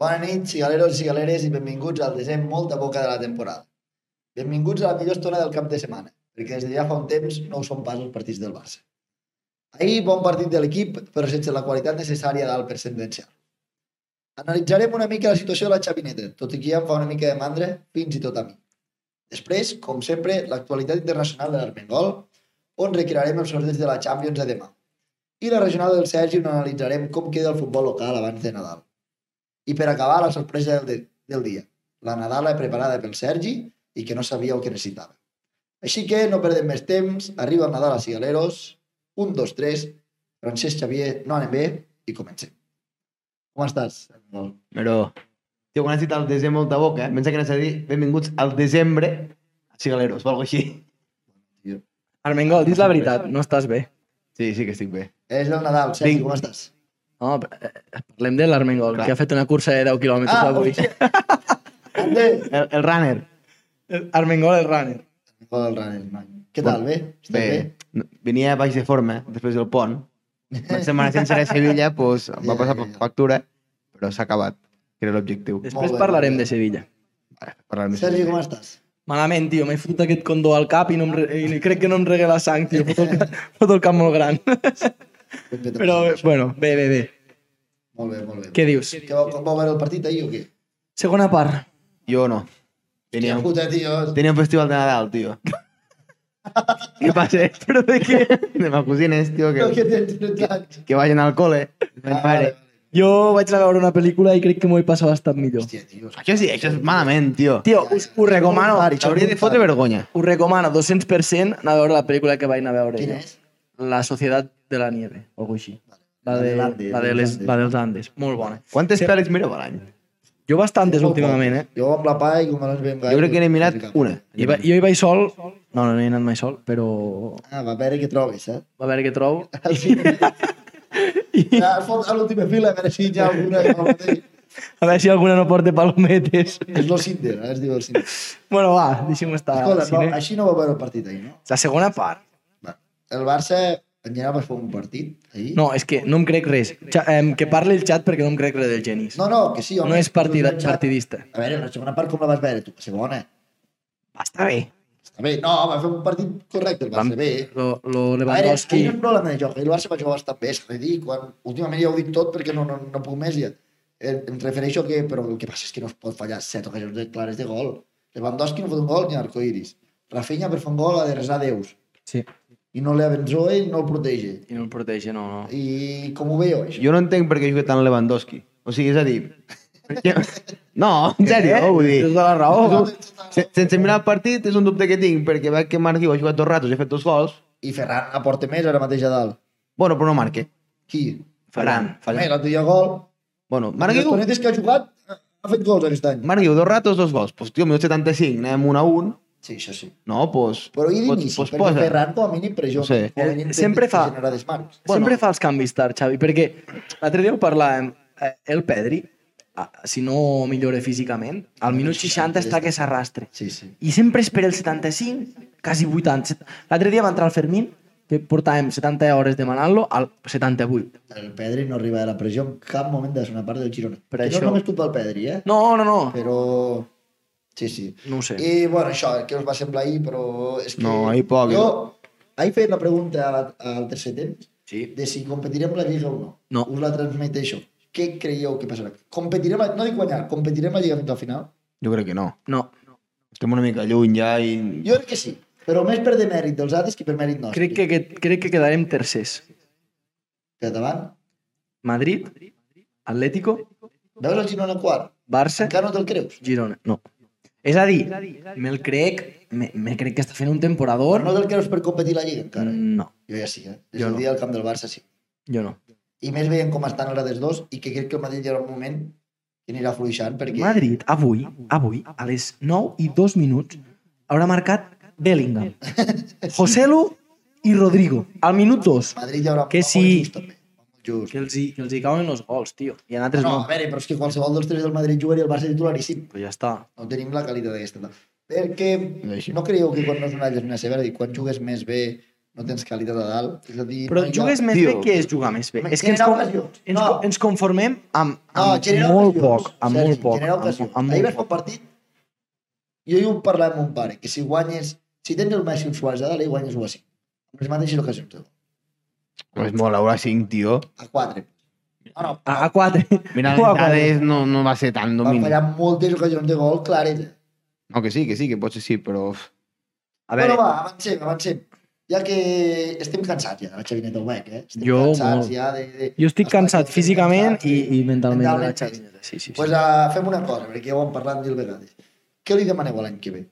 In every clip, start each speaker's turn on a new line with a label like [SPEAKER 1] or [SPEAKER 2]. [SPEAKER 1] Bona nit, cigaleros i cigaleres, i benvinguts al desè molt a boca de la temporada. Benvinguts a la millor estona del cap de setmana, perquè des de ja fa un temps no ho són pas els partits del Barça. Ahir, bon partit de l'equip, però sense la qualitat necessària dalt per sentenciar. Analitzarem una mica la situació de la xavineta, tot i que ja em fa una mica de mandra, fins i tot a mi. Després, com sempre, l'actualitat internacional de l'Armengol, on recrearem els sorteig de la Champions de demà. I la regional del Sergi on analitzarem com queda el futbol local abans de Nadal. I per acabar, la sorpresa del, de, del dia. La Nadala preparada pel Sergi i que no sabia el que necessitava. Així que no perdem més temps, arriba el Nadal a Cigaleros, 1, 2, 3, Francesc Xavier, no anem bé, i comencem. Com estàs?
[SPEAKER 2] Però, tio, quan has dit el desembre molta boca, eh? Pensa que anés a dir benvinguts al desembre a Cigaleros, o alguna així.
[SPEAKER 3] Armengol, dis la veritat, no estàs bé.
[SPEAKER 2] Sí, sí que estic bé.
[SPEAKER 1] És el Nadal, Sergi,
[SPEAKER 2] Vinc.
[SPEAKER 1] com estàs?
[SPEAKER 3] No, eh, parlem de l'Armengol,
[SPEAKER 2] Clar.
[SPEAKER 3] que ha fet una cursa de 10 quilòmetres
[SPEAKER 1] Ah,
[SPEAKER 3] avui.
[SPEAKER 1] hòstia. Ande!
[SPEAKER 2] El, el runner.
[SPEAKER 3] Armengol el runner.
[SPEAKER 1] Joder, el Ranes, noi. Què tal, bé? Estàs bé?
[SPEAKER 2] Bé, no, venia baix de forma, eh? després del pont. Una setmana sense anar a Sevilla, doncs, em va
[SPEAKER 1] Ja,
[SPEAKER 2] passar
[SPEAKER 1] ja, ja.
[SPEAKER 2] factura, però s'ha acabat, que era l'objectiu.
[SPEAKER 3] Després
[SPEAKER 1] bé,
[SPEAKER 3] parlarem
[SPEAKER 1] molt bé.
[SPEAKER 3] de Sevilla.
[SPEAKER 2] Parlar més.
[SPEAKER 1] Sergi, com estàs?
[SPEAKER 3] Malament, tio, m'he fotut aquest condó al cap i, no em, re- i crec que no em regué la sang, tio. Foto el, cap, foto el cap molt gran.
[SPEAKER 1] Ben fet,
[SPEAKER 3] Però, eh, bueno, bé, bé, bé.
[SPEAKER 1] Molt bé, molt bé.
[SPEAKER 3] Què dius?
[SPEAKER 1] Que vau, com vau veure el partit ahir o què?
[SPEAKER 3] Segona part.
[SPEAKER 2] Jo no. Tenia
[SPEAKER 1] Tenia
[SPEAKER 2] un,
[SPEAKER 1] puta, tio.
[SPEAKER 2] tenia un festival de Nadal, tio. què passa? Però de què? De ma cosines, tio,
[SPEAKER 1] No,
[SPEAKER 2] que,
[SPEAKER 1] que tens 13 anys.
[SPEAKER 2] que vagin al col·le.
[SPEAKER 1] Ah,
[SPEAKER 2] Ah, vale.
[SPEAKER 3] Jo vaig anar a veure una pel·lícula i crec que m'ho he passat bastant millor.
[SPEAKER 1] Hòstia, tio.
[SPEAKER 2] Això sí, això és malament, tio.
[SPEAKER 3] Tio, us, ho recomano.
[SPEAKER 2] Hauria de fotre vergonya.
[SPEAKER 3] Us recomano 200% anar a veure la pel·lícula que vaig anar a veure.
[SPEAKER 1] Quin
[SPEAKER 3] jo.
[SPEAKER 1] és?
[SPEAKER 3] La Societat de la Nieve, o alguna així. La,
[SPEAKER 1] La
[SPEAKER 3] de,
[SPEAKER 1] de l'Andes,
[SPEAKER 3] la, de
[SPEAKER 1] dels
[SPEAKER 3] les,
[SPEAKER 1] Andes.
[SPEAKER 3] la dels Andes. Molt bona.
[SPEAKER 2] Quantes pel·lis miro a l'any?
[SPEAKER 3] Jo bastantes últimament, eh?
[SPEAKER 1] Jo amb la PA i com no ens veiem gaire... doncs,
[SPEAKER 2] Jo crec que n'he mirat
[SPEAKER 1] no sé cap.
[SPEAKER 2] una.
[SPEAKER 3] I va, jo hi vaig sol, no, no, no he anat mai sol, però
[SPEAKER 1] Ah, va, a veure què trobes, eh?
[SPEAKER 3] a veure què trobo.
[SPEAKER 1] Ja, al fons, a l'última fila, a veure si hi ha alguna... que no té.
[SPEAKER 3] A veure si alguna no porta palometes.
[SPEAKER 1] És lo Cinder, eh? es diu el Cinder.
[SPEAKER 3] Bueno, va, deixem estar.
[SPEAKER 1] Escolta,
[SPEAKER 3] Escolta,
[SPEAKER 1] no,
[SPEAKER 3] eh. cine.
[SPEAKER 1] així no va veure el partit ahir, no?
[SPEAKER 3] La segona part.
[SPEAKER 1] Va. El Barça, en general, va fer un partit ahir?
[SPEAKER 3] No, és que no em crec res. Xa, eh, que parli el xat perquè no em crec res del Genís.
[SPEAKER 1] no, no que sí, home.
[SPEAKER 3] No és partida,
[SPEAKER 1] Ja-
[SPEAKER 3] partidista.
[SPEAKER 1] A veure, la segona part com la vas veure, tu? La segona.
[SPEAKER 3] Va estar bé.
[SPEAKER 1] Està bé, no, va fer un partit correcte, el Barça, bé.
[SPEAKER 3] Lo, lo
[SPEAKER 1] A veure, és que
[SPEAKER 3] Lewandowski...
[SPEAKER 1] no és problema de joc. El Barça va jugar bastant bé, s'ha de dir. Quan, últimament ja ho dic tot perquè no, no, no puc més. Ja. Eh, Em refereixo a que... Però el que passa és que no es pot fallar set ocasions de clares de gol. Lewandowski no fot un gol ni arcoiris. Rafinha per fer un gol ha de resar déus.
[SPEAKER 3] Sí.
[SPEAKER 1] I no l'Abenzoe no el protege.
[SPEAKER 3] I no el protege, no, no.
[SPEAKER 1] I com ho veieu, això?
[SPEAKER 2] Jo no entenc per què juga tant Lewandowski. O sigui, és a dir... perquè- No, en sèrio, eh? vull dir...
[SPEAKER 3] Tens tota la raó.
[SPEAKER 2] És un- se- Sense mirar el partit és un dubte que tinc, perquè veig que Marqui ho ha jugat dos ratos i ha fet dos gols.
[SPEAKER 1] I Ferran aporta més ara mateix a dalt.
[SPEAKER 2] Bueno, però no marque.
[SPEAKER 1] Qui?
[SPEAKER 2] Ferran.
[SPEAKER 1] Falla.
[SPEAKER 2] Ferran.
[SPEAKER 1] L'altre dia gol.
[SPEAKER 2] Bueno,
[SPEAKER 1] Les
[SPEAKER 2] Marqui,
[SPEAKER 1] estonetes que ha jugat eh, ha fet gols aquest any.
[SPEAKER 2] Marqui dos ratos, dos gols. Pues, tio, minut 75, anem 1 a 1.
[SPEAKER 1] Sí, això sí.
[SPEAKER 2] No, pues...
[SPEAKER 1] Però i
[SPEAKER 2] pues-
[SPEAKER 1] d'inici,
[SPEAKER 2] pues
[SPEAKER 1] perquè
[SPEAKER 2] posa.
[SPEAKER 1] Ferran com a mínim prejona.
[SPEAKER 2] No sé.
[SPEAKER 1] Com a mínim
[SPEAKER 3] Sempre
[SPEAKER 1] intenta
[SPEAKER 3] fa-
[SPEAKER 1] Generar desmarcs.
[SPEAKER 3] Bueno. Sempre fa els canvis tard, Xavi, perquè l'altre dia ho parlàvem, eh, el Pedri, ah, si no millora físicament, al minut 60 està que s'arrastre.
[SPEAKER 1] Sí, sí.
[SPEAKER 3] I sempre espera el 75, quasi 80. set- L'altre dia va entrar el Fermín, que portàvem 70 hores demanant-lo, al 78.
[SPEAKER 1] El Pedri no arriba a la pressió en cap moment de la segona part del Girona.
[SPEAKER 3] Per
[SPEAKER 1] que
[SPEAKER 3] això-
[SPEAKER 1] No és només culpa del Pedri, eh?
[SPEAKER 3] No, no, no,
[SPEAKER 1] Però... Sí, sí.
[SPEAKER 3] no ho sé.
[SPEAKER 1] I, bueno, això, què us va semblar ahir, però... És que
[SPEAKER 2] No, ahir poc.
[SPEAKER 1] Jo, ahir feia una pregunta al- al tercer temps
[SPEAKER 3] Sí.
[SPEAKER 1] de si competirem la Lliga o no.
[SPEAKER 3] No.
[SPEAKER 1] Us la transmeteixo. Què creieu que passarà? Competirem, la- no dic guanyar, competirem la Lliga fins al final?
[SPEAKER 2] Jo crec que no.
[SPEAKER 3] No,
[SPEAKER 2] Estem una mica lluny ja i...
[SPEAKER 1] Jo crec que sí, però més per demèrit dels altres que per mèrit nostre.
[SPEAKER 3] crec que, que, crec que quedarem tercers.
[SPEAKER 1] Per davant.
[SPEAKER 3] Madrid, Atlético,
[SPEAKER 1] Veus el Girona quart?
[SPEAKER 3] Barça,
[SPEAKER 1] Encara no te'l creus?
[SPEAKER 3] Girona. No. És a dir, me'l crec, me, me crec que està fent un temporador.
[SPEAKER 1] No te'l creus per competir la Lliga, encara?
[SPEAKER 3] No,
[SPEAKER 1] Jo ja sí, eh? Des
[SPEAKER 3] Jo
[SPEAKER 1] del
[SPEAKER 3] no.
[SPEAKER 1] dia del camp del Barça, sí.
[SPEAKER 3] jo no.
[SPEAKER 1] I més veient com estan ara dels dos i que crec que el Madrid hi haurà un moment que anirà fluixant perquè...
[SPEAKER 3] Madrid, avui, avui, a les 9 i 2 minuts, haurà marcat Bellingham, Joselu i Rodrigo, al minut 2.
[SPEAKER 1] Madrid hi haurà
[SPEAKER 3] Que
[SPEAKER 1] va molt
[SPEAKER 3] sí.
[SPEAKER 1] just, també. Va molt Just.
[SPEAKER 3] Que els hi, que els hi cauen els gols, tio. I en altres
[SPEAKER 1] No,
[SPEAKER 3] no.
[SPEAKER 1] a veure, però és que qualsevol dels tres del Madrid jugaria el Barça titularíssim.
[SPEAKER 3] Però ja està.
[SPEAKER 1] No tenim la qualitat d'aquesta. no. Perquè
[SPEAKER 2] És així.
[SPEAKER 1] no creieu que quan no és una llàstima seva, és a dir, quan jugues més bé, no no tens qualitat a dalt. És a dir,
[SPEAKER 3] Però
[SPEAKER 1] no hi ha-
[SPEAKER 3] jugues més
[SPEAKER 2] Tio,
[SPEAKER 3] bé que és jugar més bé.
[SPEAKER 1] Me-
[SPEAKER 3] És que ens,
[SPEAKER 1] genera
[SPEAKER 3] con-
[SPEAKER 1] ocasions.
[SPEAKER 3] ens,
[SPEAKER 1] No.
[SPEAKER 3] co- ens conformem amb,
[SPEAKER 1] No,
[SPEAKER 3] amb
[SPEAKER 1] Ah, genera
[SPEAKER 3] molt
[SPEAKER 1] ocasions,
[SPEAKER 3] poc, amb
[SPEAKER 1] Sergi,
[SPEAKER 3] molt poc.
[SPEAKER 1] Genera
[SPEAKER 3] Amb,
[SPEAKER 1] ocasions.
[SPEAKER 3] amb, amb
[SPEAKER 1] Ahir
[SPEAKER 3] molt
[SPEAKER 1] vas fer
[SPEAKER 3] poc.
[SPEAKER 1] un partit, jo hi ho parlava amb un pare, que si guanyes, si tens el Messi o el Suárez a dalt, i guanyes 1 a 5. Amb les mateixes ocasions.
[SPEAKER 2] Pues molt, l'Aura 5, tio.
[SPEAKER 1] A 4. No, no,
[SPEAKER 3] A, a quatre.
[SPEAKER 2] Mira,
[SPEAKER 3] Ua,
[SPEAKER 2] la veritat no, no va ser tan
[SPEAKER 1] va
[SPEAKER 2] domini.
[SPEAKER 1] fallar moltes ocasions de gol, clares.
[SPEAKER 2] No, que sí, que sí, que potser sí, però...
[SPEAKER 3] A
[SPEAKER 1] Però
[SPEAKER 3] veure,
[SPEAKER 1] va, avancem, avancem. Ja que estem cansats ja de la xavineta web, eh? Estem
[SPEAKER 3] Jo,
[SPEAKER 1] cansats
[SPEAKER 3] molt.
[SPEAKER 1] ja de... de...
[SPEAKER 3] jo estic
[SPEAKER 1] Estem
[SPEAKER 3] cansat
[SPEAKER 1] cansats,
[SPEAKER 3] físicament
[SPEAKER 1] cansats,
[SPEAKER 3] i,
[SPEAKER 1] sí.
[SPEAKER 3] i mentalment de la
[SPEAKER 1] Mentalment, sí.
[SPEAKER 3] xavineta. Sí, sí, sí.
[SPEAKER 1] pues, uh, fem una cosa, perquè ja ho hem parlat mil vegades. Què li demaneu a l'any que ve?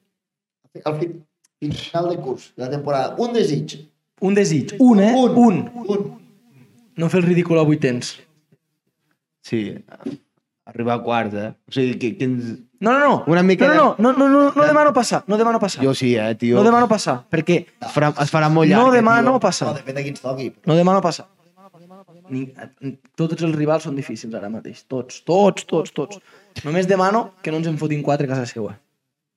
[SPEAKER 1] Al fi, fins final de curs, de la temporada. Un desig.
[SPEAKER 3] Un desig. Un, eh?
[SPEAKER 1] Un.
[SPEAKER 3] Un.
[SPEAKER 1] Un.
[SPEAKER 3] No fer el ridícul a vuitens.
[SPEAKER 2] Sí, arribar a quarts, eh? O sigui, que, que ens...
[SPEAKER 3] No, no, no.
[SPEAKER 2] Una mica
[SPEAKER 3] no, no, no, no, no, no, no demano passar. No demano passar.
[SPEAKER 2] Jo sí, eh, tio.
[SPEAKER 3] No demano passar, perquè
[SPEAKER 2] Es farà, es farà molt llarg.
[SPEAKER 3] no
[SPEAKER 2] eh,
[SPEAKER 3] demano
[SPEAKER 2] tio.
[SPEAKER 1] No,
[SPEAKER 3] passar.
[SPEAKER 1] depèn de qui ens toqui.
[SPEAKER 3] No demano passar. Ni, tots els rivals són difícils ara mateix. Tots, tots, tots, tots. Només demano que no ens en fotin quatre a casa seva.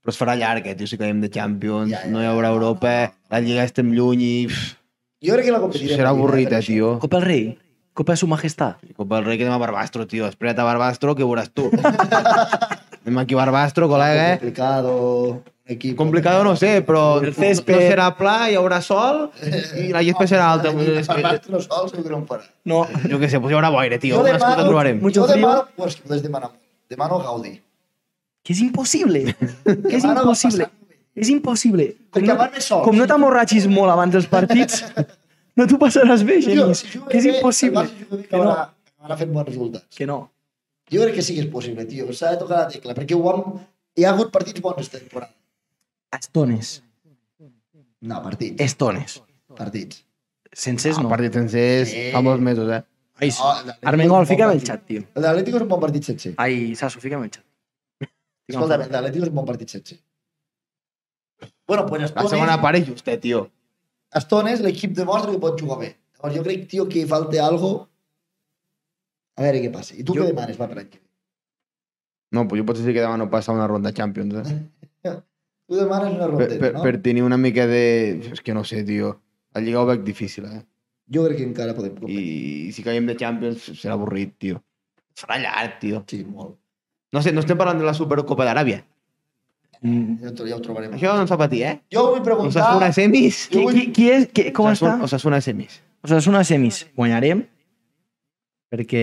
[SPEAKER 2] Però es farà llarg, eh, tio, si caiem de Champions,
[SPEAKER 1] Ja, ja,
[SPEAKER 2] ja, ja, no hi haurà Europa, la Lliga estem lluny i... Pff,
[SPEAKER 1] Jo crec que la competirem.
[SPEAKER 2] serà avorrit,
[SPEAKER 1] per
[SPEAKER 2] eh,
[SPEAKER 1] això.
[SPEAKER 2] tio.
[SPEAKER 3] Copa del Rei, Copa de Su Majestat.
[SPEAKER 2] Copa del Rei que anem a Barbastro, tio. Espera't a Barbastro, que ho veuràs tu. anem aquí a Barbastro, col·lega.
[SPEAKER 1] Complicado. Un equip...
[SPEAKER 2] eh? Complicado no sé, però
[SPEAKER 3] El césped.
[SPEAKER 2] no serà pla, hi haurà sol i la gespa serà alta.
[SPEAKER 1] Parlar-te no sols, segur que no em farà.
[SPEAKER 3] No,
[SPEAKER 2] Jo què sé, pues hi haurà boire, tio.
[SPEAKER 1] Jo
[SPEAKER 2] Una excusa
[SPEAKER 1] demano...
[SPEAKER 2] trobarem.
[SPEAKER 3] Mucho
[SPEAKER 1] jo
[SPEAKER 3] frío.
[SPEAKER 1] demano... Pues, les demano. Demano Gaudí.
[SPEAKER 3] que és impossible. Que és
[SPEAKER 1] Demano no
[SPEAKER 3] impossible.
[SPEAKER 1] passar.
[SPEAKER 3] És impossible. Com
[SPEAKER 1] Perquè
[SPEAKER 3] no,
[SPEAKER 1] van més sols.
[SPEAKER 3] com no t'amorratxis molt abans dels partits, no t'ho passaràs bé, Genís.
[SPEAKER 1] si juga
[SPEAKER 3] Que és
[SPEAKER 1] bé,
[SPEAKER 3] impossible.
[SPEAKER 1] el Barça juga bé,
[SPEAKER 3] Que no,
[SPEAKER 1] acabarà- Acabarà fent bons resultats.
[SPEAKER 3] que no.
[SPEAKER 1] Jo crec que sí que és possible, tio. S'ha de tocar la tecla, perquè ho hem... hi ha hagut partits bons aquesta temporada.
[SPEAKER 3] Estones.
[SPEAKER 1] No, partits.
[SPEAKER 3] Estones.
[SPEAKER 1] Partits.
[SPEAKER 3] Sencers
[SPEAKER 2] El
[SPEAKER 3] no.
[SPEAKER 2] partit sencers
[SPEAKER 1] Sí.
[SPEAKER 2] fa molts mesos, eh?
[SPEAKER 3] Ai, sí.
[SPEAKER 1] No, l'Atlètic és un
[SPEAKER 3] Armengol,
[SPEAKER 1] bon
[SPEAKER 3] fica'm el
[SPEAKER 1] partit.
[SPEAKER 3] xat, tio.
[SPEAKER 1] L'Atlético Ah, és un bon partit sencer.
[SPEAKER 2] Ah,
[SPEAKER 3] Ai, Sasso, fica'm el xat.
[SPEAKER 1] Escolta, l'Atlético és un bon partit sencer. Bueno, pues
[SPEAKER 2] La
[SPEAKER 1] Estones,
[SPEAKER 2] segona part és justet, tio.
[SPEAKER 1] Estones l'equip demostra que pot jugar bé. Llavors jo crec, tio, que hi falta algo... A veure què passa. I tu
[SPEAKER 2] Jo-
[SPEAKER 1] què demanes, va, per aquí?
[SPEAKER 2] No, pues jo potser sí que demà no passa una ronda Champions, eh?
[SPEAKER 1] Tu demanes una
[SPEAKER 2] Per,
[SPEAKER 1] rondeta,
[SPEAKER 2] per,
[SPEAKER 1] no?
[SPEAKER 2] per tenir una mica de... És que no sé, tio. La Lliga ho veig difícil, eh?
[SPEAKER 1] Jo crec que encara podem competir.
[SPEAKER 2] I si caiem de Champions serà avorrit, tio. Serà llarg, tio.
[SPEAKER 1] Sí, molt.
[SPEAKER 2] No sé, no estem parlant de la Supercopa d'Aràbia.
[SPEAKER 3] Mm,
[SPEAKER 1] Ja, ho- ja ho trobarem.
[SPEAKER 2] Això no ens fa patir, eh?
[SPEAKER 1] Jo vull preguntar...
[SPEAKER 2] Osasuna semis.
[SPEAKER 1] Jo
[SPEAKER 3] Qui,
[SPEAKER 1] vull-
[SPEAKER 3] qui, qui és? Qui, com està?
[SPEAKER 2] Osasuna- Osasuna semis.
[SPEAKER 3] Osasuna semis. Guanyarem perquè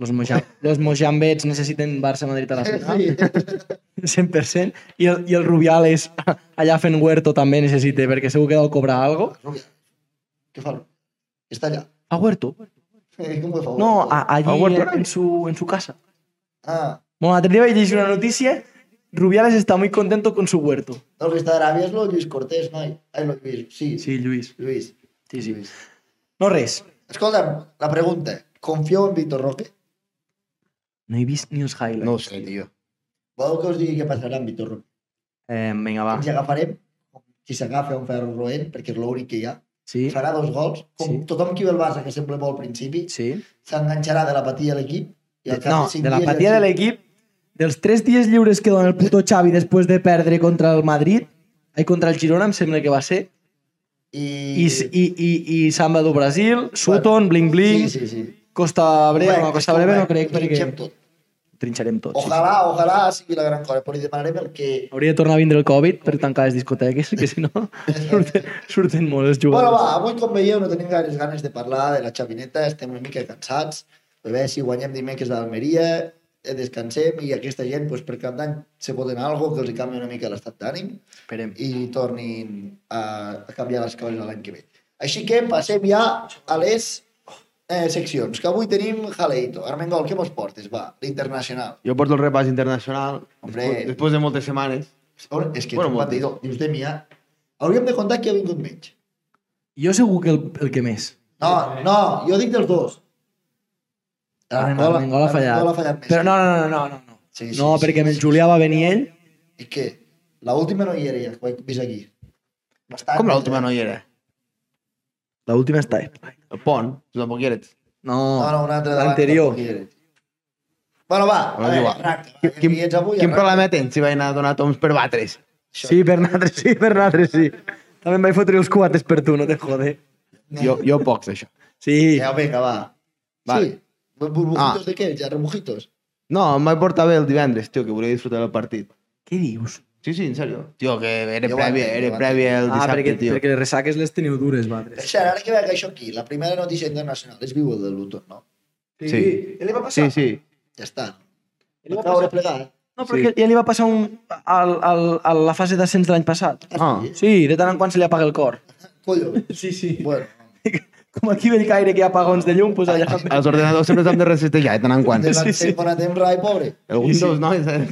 [SPEAKER 3] los, moja, los mojambets necessiten Barça-Madrid a la final,
[SPEAKER 1] Ah, Sí.
[SPEAKER 3] 100%, i el, i el Rubiales allà fent huerto també necessita, perquè segur que deu cobrar algo.
[SPEAKER 1] Rubia. ¿Qué falo? Está allá.
[SPEAKER 3] A huerto?
[SPEAKER 1] ¿Cómo de favor?
[SPEAKER 3] No, a, allí
[SPEAKER 2] A huerto,
[SPEAKER 3] en, en, su, en su casa.
[SPEAKER 1] Ah,
[SPEAKER 3] Bueno, l'altre dia vaig llegir una notícia, Rubiales está muy contento con su huerto.
[SPEAKER 1] no, que está de Arabia es lo de Luis Cortés, no hay. Ay, lo de Luis. Sí,
[SPEAKER 3] Sí, Lluís.
[SPEAKER 1] Luis.
[SPEAKER 3] Sí, sí.
[SPEAKER 1] Luis.
[SPEAKER 3] No res.
[SPEAKER 1] Escolta, la pregunta. ¿Confío en Víctor Roque?
[SPEAKER 3] No he vist ni els highlights.
[SPEAKER 2] No ho sé, tio.
[SPEAKER 1] Voleu que us digui què passarà amb Víctor Roque?
[SPEAKER 3] Eh, vinga, va.
[SPEAKER 1] Ens hi agafarem, si s'agafa un ferro roent, perquè és l'únic que hi ha,
[SPEAKER 3] Sí,
[SPEAKER 1] farà dos gols, com
[SPEAKER 3] Sí.
[SPEAKER 1] tothom qui ve al Barça, que sempre vol al principi,
[SPEAKER 3] sí.
[SPEAKER 1] s'enganxarà de l'apatia de l'equip, i al cap
[SPEAKER 3] No,
[SPEAKER 1] de cinc
[SPEAKER 3] de
[SPEAKER 1] dies
[SPEAKER 3] l'apatia
[SPEAKER 1] ja
[SPEAKER 3] de
[SPEAKER 1] sí.
[SPEAKER 3] l'equip, dels tres dies lliures que dona el puto Xavi després de perdre contra el Madrid, ai, contra el Girona, em sembla que va ser,
[SPEAKER 1] I...
[SPEAKER 3] i, i, i, i Samba do Brasil, Sutton, Bling Bling,
[SPEAKER 1] Sí, sí, sí.
[SPEAKER 3] Costa Breve, no,
[SPEAKER 1] Correcte,
[SPEAKER 3] Costa Breve no
[SPEAKER 1] correcte,
[SPEAKER 3] crec,
[SPEAKER 1] ho
[SPEAKER 3] perquè
[SPEAKER 1] fixem tot.
[SPEAKER 3] trinxarem tots. Sí.
[SPEAKER 1] Ojalà, ojalà sigui la gran cosa, però li demanarem el que,
[SPEAKER 3] Hauria de tornar a vindre el Covid per tancar les discoteques, que si no surten, surten molt els
[SPEAKER 1] Bueno, va,
[SPEAKER 3] jugadors.
[SPEAKER 1] avui, com veieu, no tenim gaires ganes de parlar de la xavineta, estem una mica cansats. A veure si guanyem dimecres a l'Almeria, eh, descansem i aquesta gent, doncs, per cap d'any, se poden algo que els hi canvi una mica l'estat d'ànim
[SPEAKER 3] Esperem.
[SPEAKER 1] i tornin a, a canviar les coses l'any que ve. Així que passem ja a les eh, seccions, que avui tenim Jaleito. Armengol, què mos portes? Va, l'internacional.
[SPEAKER 2] Jo porto el repàs internacional
[SPEAKER 1] Hombre.
[SPEAKER 2] després, després de moltes setmanes.
[SPEAKER 1] És que
[SPEAKER 2] Bueno,
[SPEAKER 1] bueno,
[SPEAKER 2] molt.
[SPEAKER 1] tu, dius de mi, ja. Hauríem de contar qui ha vingut menys.
[SPEAKER 3] Jo segur que el, el que més.
[SPEAKER 1] No, no, jo dic dels dos.
[SPEAKER 3] Armengol, Armengol ha fallat.
[SPEAKER 1] Ah, Armengol ha fallat més.
[SPEAKER 3] Però no, no, no, no. No,
[SPEAKER 1] Sí, sí,
[SPEAKER 3] no
[SPEAKER 1] sí,
[SPEAKER 3] perquè amb el
[SPEAKER 1] sí,
[SPEAKER 3] Julià va venir ell.
[SPEAKER 1] I què? L'última no hi era ja, ho he vist aquí. Bastant,
[SPEAKER 2] Com l'última no hi era?
[SPEAKER 3] L'última està.
[SPEAKER 2] El pont, tu tampoc hi eres.
[SPEAKER 3] No,
[SPEAKER 1] No, no, una altra davant,
[SPEAKER 3] l'anterior.
[SPEAKER 1] tampoc hi era. Bueno, va, a
[SPEAKER 2] Bueno, és
[SPEAKER 1] veure,
[SPEAKER 2] igual.
[SPEAKER 1] arranca. va,
[SPEAKER 2] Quin,
[SPEAKER 1] que
[SPEAKER 2] quin,
[SPEAKER 1] hi ets avui,
[SPEAKER 2] quin
[SPEAKER 1] arranca.
[SPEAKER 2] problema tens si vaig anar a donar toms per batre's?
[SPEAKER 3] Sí, per nosaltres sí, per nosaltres sí. També em vaig fotre els cuates per tu, no te jode.
[SPEAKER 2] Jo, jo pocs, això.
[SPEAKER 3] Sí,
[SPEAKER 1] Ja, vinga, Eh, va.
[SPEAKER 2] Va.
[SPEAKER 1] Sí. ¿Burbujitos
[SPEAKER 2] Ah.
[SPEAKER 1] de qué? ¿Ya remujitos?
[SPEAKER 2] No, em vaig portar bé el divendres, tio, que volia disfrutar del partit.
[SPEAKER 3] què dius?
[SPEAKER 2] Sí, sí, en sèrio. Tio, que era
[SPEAKER 1] Jo ho
[SPEAKER 2] prèvia,
[SPEAKER 1] entenc, jo
[SPEAKER 2] era
[SPEAKER 1] ho
[SPEAKER 2] prèvia el
[SPEAKER 3] ah,
[SPEAKER 2] dissabte,
[SPEAKER 3] perquè,
[SPEAKER 2] tio.
[SPEAKER 3] perquè les ressaques les teniu dures,
[SPEAKER 1] Per
[SPEAKER 3] vosaltres.
[SPEAKER 1] cert, ara que veig això aquí, la primera notícia internacional és viu el de Luton, no?
[SPEAKER 2] Sí.
[SPEAKER 3] Què li va
[SPEAKER 2] Sí,
[SPEAKER 3] passar?
[SPEAKER 2] sí.
[SPEAKER 1] Ja està.
[SPEAKER 3] Li
[SPEAKER 1] Va
[SPEAKER 3] va
[SPEAKER 1] caure
[SPEAKER 3] passar?
[SPEAKER 1] plegat.
[SPEAKER 3] No, però sí. ja li va passar un, al, al, a la fase d'ascens de l'any passat.
[SPEAKER 2] Ah,
[SPEAKER 3] Sí, de tant en quant se li apaga el cor.
[SPEAKER 1] Collo.
[SPEAKER 3] Sí, sí.
[SPEAKER 1] Bueno,
[SPEAKER 3] Com aquí ve el caire que hi ha apagons de llum, doncs allà...
[SPEAKER 2] els ordenadors sempre s'han de resetejar, eh, de tant en quant.
[SPEAKER 1] de la sí,
[SPEAKER 3] sí, sí.
[SPEAKER 1] sí. temps, rai, pobre.
[SPEAKER 2] El Windows, no? S'han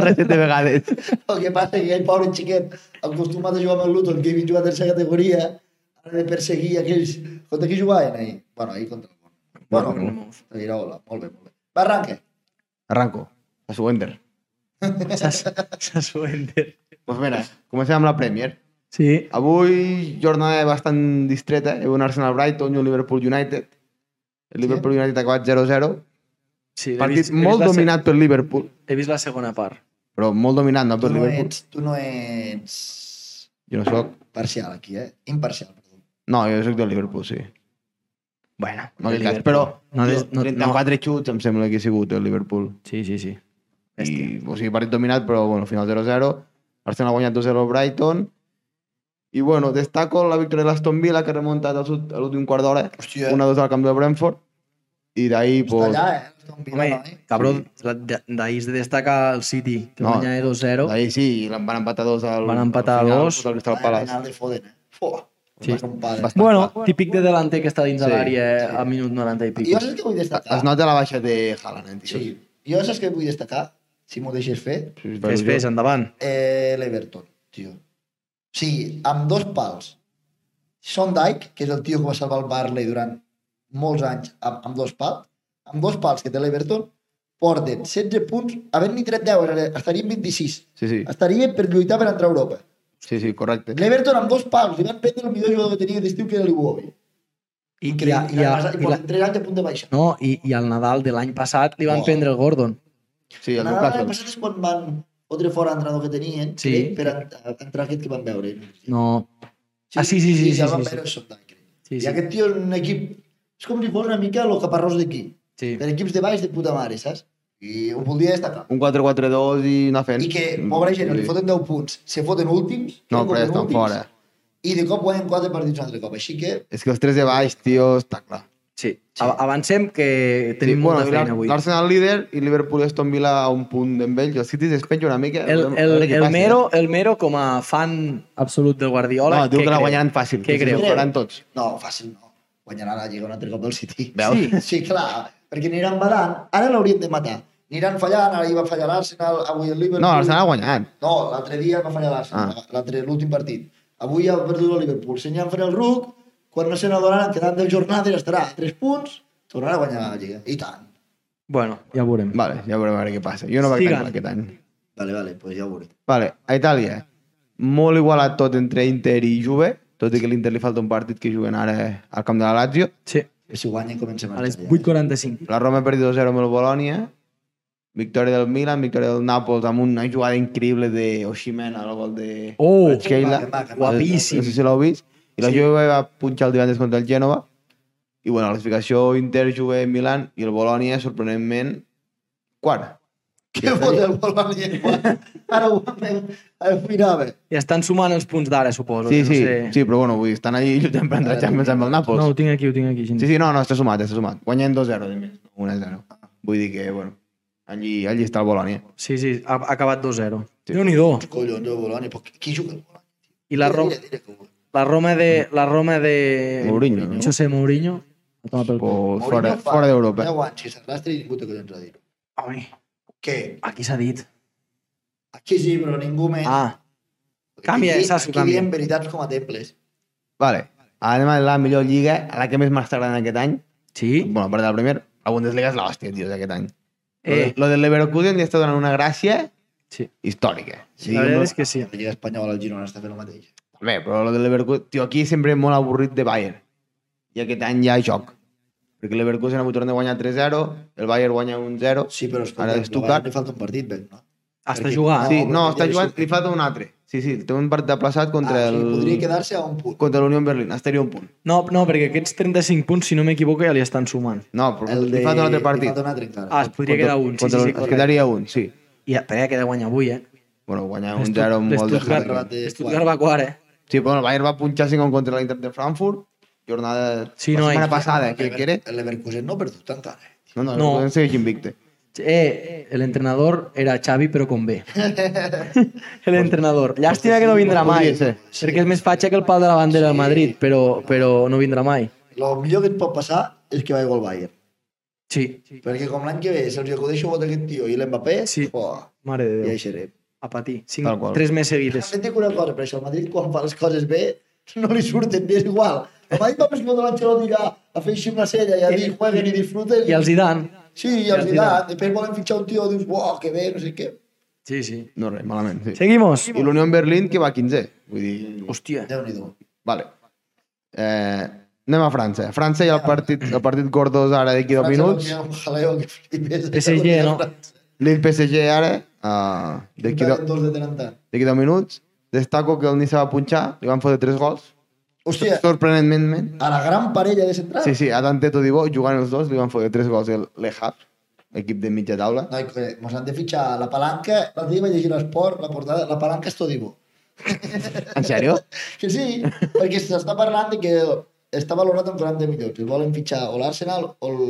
[SPEAKER 2] reset eh, de vegades.
[SPEAKER 1] El que passa és que aquell pobre xiquet acostumat a jugar amb el Luton, que havia jugat a tercera categoria, ara de perseguir aquells... Contra qui jugaven ahir? Bueno, ahir contra el Bournemouth. Bueno,
[SPEAKER 2] Bournemouth.
[SPEAKER 1] no. Dirà hola, molt bé, molt bé. Va, arranque.
[SPEAKER 2] Arranco. Doncs A su Ender.
[SPEAKER 3] S'assuente.
[SPEAKER 2] Doncs mira, comencem amb la Premier.
[SPEAKER 3] Sí.
[SPEAKER 2] Avui jornada bastant distreta. Hi havia un Arsenal Brighton i un Liverpool United. El Liverpool United ha acabat 0-0.
[SPEAKER 3] sí he
[SPEAKER 2] Partit
[SPEAKER 3] vist- he vist
[SPEAKER 2] molt
[SPEAKER 3] la se-
[SPEAKER 2] dominat per Liverpool.
[SPEAKER 3] He vist la segona part.
[SPEAKER 2] Però molt dominat, no
[SPEAKER 1] Tu
[SPEAKER 2] per
[SPEAKER 1] no,
[SPEAKER 2] Liverpool.
[SPEAKER 1] ets, tu no ets
[SPEAKER 2] Jo no soc...
[SPEAKER 1] parcial aquí, eh? Imparcial, perdó.
[SPEAKER 2] No, jo soc del Liverpool, sí.
[SPEAKER 3] Bueno,
[SPEAKER 2] No aquell cas, però...
[SPEAKER 3] No,
[SPEAKER 2] tio,
[SPEAKER 3] no, no,
[SPEAKER 2] 34 xuts em sembla que ha sigut el Liverpool.
[SPEAKER 3] Sí, sí, sí. Hòstia.
[SPEAKER 2] I, o sigui, partit dominat, però bueno, al final 0-0. Arsenal ha guanyat 2-0 al Brighton. I bueno, destaco la victòria de l'Aston Villa, que ha remuntat als ult- a l'últim quart d'hora.
[SPEAKER 1] Hòstia,
[SPEAKER 2] Una 2 al camp del Brentford. I d'ahir,
[SPEAKER 1] està
[SPEAKER 2] pues,
[SPEAKER 1] allà, eh? Està un
[SPEAKER 3] Home,
[SPEAKER 1] pilot, eh?
[SPEAKER 3] cabró, la- de- d'ahir es destaca el City, que
[SPEAKER 2] No.
[SPEAKER 3] guanya de 2-0.
[SPEAKER 2] d'ahir sí, i l'en van empatar 2 al,
[SPEAKER 3] Van empatar
[SPEAKER 2] al final,
[SPEAKER 3] dos.
[SPEAKER 2] contra el Crystal
[SPEAKER 1] Vaya
[SPEAKER 2] Palace.
[SPEAKER 1] final de Foden, eh? Fuà.
[SPEAKER 3] Sí.
[SPEAKER 1] Va ser un padre.
[SPEAKER 2] Bastant
[SPEAKER 3] Bueno, típic de delanter que està dins de
[SPEAKER 2] Sí,
[SPEAKER 3] l'àrea
[SPEAKER 1] sí.
[SPEAKER 3] al minut 90 i
[SPEAKER 1] Jo
[SPEAKER 3] pico.
[SPEAKER 1] saps que vull destacar?
[SPEAKER 2] Es nota la baixa de Haaland, eh, tio.
[SPEAKER 1] Sí. Jo saps que vull destacar, si m'ho deixes fer,
[SPEAKER 2] Sí,
[SPEAKER 3] Fes, fes, endavant.
[SPEAKER 1] eh, l'Everton, tio. O sigui, amb dos pals. Sondike, que és el tio que va salvar el Barley durant molts anys amb, amb dos pals, amb dos pals que té l'Everton, porten 16 punts, havent-n'hi tret 10, ara estarien 26.
[SPEAKER 2] Sí, sí,
[SPEAKER 1] Estaria per lluitar per entrar a Europa.
[SPEAKER 2] sí, sí, correcte.
[SPEAKER 1] L'Everton amb dos pals, li van prendre el millor jugador que tenia d'estiu, que era l'Iwobi.
[SPEAKER 3] I, i, a,
[SPEAKER 1] Increïble.
[SPEAKER 3] i,
[SPEAKER 1] I,
[SPEAKER 3] a,
[SPEAKER 1] i, i,
[SPEAKER 3] i, la,
[SPEAKER 1] porten 3 anys a punt de baixa.
[SPEAKER 3] no, i, i al Nadal de l'any passat li van
[SPEAKER 1] Oh.
[SPEAKER 3] prendre el Gordon.
[SPEAKER 2] Sí, el
[SPEAKER 1] La vegada
[SPEAKER 2] Newcastle.
[SPEAKER 1] passada és quan van fotre fora l'entrenador que tenien
[SPEAKER 3] Sí.
[SPEAKER 1] crec, per ent- entrar aquest que van veure.
[SPEAKER 3] No. Ah, sí, sí, sí,
[SPEAKER 1] ja
[SPEAKER 3] sí,
[SPEAKER 1] van
[SPEAKER 3] sí,
[SPEAKER 1] veure sí. Sota, crec.
[SPEAKER 3] Sí,
[SPEAKER 1] I
[SPEAKER 3] sí.
[SPEAKER 1] aquest tio és un equip... És com si fos una mica el caparrós d'aquí.
[SPEAKER 3] sí.
[SPEAKER 1] Per equips de baix de puta mare, saps? I ho voldria destacar.
[SPEAKER 2] Un 4-4-2 i anar fent.
[SPEAKER 1] I que, pobra gent, li foten 10 punts, se foten últims...
[SPEAKER 2] No,
[SPEAKER 1] se
[SPEAKER 2] però ja
[SPEAKER 1] foten
[SPEAKER 2] estan
[SPEAKER 1] últims,
[SPEAKER 2] fora.
[SPEAKER 1] I de cop guanyen 4 partits un altre cop. Així que,
[SPEAKER 2] És que els tres de baix, tio, està clar.
[SPEAKER 3] sí. A- Avancem que tenim
[SPEAKER 2] Sí,
[SPEAKER 3] molta
[SPEAKER 2] i
[SPEAKER 3] feina
[SPEAKER 2] l'Ar-
[SPEAKER 3] avui.
[SPEAKER 2] L'Arsenal líder i Liverpool i Aston Villa a un punt d'env ells. El City es despenja una mica.
[SPEAKER 3] El,
[SPEAKER 2] Veurem a
[SPEAKER 3] el,
[SPEAKER 2] veure què
[SPEAKER 3] el,
[SPEAKER 2] passa,
[SPEAKER 3] Mero, el Mero, com a fan absolut del
[SPEAKER 2] Eh?
[SPEAKER 3] Guardiola...
[SPEAKER 2] No, diu
[SPEAKER 3] què
[SPEAKER 2] que la
[SPEAKER 3] creu?
[SPEAKER 2] guanyaran fàcil.
[SPEAKER 3] Què
[SPEAKER 2] que
[SPEAKER 3] creu?
[SPEAKER 2] ho faran tots.
[SPEAKER 1] no, fàcil no. Guanyarà la Lliga un altre cop del City.
[SPEAKER 2] Veus?
[SPEAKER 3] Sí.
[SPEAKER 1] Sí, clar, perquè aniran badant. Ara l'haurien de matar. Aniran fallant, ara hi va fallar l'Arsenal, avui el Liverpool...
[SPEAKER 2] No, l'Arsenal ha guanyat.
[SPEAKER 1] No, l'altre dia va fallar
[SPEAKER 3] Ah.
[SPEAKER 1] l'Arsenal, l'altre l'últim partit. Avui ha perdut el Liverpool. Si n'hi el RUC, quan no se n'adonaran que quedant 10 jornades estarà a 3 punts, tornarà a guanyar la Lliga. I tant.
[SPEAKER 3] Bueno, ja ho veurem.
[SPEAKER 2] Vale, ja veurem a veure què passa. Jo no vaig
[SPEAKER 3] Sigan.
[SPEAKER 2] calcular aquest any.
[SPEAKER 1] Vale, vale, pues ja ho veuré.
[SPEAKER 2] Vale, a Itàlia. Molt igualat tot entre Inter i Juve, tot i que a l'Inter li falta un partit que juguen ara al camp de la Lazio.
[SPEAKER 3] Sí,
[SPEAKER 1] Si guanyen comencem
[SPEAKER 3] a les
[SPEAKER 1] marxar ja.
[SPEAKER 3] 8.45.
[SPEAKER 2] La Roma ha perdut 2-0 amb el Bologna. Victòria del Milan, victòria del Nàpols amb una jugada increïble de Osimhen al gol de
[SPEAKER 3] Oh,
[SPEAKER 2] Keila.
[SPEAKER 1] Maca, maca, maca.
[SPEAKER 2] No
[SPEAKER 3] Guapíssim.
[SPEAKER 2] sé si l'heu vist. I la
[SPEAKER 3] Sí.
[SPEAKER 2] Juve va punxar el divendres contra el Gènova. I bueno, la classificació Inter, Juve, Milan i el Bologna, sorprenentment, quart.
[SPEAKER 1] Què fot el Bologna? Ara ho Eh, ara ho mirava.
[SPEAKER 3] I estan sumant els punts d'ara, suposo.
[SPEAKER 2] Sí,
[SPEAKER 3] que
[SPEAKER 2] sí,
[SPEAKER 3] no sé.
[SPEAKER 2] sí, però bueno, vull dir, estan allí lluitant per entrar a Champions amb el Nàpols.
[SPEAKER 3] No, ho tinc aquí, ho tinc aquí.
[SPEAKER 2] Sí,
[SPEAKER 3] Gente.
[SPEAKER 2] sí, no, no, està sumat, està sumat. Guanyem 2-0, de Ah, més, 1-0. Vull dir que, bueno, allí, allí està el Bologna.
[SPEAKER 3] Sí, sí, ha, ha acabat 2-0.
[SPEAKER 2] Sí.
[SPEAKER 3] Déu-n'hi-do.
[SPEAKER 1] Collons, el Bologna, però qui juga el Bologna?
[SPEAKER 3] I la, Ro
[SPEAKER 1] Mira, mira com-
[SPEAKER 3] la Roma de... La Roma de...
[SPEAKER 2] Mourinho, no? Pues,
[SPEAKER 3] José Eh, Mourinho. A tomar pel cul.
[SPEAKER 2] O
[SPEAKER 1] Mourinho
[SPEAKER 2] fora,
[SPEAKER 1] fa
[SPEAKER 2] fora d'Europa.
[SPEAKER 1] 10 anys que s'arrastra i ningú té collons a dir-ho.
[SPEAKER 3] Home,
[SPEAKER 1] Què?
[SPEAKER 3] aquí s'ha dit.
[SPEAKER 1] Aquí sí, però ningú
[SPEAKER 2] Eh.
[SPEAKER 1] més.
[SPEAKER 3] Ah, canvia,
[SPEAKER 1] Aquí-
[SPEAKER 3] Sasso,
[SPEAKER 1] Aquí
[SPEAKER 3] canvia.
[SPEAKER 1] diem veritats com a temples.
[SPEAKER 2] Vale. Anem a la millor lliga, a la que més m'està agradant aquest any.
[SPEAKER 3] sí?
[SPEAKER 2] Bueno, a part de la primera, la Bundesliga és l'hòstia, tio, d'aquest any. Eh.
[SPEAKER 3] Eh,
[SPEAKER 2] Lo del Leverkusen li està donant una gràcia
[SPEAKER 3] sí.
[SPEAKER 2] històrica. Sí,
[SPEAKER 3] La veritat és que sí.
[SPEAKER 1] La Lliga Espanyola, el Girona, està fent el mateix.
[SPEAKER 2] Bé, però lo del Leverkusen... Tio, aquí sempre molt avorrit de Bayern. I aquest any hi ha joc. Perquè el Leverkusen ha hagut tornat de guanyar 3-0, el Bayern guanya 1-0.
[SPEAKER 1] Sí, però escolta,
[SPEAKER 2] Ara
[SPEAKER 1] Ara
[SPEAKER 2] Stuttgart-
[SPEAKER 1] Stuttgart... li falta un partit, ben, no?
[SPEAKER 3] Hasta
[SPEAKER 1] Perquè-
[SPEAKER 3] jugar.
[SPEAKER 2] Sí,
[SPEAKER 1] no,
[SPEAKER 2] no,
[SPEAKER 1] perquè
[SPEAKER 2] està
[SPEAKER 1] ja
[SPEAKER 2] jugant...
[SPEAKER 1] surt.
[SPEAKER 2] Li falta un altre. Sí, sí, té un partit aplaçat contra
[SPEAKER 1] ah, o sigui,
[SPEAKER 2] el...
[SPEAKER 1] podria quedar-se a un punt.
[SPEAKER 2] Contra l'Unió en Berlín, estaria un punt.
[SPEAKER 3] No, no, perquè aquests 35 punts, si no m'equivoco, ja li estan sumant.
[SPEAKER 2] No, però li falta un altre
[SPEAKER 1] Li
[SPEAKER 2] partit.
[SPEAKER 1] falta un altre, encara.
[SPEAKER 3] Ah, es podria
[SPEAKER 2] Contra-
[SPEAKER 3] quedar un, sí,
[SPEAKER 2] contra
[SPEAKER 3] sí, sí,
[SPEAKER 2] el- es
[SPEAKER 3] correcte.
[SPEAKER 2] quedaria un, sí.
[SPEAKER 3] I però ja queda guanyar avui, eh?
[SPEAKER 2] Bueno, guanyar un
[SPEAKER 3] L'Estut-
[SPEAKER 2] 0 amb gol de
[SPEAKER 3] l'Stuttgart-
[SPEAKER 2] Harry Kane.
[SPEAKER 1] Harry.
[SPEAKER 3] L'Stuttgart va quart, eh?
[SPEAKER 2] Sí, però el Bayern va punxar 5 contra l'Inter de Frankfurt, jornada
[SPEAKER 3] Sí,
[SPEAKER 2] la
[SPEAKER 3] no,
[SPEAKER 2] setmana
[SPEAKER 3] eh.
[SPEAKER 2] passada, crec
[SPEAKER 1] El
[SPEAKER 2] que era.
[SPEAKER 1] Lever- El Leverkusen no ha perdut encara. eh?
[SPEAKER 2] No, no,
[SPEAKER 3] No.
[SPEAKER 2] no. podem seguir invicte.
[SPEAKER 3] Eh, el entrenador era Xavi, però com bé. el entrenador. Llàstima que no vindrà mai,
[SPEAKER 2] Podria ser.
[SPEAKER 3] perquè és més fatxa que el pal de la bandera del Madrid, però, però no vindrà mai.
[SPEAKER 1] El millor que et pot passar és que vagi al Bayern.
[SPEAKER 3] Sí,
[SPEAKER 1] Perquè com l'any que ve se'ls acudeix un vot a aquest tio i l'Mbappé,
[SPEAKER 3] Sí.
[SPEAKER 1] oh,
[SPEAKER 3] mare de
[SPEAKER 1] ja
[SPEAKER 3] Déu.
[SPEAKER 1] hi serem.
[SPEAKER 3] A patir.
[SPEAKER 2] Tal
[SPEAKER 3] Cinc,
[SPEAKER 2] qual.
[SPEAKER 3] tres més seguides.
[SPEAKER 1] També et dic una cosa, per això el Madrid quan fa les coses bé no li surten, és igual. El Madrid va més que l'Ancelotti a, a fer així una sella i a dir jueguen i disfruten.
[SPEAKER 3] I els hi dan.
[SPEAKER 1] Sí, i els hi dan. Després volen fitxar un tio i dius, uau, que bé, no sé què.
[SPEAKER 3] Sí, sí.
[SPEAKER 2] No, res, malament, sí.
[SPEAKER 3] Seguimos.
[SPEAKER 2] I l'Unió en Berlín, que va 15. Vull dir...
[SPEAKER 3] Hòstia.
[SPEAKER 1] Déu-n'hi-do.
[SPEAKER 2] Vale. Eh, anem a França. França hi ha el partit, el partit Gordos ara d'aquí dos minuts.
[SPEAKER 1] França va tirar Un jaleo que flipes.
[SPEAKER 3] PSG, no?
[SPEAKER 2] Lille PSG ara, uh, d'aquí
[SPEAKER 1] D'aquí
[SPEAKER 2] do,
[SPEAKER 1] dos de tant en tant.
[SPEAKER 2] d'aquí dos minuts. Destaco que el Niça va punxar, li van fotre tres gols.
[SPEAKER 1] Hòstia,
[SPEAKER 2] Sorprenentment.
[SPEAKER 1] a la gran parella de central.
[SPEAKER 2] Sí, sí, a Dante Todibó, jugant els dos, li van fotre tres gols el Lehab, equip de mitja taula.
[SPEAKER 1] Noi, que mos han de fitxar la palanca. L'altre dia vaig llegir l'esport, la portada, la palanca és Todibo.
[SPEAKER 2] En sèrio?
[SPEAKER 1] Que sí, perquè s'està parlant de que està valorat en 40 milions. El volen fitxar o l'Arsenal o el,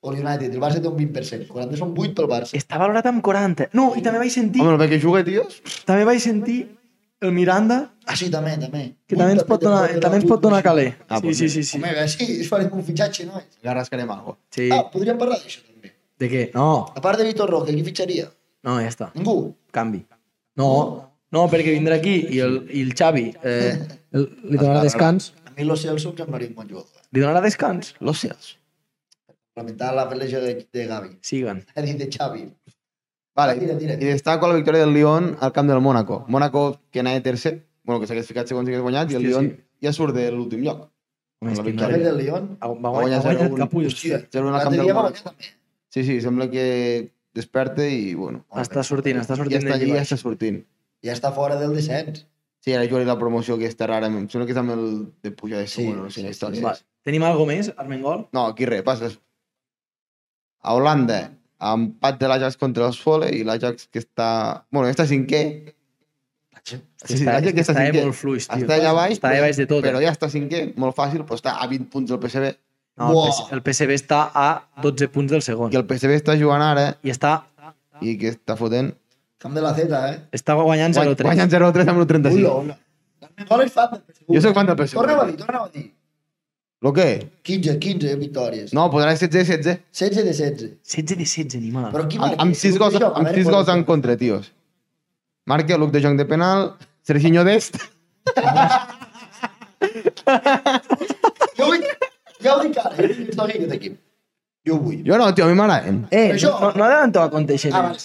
[SPEAKER 1] o l'United. El Barça té un 20%. 40 són 8 pel Barça.
[SPEAKER 3] Està valorat amb 40. No, i també vaig sentir,
[SPEAKER 2] Home, el bé que juga, tios.
[SPEAKER 3] també vaig sentir el Miranda,
[SPEAKER 1] Ah, sí, també, també.
[SPEAKER 3] que també ens pot donar, també ens pot donar caler.
[SPEAKER 2] Ah,
[SPEAKER 3] Sí,
[SPEAKER 2] doncs mira.
[SPEAKER 3] sí, sí,
[SPEAKER 1] Sí.
[SPEAKER 3] sí.
[SPEAKER 1] Home, bé, sí, es farem un fitxatge, no?
[SPEAKER 2] Ja rascarem algo.
[SPEAKER 3] Sí.
[SPEAKER 1] Ah, podríem parlar d'això, també.
[SPEAKER 3] De què? No,
[SPEAKER 1] A part de Vitor Roque, qui fitxaria?
[SPEAKER 3] no, ja està.
[SPEAKER 1] Ningú.
[SPEAKER 3] Canvi. No, no, perquè vindrà aquí i el, i el Xavi eh, el, li donarà descans.
[SPEAKER 1] A mi Lo Celso em semblaria un bon jugador.
[SPEAKER 3] Li donarà descans?
[SPEAKER 2] Los seus.
[SPEAKER 1] Lamentar la lesió de, de Gavi.
[SPEAKER 3] Siguen.
[SPEAKER 1] Ha dit de Xavi.
[SPEAKER 2] Vale,
[SPEAKER 1] Ah, Tira, tira.
[SPEAKER 2] i destaco la victòria del Lyon al camp del Mónaco. Mónaco, que anava tercer, bueno, que s'hagués ficat segons si hagués guanyat, i el
[SPEAKER 3] Hòstia,
[SPEAKER 2] Lyon
[SPEAKER 3] sí.
[SPEAKER 2] ja surt de l'últim lloc.
[SPEAKER 3] Home, és que
[SPEAKER 1] A
[SPEAKER 3] no.
[SPEAKER 2] Vale.
[SPEAKER 1] veure, el Lyon.
[SPEAKER 3] Va guanyar,
[SPEAKER 2] Va
[SPEAKER 3] va
[SPEAKER 2] guanyar
[SPEAKER 3] guanyar,
[SPEAKER 2] 0-1.
[SPEAKER 3] guanyar el capullo.
[SPEAKER 1] Hòstia,
[SPEAKER 2] Zero en el camp
[SPEAKER 1] l'altre
[SPEAKER 2] del
[SPEAKER 1] dia va
[SPEAKER 2] Mónaco.
[SPEAKER 1] guanyar també.
[SPEAKER 2] Sí, sí, sembla que desperta i, bueno,
[SPEAKER 3] Està sortint, està
[SPEAKER 2] ja
[SPEAKER 3] sortint
[SPEAKER 2] està
[SPEAKER 3] d'allí
[SPEAKER 2] allí, ja
[SPEAKER 3] baix.
[SPEAKER 2] està sortint.
[SPEAKER 1] Ja està fora del descens.
[SPEAKER 2] Sí, ara jugaré la promoció aquesta rara, em sembla que és amb el de pujar de
[SPEAKER 1] Sí,
[SPEAKER 2] segon, sí, no
[SPEAKER 1] sí,
[SPEAKER 2] sé, sí,
[SPEAKER 1] sí,
[SPEAKER 2] història.
[SPEAKER 3] Va, tenim alguna més, Armengol?
[SPEAKER 2] No, aquí res, passes. A Holanda, empat de l'Ajax contra els Fole i l'Ajax que està... Bueno, està cinquè, Sí, sí,
[SPEAKER 3] Està-
[SPEAKER 2] l'Ajax que està
[SPEAKER 3] està
[SPEAKER 2] cinquè.
[SPEAKER 3] molt fluix, tio.
[SPEAKER 2] Està allà baix,
[SPEAKER 3] Està allà baix de tot.
[SPEAKER 2] però ja està cinquè, molt fàcil, però està a 20 punts del PSV.
[SPEAKER 3] No, el,
[SPEAKER 1] Buah.
[SPEAKER 3] PS el PSV està a 12 punts del segon.
[SPEAKER 2] Que el PSV està jugant ara
[SPEAKER 3] I està,
[SPEAKER 2] i que està fotent...
[SPEAKER 1] Camp de la Z, eh?
[SPEAKER 3] està guanyant 0-3.
[SPEAKER 2] Guanyen 0-3 amb el 35.
[SPEAKER 1] Ui, no. Gol és fan del PSV.
[SPEAKER 2] Jo soc fan del PSV.
[SPEAKER 1] Torna-ho a dir, torna-ho a dir.
[SPEAKER 2] Lo què?
[SPEAKER 1] 15, 15 victòries.
[SPEAKER 2] No, podrà ser 16-16.
[SPEAKER 1] 16 de 16.
[SPEAKER 3] 16 de 16, animal.
[SPEAKER 1] Però qui
[SPEAKER 2] Amb, amb 6 gols, amb sis gols en contra, tios. Marca Luc de Jong de penal, Serginho d'Est.
[SPEAKER 1] Jo vull... Ja ho dic ara, eh? jo vull que aquest equip. Jo ho vull.
[SPEAKER 2] Jo no, tio, a mi m'agraden.
[SPEAKER 3] Eh,
[SPEAKER 1] Però això-
[SPEAKER 3] no, no adelanto a compte així.
[SPEAKER 1] Ah, vale.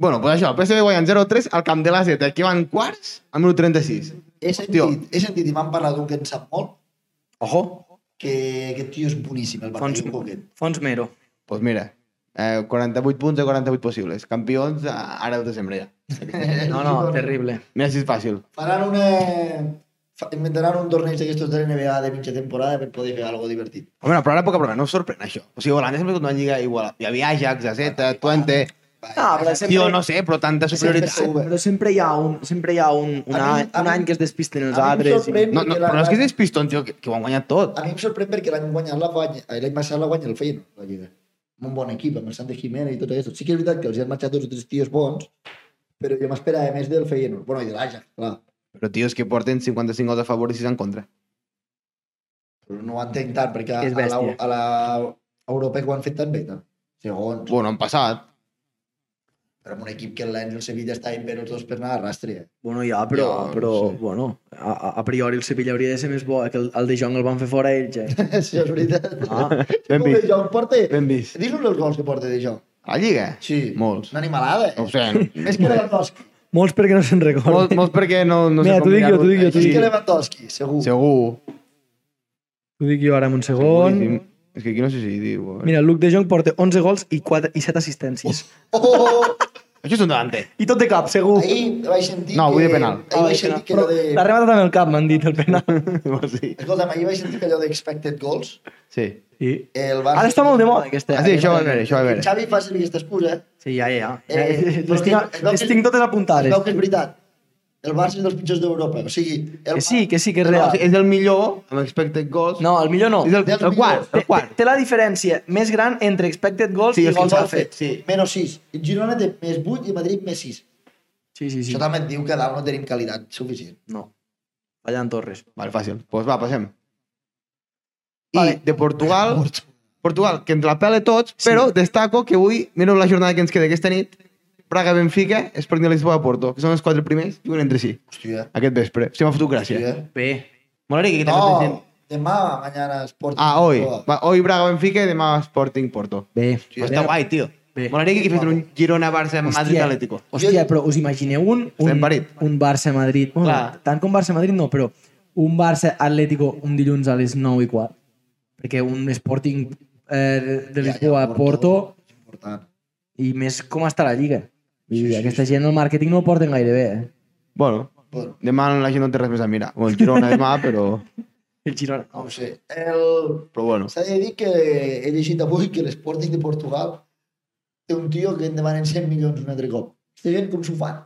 [SPEAKER 2] Bueno, pues això, el PSV guanyen 0-3 al camp de la Z, que van quarts a minut 36.
[SPEAKER 1] He
[SPEAKER 2] Hòstia.
[SPEAKER 1] sentit, he sentit i m'han parlat d'un que en sap molt,
[SPEAKER 3] Ojo,
[SPEAKER 1] que aquest tio és boníssim, el
[SPEAKER 3] Fons,
[SPEAKER 1] Bartolomé Coquet.
[SPEAKER 3] Fons Mero.
[SPEAKER 2] Doncs pues mira, eh, 48 punts de 48 possibles. Campions eh, ara al desembre ja.
[SPEAKER 3] No, no, terrible.
[SPEAKER 2] Mira si és fàcil.
[SPEAKER 1] Faran una... fa- Inventaran un torneig d'aquestos de NBA de mitja temporada per poder fer alguna divertit.
[SPEAKER 2] Home, però ara a poc a poc no us sorprèn això. O sigui, Holanda sempre ha sigut una lliga igual. Hi havia Ajax, AZ,
[SPEAKER 1] Ah,
[SPEAKER 2] Twente...
[SPEAKER 3] No, Ah, però sempre,
[SPEAKER 2] Tio, no sé, però tanta superioritat.
[SPEAKER 1] PSV.
[SPEAKER 3] però sempre hi ha un, sempre hi ha un, un,
[SPEAKER 1] A mi-
[SPEAKER 3] any,
[SPEAKER 1] a
[SPEAKER 3] un
[SPEAKER 1] mi-
[SPEAKER 3] any que es despisten els
[SPEAKER 1] a mi em
[SPEAKER 3] altres. i-
[SPEAKER 1] sorprèn
[SPEAKER 2] No, no,
[SPEAKER 1] perquè la-
[SPEAKER 2] però no és que és despistons, tio, que, que ho han guanyat tot.
[SPEAKER 1] A mi em sorprèn perquè l'any guanyat la guanya, ai, l'any passat la guanya el Feyenoord, la Lliga. Amb un bon equip, amb el Santi Jiménez i tot això. Sí que és veritat que els hi han marxat dos o tres tios bons, però jo m'esperava més del Feyenoord. Bueno, i de l'Ajax, clar.
[SPEAKER 2] Però, tio, és que porten 55 gols a favor i 6 en contra.
[SPEAKER 1] Però no ho entenc tant, perquè
[SPEAKER 3] És
[SPEAKER 1] a la,
[SPEAKER 3] bèstia.
[SPEAKER 1] a la Europa ho han fet tan bé, no? Segons.
[SPEAKER 2] Bueno, han passat.
[SPEAKER 1] Però amb un equip que l'any el Sevilla està ben els dos per anar a rastre. eh?
[SPEAKER 3] Bueno, ja, però,
[SPEAKER 2] Ja, no
[SPEAKER 3] però
[SPEAKER 2] sé.
[SPEAKER 3] bueno, a, a- a priori el Sevilla hauria de ser més bo, eh, que el, el De Jong el van fer fora ells, eh?
[SPEAKER 1] Això és veritat.
[SPEAKER 3] Ah,
[SPEAKER 2] Ben
[SPEAKER 1] Com de
[SPEAKER 2] vist,
[SPEAKER 1] Jong porta...
[SPEAKER 2] ben vist.
[SPEAKER 1] Dis-nos els gols que porta de Jong.
[SPEAKER 2] A Lliga?
[SPEAKER 1] Sí.
[SPEAKER 2] Molts.
[SPEAKER 1] Una animalada,
[SPEAKER 2] No ho
[SPEAKER 1] eh?
[SPEAKER 2] sé.
[SPEAKER 1] Més que Lewandowski.
[SPEAKER 3] molts perquè no se'n recorden.
[SPEAKER 2] Molts, molts perquè no, no sé
[SPEAKER 3] Mira, t'ho
[SPEAKER 2] com
[SPEAKER 3] dic jo,
[SPEAKER 2] mirar-ho.
[SPEAKER 3] t'ho dic jo, t'ho
[SPEAKER 1] Més
[SPEAKER 3] dic
[SPEAKER 1] que Lewandowski, segur.
[SPEAKER 2] Segur.
[SPEAKER 3] Ho dic jo ara en un segon.
[SPEAKER 2] Boníssim. És que aquí no sé si eh. diu...
[SPEAKER 3] Mira, Luc de Jong porta 11 gols i, 4, i 7 assistències.
[SPEAKER 1] Oh, oh, oh.
[SPEAKER 2] Això és un davante.
[SPEAKER 3] I tot de cap, segur.
[SPEAKER 1] Ahir vaig sentir
[SPEAKER 2] No, avui
[SPEAKER 1] que...
[SPEAKER 2] de penal.
[SPEAKER 1] Ahir vaig sentir que allò de...
[SPEAKER 3] L'ha rematat amb el cap, m'han dit, el penal.
[SPEAKER 2] sí.
[SPEAKER 1] Escolta'm, ahir vaig sentir que allò d'expected goals...
[SPEAKER 2] sí.
[SPEAKER 3] Sí.
[SPEAKER 1] El Barça...
[SPEAKER 3] Ara està molt de moda, aquesta.
[SPEAKER 2] Ah, sí, això va veure, això va
[SPEAKER 1] El
[SPEAKER 2] veure.
[SPEAKER 1] Xavi fa servir aquesta excusa.
[SPEAKER 3] Sí, ja, ja. ja.
[SPEAKER 1] Eh,
[SPEAKER 3] Eh,
[SPEAKER 1] no,
[SPEAKER 3] les, tinc,
[SPEAKER 1] que- no,
[SPEAKER 3] les
[SPEAKER 1] que-
[SPEAKER 3] tinc totes apuntades.
[SPEAKER 1] Es veu que és veritat. El Barça és dels pitjors d'Europa. O sigui... El...
[SPEAKER 3] Que sí, que sí, que és
[SPEAKER 2] No,
[SPEAKER 3] real.
[SPEAKER 2] és el millor amb expected goals.
[SPEAKER 3] No, el millor no.
[SPEAKER 2] És el,
[SPEAKER 1] Del
[SPEAKER 2] el quart,
[SPEAKER 3] Té,
[SPEAKER 2] el quart.
[SPEAKER 3] té la diferència més gran entre expected goals
[SPEAKER 2] Sí,
[SPEAKER 3] i
[SPEAKER 2] els que
[SPEAKER 3] gols
[SPEAKER 2] ens
[SPEAKER 1] Barça
[SPEAKER 3] al fet.
[SPEAKER 2] sí.
[SPEAKER 1] Menos 6. Girona té més 8 i Madrid més 6.
[SPEAKER 3] Sí, sí, sí.
[SPEAKER 1] Això també et diu que a dalt no tenim qualitat suficient.
[SPEAKER 3] No. Fallant Torres.
[SPEAKER 2] Vale, fàcil. Doncs pues va, passem. I
[SPEAKER 3] Vale.
[SPEAKER 2] de Portugal, Portugal, que ens la pele tots, però destaco que avui, mira la jornada que ens queda aquesta nit, Praga-Benfica, Sporting de Lisboa-Porto, que són els quatre primers, juguen entre si,
[SPEAKER 1] Hòstia.
[SPEAKER 2] aquest vespre. Si m'ha fotut gràcia.
[SPEAKER 1] Hòstia.
[SPEAKER 3] Bé.
[SPEAKER 2] M'agradaria que
[SPEAKER 1] No,
[SPEAKER 2] també gent.
[SPEAKER 1] demà, mañana es porta.
[SPEAKER 2] Ah, hoy. Va, hoy Braga-Benfica i demà Sporting-Porto.
[SPEAKER 3] Bé.
[SPEAKER 1] Sí,
[SPEAKER 2] Està guai, tio.
[SPEAKER 3] Bé.
[SPEAKER 2] M'agradaria que fessin un Girona-Barça-Madrid-Atlético.
[SPEAKER 3] hòstia, però us imagineu un,
[SPEAKER 2] Estem
[SPEAKER 3] un,
[SPEAKER 2] parit.
[SPEAKER 3] un Barça-Madrid? Bueno,
[SPEAKER 2] Clar.
[SPEAKER 3] tant com Barça-Madrid no, però un Barça-Atlético un dilluns a les 9 i quart. Perquè un Sporting eh, de Lisboa a Porto
[SPEAKER 1] És important.
[SPEAKER 3] i més com està la Lliga. Vull dir,
[SPEAKER 1] Sí, sí,
[SPEAKER 3] aquesta gent el màrqueting no el porten gaire bé, eh?
[SPEAKER 2] Bueno,
[SPEAKER 1] Bueno,
[SPEAKER 2] demà la gent no té res més a mirar. Bueno, el Girona demà, però...
[SPEAKER 3] El Girona.
[SPEAKER 1] no ho sé. El...
[SPEAKER 2] Però bueno.
[SPEAKER 1] S'ha de dir que he llegit avui que l'Sporting de Portugal té un tio que en demanen 100 milions un altre cop. Aquesta gent com s'ho fan?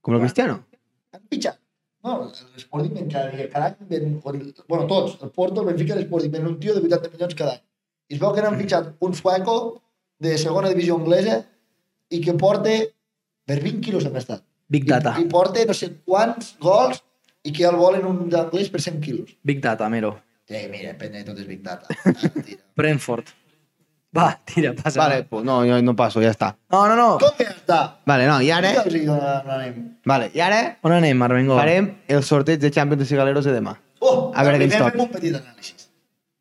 [SPEAKER 2] Com el Cristiano.
[SPEAKER 1] Han pitjat. No, l'Sporting ven cada dia, cada any ven... bueno, tots, el Porto, el Benfica i l'Sporting ven un tio de 80 milions cada any. I es veu que n'han fitxat un sueco de segona divisió anglesa i que porta per 20 quilos hem estat.
[SPEAKER 3] Big Data.
[SPEAKER 1] I, I porta no sé quants gols i que el volen un d'anglès per 100 quilos.
[SPEAKER 3] Big Data, Mero.
[SPEAKER 1] Eh, mira, penya de tot és Big Data. Ah, tira.
[SPEAKER 3] Brentford. Va, tira, passa.
[SPEAKER 2] Vale, pues no, jo no passo, ja està.
[SPEAKER 3] No, no, no.
[SPEAKER 1] Com que ja està?
[SPEAKER 2] Vale, no, i ara...
[SPEAKER 1] Ja us hi donarem.
[SPEAKER 2] Vale, i ara
[SPEAKER 3] On anem, Armengol?
[SPEAKER 2] farem el sorteig de Champions de Cigaleros de demà.
[SPEAKER 1] Oh,
[SPEAKER 2] A veure què ens
[SPEAKER 1] primer
[SPEAKER 2] toca.
[SPEAKER 1] fem un petit anàlisi.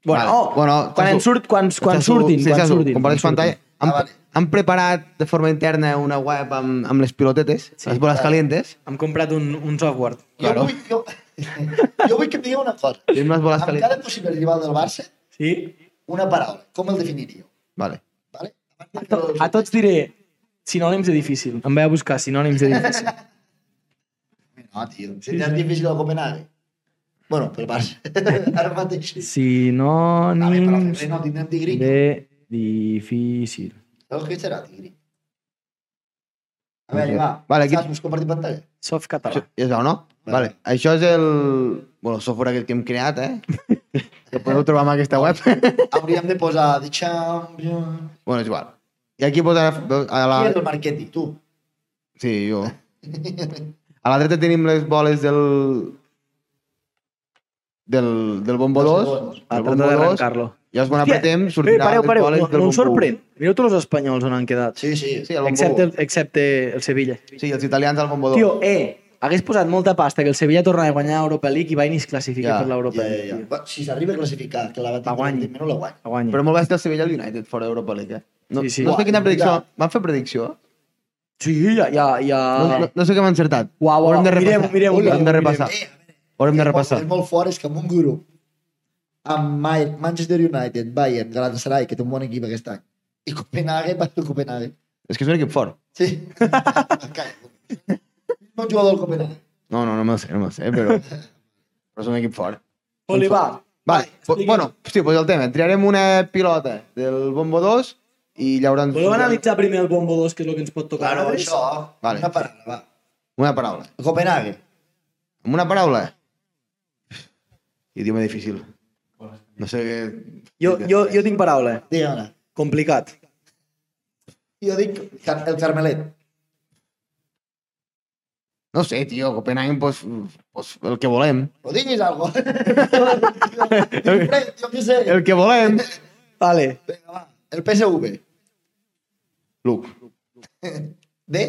[SPEAKER 3] Bueno,
[SPEAKER 2] Vale.
[SPEAKER 3] oh,
[SPEAKER 2] Bueno,
[SPEAKER 3] quan,
[SPEAKER 2] quan
[SPEAKER 3] en
[SPEAKER 2] su-
[SPEAKER 3] surt, quan, quan
[SPEAKER 2] Sasu,
[SPEAKER 3] surtin,
[SPEAKER 2] sí,
[SPEAKER 3] quan
[SPEAKER 2] Sasu,
[SPEAKER 3] surtin.
[SPEAKER 2] comparteix
[SPEAKER 3] quan
[SPEAKER 2] pantalla.
[SPEAKER 3] surtin.
[SPEAKER 2] Han,
[SPEAKER 1] Ah, vale.
[SPEAKER 2] han preparat de forma interna una web amb, amb les pilotetes,
[SPEAKER 3] Sí,
[SPEAKER 2] les boles calientes.
[SPEAKER 3] Hem comprat un, un software.
[SPEAKER 1] Jo,
[SPEAKER 2] Claro.
[SPEAKER 1] vull, jo, jo vull que em digueu una cosa.
[SPEAKER 2] Tenim les boles
[SPEAKER 1] Amb cada
[SPEAKER 2] calientes.
[SPEAKER 1] possible rival del Barça,
[SPEAKER 3] Sí?
[SPEAKER 1] una paraula. Com el definiríeu?
[SPEAKER 2] Vale.
[SPEAKER 1] Vale?
[SPEAKER 3] A, to, a tots diré sinònims de difícil. Em vaig a buscar sinònims de difícil.
[SPEAKER 1] No, tio, seria sí, difícil el Copenhague. Bueno, pel Barça. Ara mateix. A veure, però
[SPEAKER 3] Sinònims
[SPEAKER 1] febrer no tindrem tigri.
[SPEAKER 3] de difícil.
[SPEAKER 1] Saps què serà, tigri? A veure, va.
[SPEAKER 2] Vale, aquí-
[SPEAKER 1] Saps, busco compartir pantalla?
[SPEAKER 3] Soft
[SPEAKER 2] Això,
[SPEAKER 3] català.
[SPEAKER 2] ja es veu, no? Vale.
[SPEAKER 1] Vale.
[SPEAKER 2] Això és el... Bueno, el software aquest que hem creat, eh? que podeu trobar en aquesta web.
[SPEAKER 1] Hauríem de posar The Champions...
[SPEAKER 2] bueno, és igual. I aquí posarà... A la...
[SPEAKER 1] Qui és el Marchetti? Tu.
[SPEAKER 2] Sí, jo. A la dreta tenim les boles del... Del, del bombo
[SPEAKER 1] Dos
[SPEAKER 2] 2.
[SPEAKER 1] segons.
[SPEAKER 3] Ah, trata d'arrancar-lo.
[SPEAKER 2] Llavors, quan
[SPEAKER 3] Hòstia,
[SPEAKER 2] apretem,
[SPEAKER 3] Eh,
[SPEAKER 2] sortirà
[SPEAKER 3] pareu,
[SPEAKER 2] les
[SPEAKER 3] pareu,
[SPEAKER 2] boles
[SPEAKER 3] no,
[SPEAKER 2] del
[SPEAKER 3] no em
[SPEAKER 2] bombo u.
[SPEAKER 3] sorprèn. Mireu tots els espanyols on han quedat.
[SPEAKER 1] Sí, sí.
[SPEAKER 2] Sí, el bombo
[SPEAKER 3] Excepte
[SPEAKER 2] u.
[SPEAKER 3] el, excepte el Sevilla.
[SPEAKER 2] Sí, els italians al bombo 2.
[SPEAKER 3] Tio, eh, hagués posat molta pasta que el Sevilla torna a guanyar Europa League i va ni es classifica
[SPEAKER 2] Ja,
[SPEAKER 3] per l'Europa
[SPEAKER 1] Ja,
[SPEAKER 2] eh?
[SPEAKER 1] ja,
[SPEAKER 3] League.
[SPEAKER 1] ja.
[SPEAKER 3] tio.
[SPEAKER 1] Va, Si s'arriba a classificar, que la va
[SPEAKER 3] La
[SPEAKER 1] tindre,
[SPEAKER 3] guanyi.
[SPEAKER 1] evidentment no la guanya.
[SPEAKER 3] La guanya.
[SPEAKER 2] Però molt va ser el Sevilla i el United fora d'Europa League, eh? No,
[SPEAKER 3] Sí, sí.
[SPEAKER 2] no sé quina
[SPEAKER 1] Uah,
[SPEAKER 2] predicció...
[SPEAKER 1] mira.
[SPEAKER 2] Van fer predicció?
[SPEAKER 3] Sí, ja, ja... ja...
[SPEAKER 2] No, no, no sé què m'ha encertat.
[SPEAKER 3] Uau,
[SPEAKER 2] Ho
[SPEAKER 3] uau,
[SPEAKER 2] hem de
[SPEAKER 3] mirem,
[SPEAKER 2] repassar.
[SPEAKER 3] mirem,
[SPEAKER 2] Ho hem
[SPEAKER 3] mirem,
[SPEAKER 2] de repassar.
[SPEAKER 1] Eh,
[SPEAKER 2] Ho hem
[SPEAKER 1] és
[SPEAKER 2] de
[SPEAKER 1] molt-
[SPEAKER 2] repassar.
[SPEAKER 1] És molt fort, és que amb un grup amb Ma- Manchester United, Bayern, Galatasaray, que té un bon equip aquest any, i Copenhague, va ser Copenhague.
[SPEAKER 2] És que és un equip fort.
[SPEAKER 1] Sí. Em callo. no jugador del Copenhague.
[SPEAKER 2] No, no, no me'l sé, no eh, me'l sé, però... però és un equip fort.
[SPEAKER 3] Oli, va.
[SPEAKER 2] Vale, po- bueno, sí, pues el tema. Triarem una pilota del bombo 2 i llauran...
[SPEAKER 3] Voleu analitzar primer el Bombo 2, que és el que ens pot tocar?
[SPEAKER 1] Claro,
[SPEAKER 3] ara?
[SPEAKER 1] això.
[SPEAKER 2] Vale.
[SPEAKER 1] Una paraula, va.
[SPEAKER 2] Una paraula.
[SPEAKER 1] Copenhague.
[SPEAKER 2] Amb una paraula. Idioma difícil. No sé què...
[SPEAKER 3] Jo, jo, jo tinc paraula.
[SPEAKER 1] Digue-me.
[SPEAKER 3] Complicat.
[SPEAKER 1] Jo dic Car- el Carmelet.
[SPEAKER 2] No sé, tio, Copenhagen, pues, pues, el que volem.
[SPEAKER 1] O diguis algo. jo què sé.
[SPEAKER 2] El que volem.
[SPEAKER 3] Vale.
[SPEAKER 1] Vinga, va. El PSV.
[SPEAKER 2] Luc.
[SPEAKER 1] De?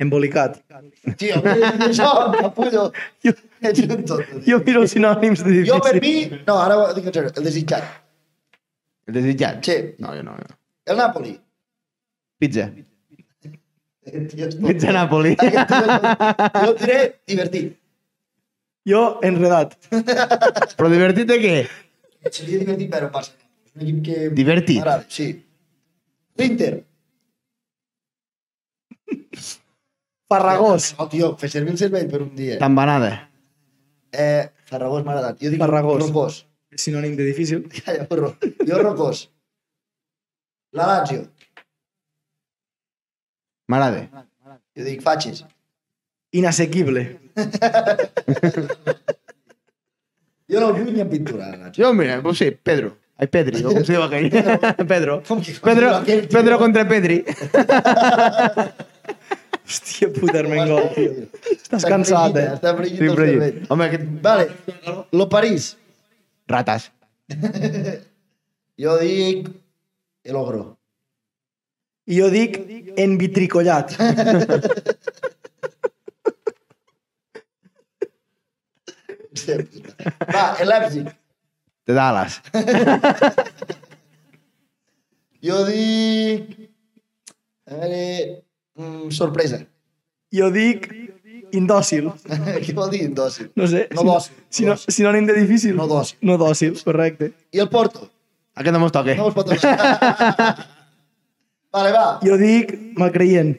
[SPEAKER 3] Embolicat.
[SPEAKER 1] Tio, això, capullo. Ets un tonto. tio.
[SPEAKER 3] Jo miro els sinònims de difícil.
[SPEAKER 1] Jo per mi... No, ara ho dic en sèrio. El desitjat.
[SPEAKER 2] El desitjat.
[SPEAKER 1] Sí.
[SPEAKER 2] No, jo no. Jo. no.
[SPEAKER 1] El Napoli. Eh,
[SPEAKER 2] Pizza.
[SPEAKER 1] Tio, és tot.
[SPEAKER 2] Pizza Napoli.
[SPEAKER 1] Aquest tio és tot. Jo diré divertit.
[SPEAKER 3] Jo enredat.
[SPEAKER 2] Però divertit de què?
[SPEAKER 1] Seria divertit veure un Barça. Un equip que...
[SPEAKER 2] Divertit.
[SPEAKER 1] M'agrada, sí. L'Inter.
[SPEAKER 3] Farragós.
[SPEAKER 1] No, tio, fer servir el cervell per un dia.
[SPEAKER 2] Tambanada.
[SPEAKER 1] Eh, Farragós m'ha agradat. Jo dic
[SPEAKER 3] Farragós.
[SPEAKER 1] Rocós.
[SPEAKER 3] Sinònim de difícil.
[SPEAKER 1] Calla, porro. Jo Rocós. La Lazio.
[SPEAKER 2] M'agrada.
[SPEAKER 1] Jo dic Faches.
[SPEAKER 3] Inassequible.
[SPEAKER 1] Jo no el vull ni en pintura, la Lazio.
[SPEAKER 2] Jo, mira, doncs sí, Pedro. Ai, Pedri, o com se diu aquell. Pedro.
[SPEAKER 1] Com que- com
[SPEAKER 2] Pedro,
[SPEAKER 1] diu aquell, tio?
[SPEAKER 2] Pedro contra Pedri.
[SPEAKER 3] Hòstia puta, Armengol, tio. Estàs
[SPEAKER 1] Està
[SPEAKER 3] cansat,
[SPEAKER 1] fregit,
[SPEAKER 3] eh?
[SPEAKER 1] Està fregit el
[SPEAKER 2] Sempre
[SPEAKER 1] cervell.
[SPEAKER 2] dit. Home, aquest...
[SPEAKER 1] Vale. Lo París.
[SPEAKER 2] Rates.
[SPEAKER 1] Jo dic... El ogro.
[SPEAKER 3] I jo dic envitricollat.
[SPEAKER 1] Hòstia puta. Va, el Leipzig.
[SPEAKER 2] De Dallas.
[SPEAKER 1] Jo dic... A veure... Mm, sorpresa.
[SPEAKER 3] Jo dic indòcil.
[SPEAKER 1] Què vol dir indòcil?
[SPEAKER 3] No sé.
[SPEAKER 1] No dòcil.
[SPEAKER 3] Sino, sinònim de difícil.
[SPEAKER 1] No dòcil.
[SPEAKER 3] No dòcil, correcte.
[SPEAKER 1] I el Porto.
[SPEAKER 2] Aquest no mos toque.
[SPEAKER 1] No us pot donar. vale, va.
[SPEAKER 3] Jo dic malcreient.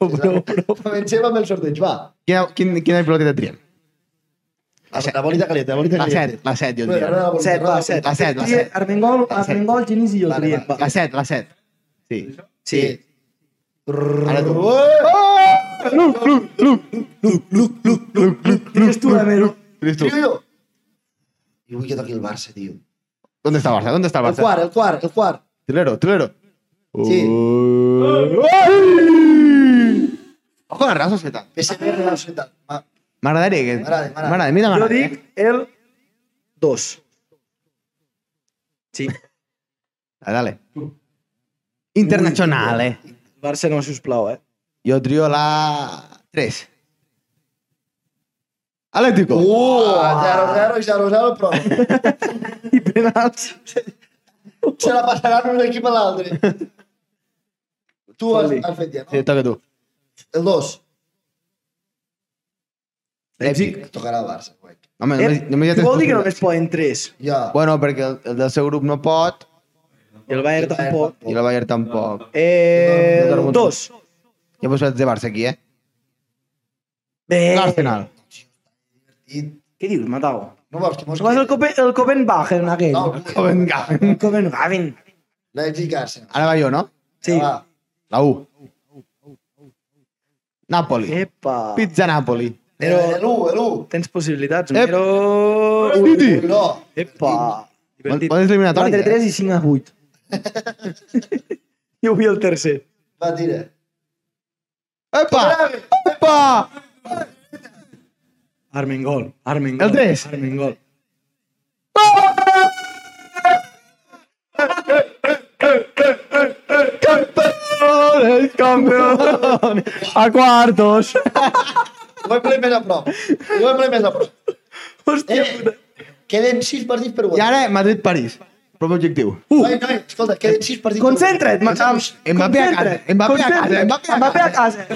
[SPEAKER 3] No, però, però...
[SPEAKER 1] Comencem amb el sorteig, va.
[SPEAKER 2] Quina, quin, quina piloteta triem?
[SPEAKER 1] La, la bolita calenta, la bolita
[SPEAKER 2] La
[SPEAKER 1] calenta.
[SPEAKER 2] set, la set, jo
[SPEAKER 1] Bueno,
[SPEAKER 2] diria.
[SPEAKER 1] no, no, la bolita,
[SPEAKER 3] Ah, Set,
[SPEAKER 1] no,
[SPEAKER 3] va,
[SPEAKER 1] la
[SPEAKER 3] set.
[SPEAKER 2] La set, la
[SPEAKER 3] Tria-
[SPEAKER 2] set.
[SPEAKER 3] Armengol, Armengol, Genís i jo
[SPEAKER 1] Vale,
[SPEAKER 3] triem.
[SPEAKER 1] va.
[SPEAKER 3] Va.
[SPEAKER 2] La set, la set. Sí.
[SPEAKER 1] Sí.
[SPEAKER 2] Ara tu.
[SPEAKER 1] Luc, Luc, Luc, Luc, Luc, Luc, Luc, Luc,
[SPEAKER 3] Tries tu, Amero.
[SPEAKER 2] Tries tu.
[SPEAKER 1] Trio jo. I vull que toqui el Barça, tio.
[SPEAKER 2] ¿Dónde está Barça? ¿Dónde está
[SPEAKER 1] El
[SPEAKER 2] Barça?
[SPEAKER 1] quart, el quart, el quart.
[SPEAKER 2] Trilero, trilero.
[SPEAKER 1] Sí.
[SPEAKER 2] Uy. Ojo a les rases que tal.
[SPEAKER 1] PSV Real Societat. Va,
[SPEAKER 2] M'agradaria aquest.
[SPEAKER 1] M'agrada, m'agrada.
[SPEAKER 2] M'agrada, a mi
[SPEAKER 3] Jo
[SPEAKER 2] t'agrada.
[SPEAKER 3] dic el 2. Sí.
[SPEAKER 2] Dale, dale. eh. Internacionale.
[SPEAKER 3] Barça no, sisplau, eh?
[SPEAKER 2] Jo trio la 3. Atlético.
[SPEAKER 1] Oh. Ah, 0-0 i 0-0, però
[SPEAKER 3] I penals.
[SPEAKER 1] se la passaran un equip a l'altre. Tu has, has fet ja,
[SPEAKER 2] Sí,
[SPEAKER 1] no?
[SPEAKER 2] toca tu.
[SPEAKER 1] El 2.
[SPEAKER 2] Leipzig.
[SPEAKER 1] Tocarà el Barça. guai.
[SPEAKER 2] Home,
[SPEAKER 3] Eh,
[SPEAKER 2] només, només hi ha tres
[SPEAKER 3] vol dir que
[SPEAKER 2] possibilitats.
[SPEAKER 3] només poden 3.
[SPEAKER 1] Ja.
[SPEAKER 2] Bueno, perquè el, el del seu grup no pot
[SPEAKER 3] I el Bayern tampoc.
[SPEAKER 2] i el Bayern tampoc.
[SPEAKER 3] Eh,
[SPEAKER 2] No, no, no, no.
[SPEAKER 3] dos.
[SPEAKER 2] Ja he posat de Barça aquí, eh?
[SPEAKER 3] Bé.
[SPEAKER 2] L'Arsenal.
[SPEAKER 1] I
[SPEAKER 3] Què dius, Matau?
[SPEAKER 1] no vols que mos
[SPEAKER 3] Vas el, Copen, el Copenhagen, aquell.
[SPEAKER 1] No,
[SPEAKER 2] Oh, venga.
[SPEAKER 3] El Copenhagen.
[SPEAKER 1] Leipzig Arsenal.
[SPEAKER 2] Ara va jo, no?
[SPEAKER 3] Sí.
[SPEAKER 1] Va,
[SPEAKER 2] La U. Napoli.
[SPEAKER 3] Epa.
[SPEAKER 2] Pizza Napoli.
[SPEAKER 1] però... L'1, l'1.
[SPEAKER 3] Tens possibilitats,
[SPEAKER 2] Ep.
[SPEAKER 3] però...
[SPEAKER 2] Titi.
[SPEAKER 1] No.
[SPEAKER 3] Epa. Divertit.
[SPEAKER 2] Podes eliminatori.
[SPEAKER 3] 4, 3 i 5 a 8. jo vull el tercer.
[SPEAKER 1] Va, tira.
[SPEAKER 2] Epa! Epa!
[SPEAKER 3] Armengol. Armengol.
[SPEAKER 2] El tres.
[SPEAKER 3] Armengol.
[SPEAKER 2] Campeones, campeones. A cuartos.
[SPEAKER 1] Ho hem pres més a prop. Ho hem pres més a prop.
[SPEAKER 3] Hòstia
[SPEAKER 1] Eh,
[SPEAKER 3] puta.
[SPEAKER 1] queden 6 partits per
[SPEAKER 2] I
[SPEAKER 1] guanyar.
[SPEAKER 2] ara Madrid-París. Propi objectiu.
[SPEAKER 1] Uh. Noi, noi, escolta, queden 6 partits
[SPEAKER 3] Concentra't,
[SPEAKER 1] per guanyar.
[SPEAKER 3] Matam.
[SPEAKER 2] Mbappé a casa, Mbappé a casa, Mbappé a
[SPEAKER 3] Mbappé a casa.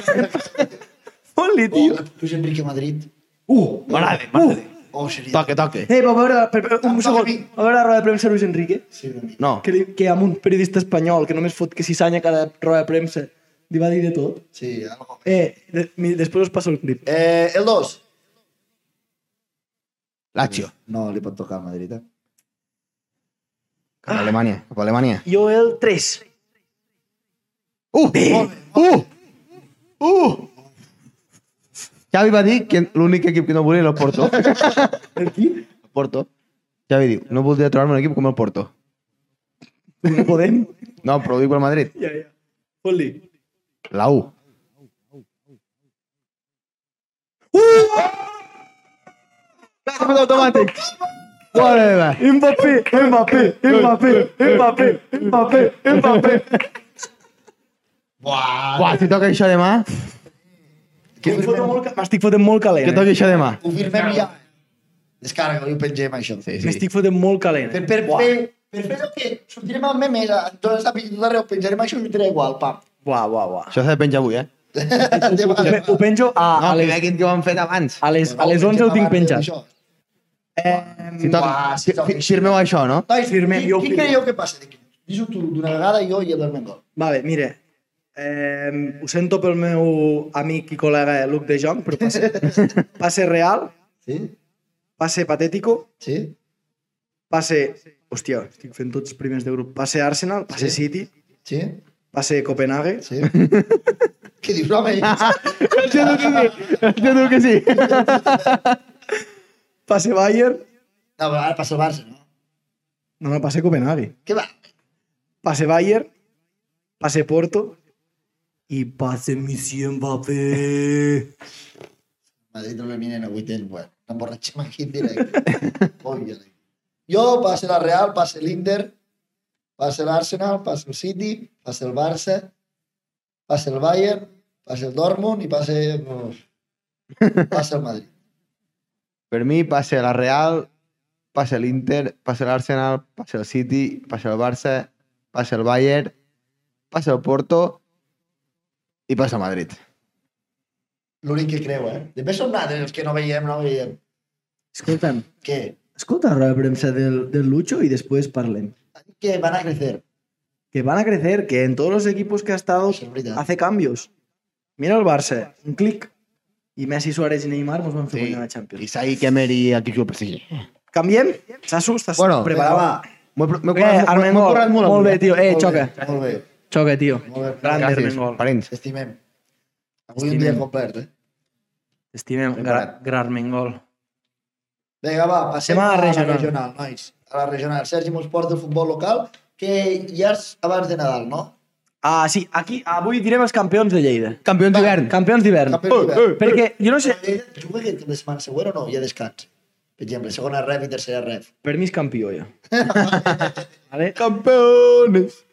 [SPEAKER 3] Fot-li,
[SPEAKER 1] Oh,
[SPEAKER 3] tio.
[SPEAKER 1] Luis Enrique Madrid.
[SPEAKER 3] Uh,
[SPEAKER 2] M'agrada, m'agrada.
[SPEAKER 1] Oh, seria...
[SPEAKER 2] Toque, toque.
[SPEAKER 3] Ei, va, a veure, per, per, un
[SPEAKER 1] Em
[SPEAKER 3] segon,
[SPEAKER 1] toca a mi.
[SPEAKER 3] a veure la roda de premsa de Luis Enrique,
[SPEAKER 1] Sí, una mica.
[SPEAKER 2] No.
[SPEAKER 3] que, li, que amb un periodista espanyol que només fot que s'issanya cada roda de premsa, li va dir de tot.
[SPEAKER 1] sí algo.
[SPEAKER 3] Eh, de, mi, després us passo el clip.
[SPEAKER 1] Eh, el 2.
[SPEAKER 2] Lazio.
[SPEAKER 1] No, li pot tocar a Madrid. Eh?
[SPEAKER 2] Cap a Alemanya. Cap a Alemanya.
[SPEAKER 3] Jo el 3.
[SPEAKER 2] Uh! Uh! Uh! Xavi va dir que l'únic equip que no volia era el Porto.
[SPEAKER 3] El qui?
[SPEAKER 2] El Porto. Xavi diu, no voldria trobar-me un equip com el Porto.
[SPEAKER 3] No podem?
[SPEAKER 2] No, però ho dic pel Madrid.
[SPEAKER 3] Ja, ja. Fot-li.
[SPEAKER 2] La U.
[SPEAKER 3] Uh!
[SPEAKER 2] Càrrec automàtic. Molt bé, va.
[SPEAKER 3] Mbappé, Mbappé, Mbappé, Mbappé, Mbappé, Mbappé.
[SPEAKER 1] Buah.
[SPEAKER 2] Buah, si toca això demà,
[SPEAKER 3] M'estic fotent molt ca- M'estic fotent molt
[SPEAKER 2] que
[SPEAKER 3] calent, eh?
[SPEAKER 2] toqui això demà.
[SPEAKER 1] Ho firmem ja. Descarga, ho pengem, això.
[SPEAKER 2] Sí, sí.
[SPEAKER 3] M'estic fotent molt calent.
[SPEAKER 1] Per,
[SPEAKER 3] eh?
[SPEAKER 1] per,
[SPEAKER 3] Buah,
[SPEAKER 1] fer, per fer el que sortirem al meme, dones la pilota, ho penjarem això i ho tiraré igual, pam.
[SPEAKER 3] buah, buah, buah.
[SPEAKER 2] Això s'ha de penjar avui, eh?
[SPEAKER 1] Anem a-
[SPEAKER 3] Ho penjo a,
[SPEAKER 2] No,
[SPEAKER 3] a
[SPEAKER 2] que
[SPEAKER 3] les
[SPEAKER 2] veguin que ho han fet abans.
[SPEAKER 3] A les, a les
[SPEAKER 1] Ho
[SPEAKER 3] 11 ho tinc
[SPEAKER 1] abans
[SPEAKER 3] penjat.
[SPEAKER 1] d'això.
[SPEAKER 3] Eh,
[SPEAKER 2] Si toca,
[SPEAKER 1] Uah, si
[SPEAKER 2] fi-
[SPEAKER 1] toca
[SPEAKER 2] fi-
[SPEAKER 1] això.
[SPEAKER 2] firmeu això, no?
[SPEAKER 1] Nois,
[SPEAKER 3] Firmem,
[SPEAKER 1] qui,
[SPEAKER 3] jo ho
[SPEAKER 1] qui
[SPEAKER 3] firmo.
[SPEAKER 1] creieu que passa d'aquí? Dis-ho tu d'una vegada, jo i el Armengol.
[SPEAKER 3] vale, mire. Eh, ho sento pel meu amic i col·lega Luc de Jong, però va ser, va ser real,
[SPEAKER 1] Sí?
[SPEAKER 3] va ser patètico,
[SPEAKER 1] Sí?
[SPEAKER 3] va ser... Hòstia, estic fent tots primers de grup. Va ser Arsenal, va ser City,
[SPEAKER 1] Sí?
[SPEAKER 3] va ser Copenhague.
[SPEAKER 1] Sí? Què dius, home?
[SPEAKER 2] El tio diu que sí. El tio diu que sí.
[SPEAKER 3] Passe Bayern,
[SPEAKER 1] No, però ara passa el Barça, no?
[SPEAKER 3] no, no, passe Copenhague.
[SPEAKER 1] Què va?
[SPEAKER 3] Passe Bayern, passe Porto i passe Missió Mbappé.
[SPEAKER 1] Madrid no eliminen a 8 anys, bueno, emborratxem aquí en directe. Òbviament. Jo passe la Real, passe l'Inter, passe l'Arsenal, passe el City, passe el Barça, passe el Bayern, passe el Dortmund i passe... uf, Passe el Madrid.
[SPEAKER 2] Per mi passa la Real, passa l'Inter, passa l'Arsenal, passa el City, passa el Barça, passa el Bayern, passa el Porto i passa el Madrid.
[SPEAKER 1] L'únic que creu, eh? Després som nosaltres els que no veiem, no veiem.
[SPEAKER 3] Escolta'm,
[SPEAKER 1] Què?
[SPEAKER 3] escolta la roda de premsa del, del Lucho i després parlem.
[SPEAKER 1] Que van a crecer.
[SPEAKER 3] Que van a crecer, que en todos los equipos que ha estado
[SPEAKER 1] Això és veritat.
[SPEAKER 3] hace cambios. Mira el Barça, un clic. I Messi, Suárez i Neymar mos van fer guanyar la Champions.
[SPEAKER 2] Isai, Kemer i aquí el PSG.
[SPEAKER 3] Canviem? Sasu, estàs
[SPEAKER 2] Bueno,
[SPEAKER 3] preparat?
[SPEAKER 2] M'ho he, m'ho he, currat-
[SPEAKER 3] Eh,
[SPEAKER 2] m'ho he
[SPEAKER 3] Armengol,
[SPEAKER 2] currat molt.
[SPEAKER 3] molt bé, tio. Eh,
[SPEAKER 1] Molt
[SPEAKER 3] xoca.
[SPEAKER 1] Bé, molt bé.
[SPEAKER 3] Xoca, tio.
[SPEAKER 1] Molt bé.
[SPEAKER 3] Gran.
[SPEAKER 2] Gràcies,
[SPEAKER 3] Armengol.
[SPEAKER 2] parents.
[SPEAKER 1] Estimem. Avui un
[SPEAKER 3] Estimem.
[SPEAKER 1] dia complet, eh?
[SPEAKER 3] Estimem,
[SPEAKER 2] Preparat.
[SPEAKER 3] Garmengol.
[SPEAKER 1] Vinga, va, passem
[SPEAKER 3] Anem a
[SPEAKER 1] a
[SPEAKER 3] la
[SPEAKER 1] la
[SPEAKER 3] regional.
[SPEAKER 1] regional, nois. A la regional. Sergi mos porta el futbol local, que ja és abans de Nadal, no?
[SPEAKER 3] Ah, sí, aquí, avui direm els campions de Lleida.
[SPEAKER 2] Campions d'hivern.
[SPEAKER 3] Campions d'hivern.
[SPEAKER 1] Campions d'hivern.
[SPEAKER 3] Perquè, jo no sé,
[SPEAKER 1] Juga aquest cap de setmana següent o no? Ja descans. Per exemple, segona ref i tercera ref.
[SPEAKER 3] per mi és campió, jo. vale?
[SPEAKER 2] Campeones.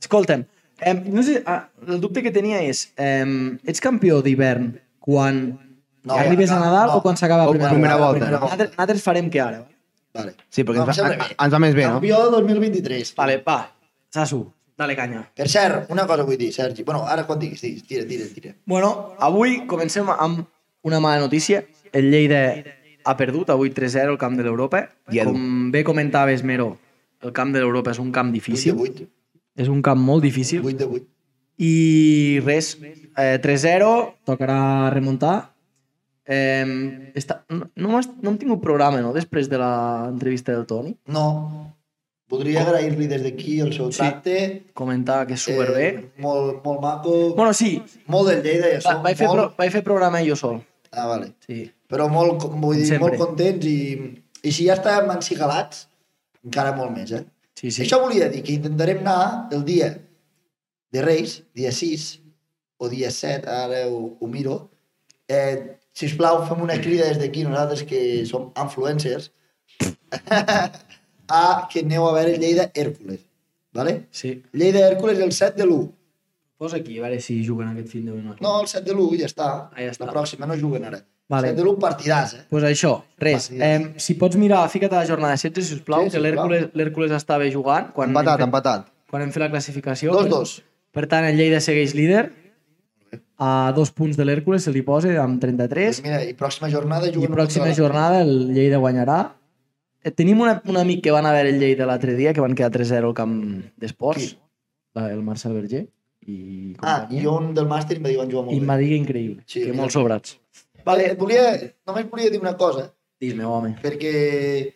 [SPEAKER 3] Escolta'm, eh, no sé, ah, el dubte que tenia és, eh, ets campió d'hivern quan
[SPEAKER 1] No,
[SPEAKER 3] arribes a
[SPEAKER 1] no,
[SPEAKER 3] Nadal
[SPEAKER 1] no.
[SPEAKER 3] o quan s'acaba
[SPEAKER 2] O
[SPEAKER 3] la primera,
[SPEAKER 2] primera volta.
[SPEAKER 3] Nosaltres, nosaltres farem que ara. vale?
[SPEAKER 1] Vale.
[SPEAKER 2] Sí, perquè
[SPEAKER 1] No,
[SPEAKER 2] ens,
[SPEAKER 1] em
[SPEAKER 2] va,
[SPEAKER 1] sembla bé.
[SPEAKER 2] a- ens va més bé, no?
[SPEAKER 1] Campió 2023.
[SPEAKER 3] Vale, va, Sasu, dale canya.
[SPEAKER 1] Per cert, una cosa vull dir, Sergi. Bueno, ara quan diguis, diguis. Tira, tira, tira.
[SPEAKER 3] Bueno, avui comencem amb una mala notícia. El Lleida ha perdut avui 3-0 al camp de l'Europa.
[SPEAKER 2] I el-
[SPEAKER 3] Com bé comentaves, Mero, el camp de l'Europa és un camp
[SPEAKER 1] 8 de
[SPEAKER 3] difícil.
[SPEAKER 1] 8.
[SPEAKER 3] És un camp molt difícil.
[SPEAKER 1] 8 de 8.
[SPEAKER 3] I res, eh, 3-0, tocarà remuntar. Eh, està, no, no, m'has- no hem tingut programa, no?, després de l'entrevista del Toni.
[SPEAKER 1] No. Voldria agrair-li des d'aquí el seu
[SPEAKER 3] Sí.
[SPEAKER 1] tracte.
[SPEAKER 3] Comentar que és superbé. Eh,
[SPEAKER 1] Eh, molt, molt maco. Bueno,
[SPEAKER 3] bueno, sí,
[SPEAKER 1] molt del Lleida i això.
[SPEAKER 3] va, vaig, fer
[SPEAKER 1] molt...
[SPEAKER 3] pro, vaig fer programa jo sol.
[SPEAKER 1] Ah, vale.
[SPEAKER 3] Sí.
[SPEAKER 1] Però molt, com vull dir,
[SPEAKER 3] Sempre.
[SPEAKER 1] molt contents i, i si ja estàvem encigalats, encara molt més, eh? Sí.
[SPEAKER 3] Sí, sí.
[SPEAKER 1] Això volia dir que intentarem anar el dia de Reis, dia 6 o dia 7, ara ho, ho miro. Eh, si us plau, fem una crida des d'aquí, nosaltres que som influencers, a que aneu a veure Lleida Hèrcules. Vale?
[SPEAKER 3] Sí.
[SPEAKER 1] Lleida Hèrcules el 7 de l'1.
[SPEAKER 3] Posa aquí, a veure si juguen aquest fin de setmana.
[SPEAKER 1] No, el 7 de l'1 ja està.
[SPEAKER 3] Ah, ja està.
[SPEAKER 1] La pròxima no juguen ara.
[SPEAKER 3] Vale.
[SPEAKER 1] Vale. 7 de l'1 partidàs, eh?
[SPEAKER 3] pues això, res.
[SPEAKER 1] Partides.
[SPEAKER 3] Eh, si pots mirar, fica't a la jornada 16, sisplau,
[SPEAKER 1] Sí,
[SPEAKER 3] sí, que
[SPEAKER 1] sisplau.
[SPEAKER 3] l'Hèrcules- l'Hèrcules estava jugant quan hem,
[SPEAKER 2] Empatat,
[SPEAKER 3] fet,
[SPEAKER 2] empatat.
[SPEAKER 3] quan hem fet la classificació.
[SPEAKER 1] 2-2.
[SPEAKER 3] Per tant, el Lleida segueix líder a dos punts de l'Hèrcules, se li posa amb 33
[SPEAKER 1] Doncs mira, i pròxima jornada
[SPEAKER 3] i
[SPEAKER 1] juguen...
[SPEAKER 3] pròxima
[SPEAKER 1] contra la-
[SPEAKER 3] jornada el Lleida guanyarà. Eh, Tenim una, un amic que van a veure el Lleida l'altre dia, que van quedar 3-0 al camp d'esports,
[SPEAKER 1] Qui?
[SPEAKER 3] la- el Marcel Verger i
[SPEAKER 1] Ah, i
[SPEAKER 3] companyia.
[SPEAKER 1] jo un del màster em va dir que van jugar
[SPEAKER 3] I
[SPEAKER 1] molt
[SPEAKER 3] em
[SPEAKER 1] bé.
[SPEAKER 3] va dir que increïble,
[SPEAKER 1] Sí,
[SPEAKER 3] sí, que
[SPEAKER 1] mira.
[SPEAKER 3] molt sobrats.
[SPEAKER 1] Vale, et volia, només volia dir una cosa,
[SPEAKER 3] Dis-me, home.
[SPEAKER 1] perquè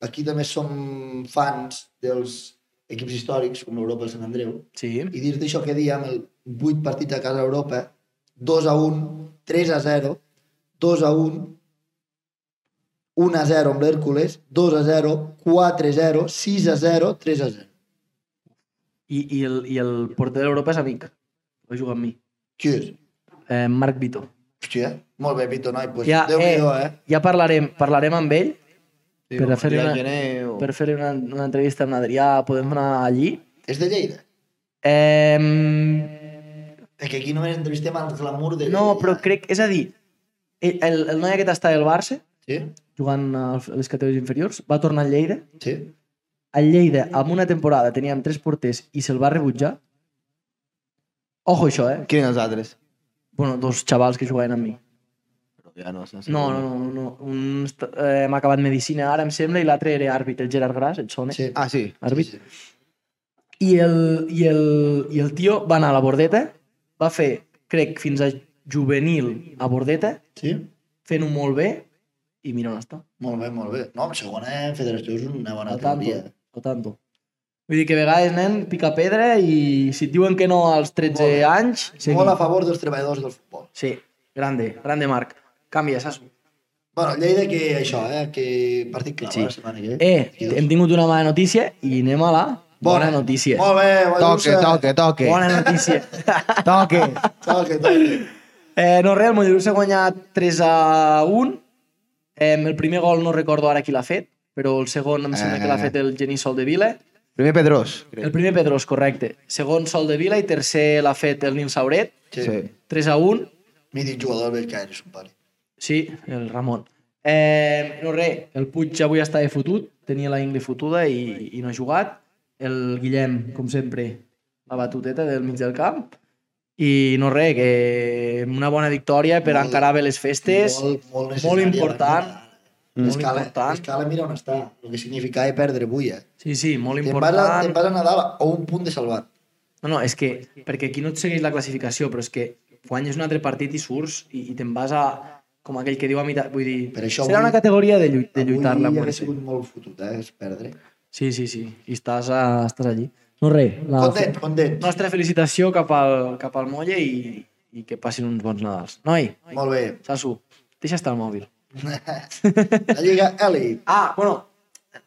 [SPEAKER 1] aquí també som fans dels equips històrics, com l'Europa i Sant Andreu,
[SPEAKER 3] Sí.
[SPEAKER 1] i dir-te això que diem, el 8 partits a casa d'Europa, 2 a 1, 3 a 0, 2 a 1, 1 a 0 amb l'Hèrcules, 2 a 0, 4 a 0, 6 a 0, 3 a 0.
[SPEAKER 3] I, i, el, i el porter d'Europa és amic. Va jugar amb mi.
[SPEAKER 1] Qui és?
[SPEAKER 3] Eh, Marc Vito.
[SPEAKER 1] Hòstia, molt bé, Vito, noi, pues, ja,
[SPEAKER 3] Ja,
[SPEAKER 1] Déu-n'hi-do, eh?
[SPEAKER 3] Ja parlarem, parlarem amb ell
[SPEAKER 2] Sí,
[SPEAKER 3] Per
[SPEAKER 2] com
[SPEAKER 3] a fer-li
[SPEAKER 2] Adrià
[SPEAKER 3] una-
[SPEAKER 2] Gené o-
[SPEAKER 3] per fer una, una entrevista amb l'Adrià, podem anar allí.
[SPEAKER 1] És de Lleida?
[SPEAKER 3] Eh,
[SPEAKER 1] És que aquí només entrevistem el glamour de...
[SPEAKER 3] no, però crec... És a dir, el, el, el noi aquest està del Barça,
[SPEAKER 1] Sí,
[SPEAKER 3] jugant a les categories inferiors, va tornar al Lleida.
[SPEAKER 1] sí.
[SPEAKER 3] Al Lleida, amb una temporada, teníem tres porters i se'l va rebutjar. Ojo això, eh?
[SPEAKER 2] Quins els altres?
[SPEAKER 3] Bueno, dos xavals que jugaven amb mi.
[SPEAKER 2] Ja no, sé,
[SPEAKER 3] No, no, no. no. Un est- eh, hem acabat Medicina ara, em sembla, i l'altre era àrbit, el Gerard Gras, et sona?
[SPEAKER 1] sí.
[SPEAKER 2] Ah, sí.
[SPEAKER 3] Àrbit.
[SPEAKER 1] Sí, sí.
[SPEAKER 3] I el, i, el, I el tio va anar a la bordeta va fer, crec, fins a juvenil a Bordeta,
[SPEAKER 1] Sí?
[SPEAKER 3] fent-ho molt bé, i mira on està.
[SPEAKER 1] Molt bé, molt bé. No, segona federació és una bona
[SPEAKER 3] Al
[SPEAKER 1] categoria.
[SPEAKER 3] tanto, al tanto. Vull dir que a vegades, nen, pica pedra i si et diuen que no als 13
[SPEAKER 1] Molt.
[SPEAKER 3] anys... Seguim.
[SPEAKER 1] Molt a favor dels treballadors del futbol.
[SPEAKER 3] Sí, grande, grande Marc. Canvia, saps?
[SPEAKER 1] Bueno, Lleida que això, eh? Que partit clau,
[SPEAKER 3] Sí.
[SPEAKER 1] sí. la setmana que ve.
[SPEAKER 3] Eh, hem tingut una mala notícia i anem a la bona, notícia.
[SPEAKER 1] Molt bé,
[SPEAKER 2] Toque,
[SPEAKER 1] Mollerussa.
[SPEAKER 2] toque, toque.
[SPEAKER 3] Bona notícia.
[SPEAKER 2] Toque.
[SPEAKER 1] Toque, toque.
[SPEAKER 3] eh, no, res, el Mollerussa ha guanyat 3 a 1. Eh, el primer gol no recordo ara qui l'ha fet, però el segon em sembla que
[SPEAKER 1] Eh.
[SPEAKER 3] l'ha fet el Genís Sol de Vila.
[SPEAKER 2] Primer Pedrós.
[SPEAKER 3] El primer Pedros, correcte. Segon Sol de Vila i tercer l'ha fet el Nil Sauret.
[SPEAKER 1] Sí.
[SPEAKER 2] Sí.
[SPEAKER 3] 3 a 1.
[SPEAKER 1] Mític jugador del Caire, és un pare.
[SPEAKER 3] Mm. Sí, el Ramon. Eh, no res, el Puig avui està de fotut, tenia la ingle fotuda i, i no ha jugat. El Guillem, com sempre, la batuteta del mig del camp. I no res, que una bona victòria per
[SPEAKER 1] Molt-
[SPEAKER 3] encarar bé les festes.
[SPEAKER 1] Molt, molt,
[SPEAKER 3] molt
[SPEAKER 1] necessària,
[SPEAKER 3] important.
[SPEAKER 1] la veritat.
[SPEAKER 3] Molt
[SPEAKER 1] L'escala,
[SPEAKER 3] important.
[SPEAKER 1] l'escala mira on està, el que significava perdre avui, eh?
[SPEAKER 3] Sí, sí, molt
[SPEAKER 1] Te'n vas, a,
[SPEAKER 3] important.
[SPEAKER 1] te'n vas a Nadal o un punt de salvat.
[SPEAKER 3] No, no, és que, perquè aquí no et segueix la classificació, però és que guanyes un altre partit i surts i, i te'n vas a, com aquell que diu a mitjà... Vull dir,
[SPEAKER 1] Per això
[SPEAKER 3] serà
[SPEAKER 1] avui-
[SPEAKER 3] una categoria de, lluit, de lluitar-la.
[SPEAKER 1] Avui
[SPEAKER 3] per
[SPEAKER 1] hauria
[SPEAKER 3] ser.
[SPEAKER 1] sigut molt fotut, eh? És perdre.
[SPEAKER 3] Sí, sí, sí. I estàs, a, estàs allí. No res. La
[SPEAKER 1] Content, content.
[SPEAKER 3] nostra felicitació cap al, cap al Molle i, i que passin uns bons Nadals. Noi,
[SPEAKER 1] Molt bé.
[SPEAKER 3] Sasu, deixa estar el mòbil.
[SPEAKER 1] La Lliga Eli.
[SPEAKER 3] Ah, bueno,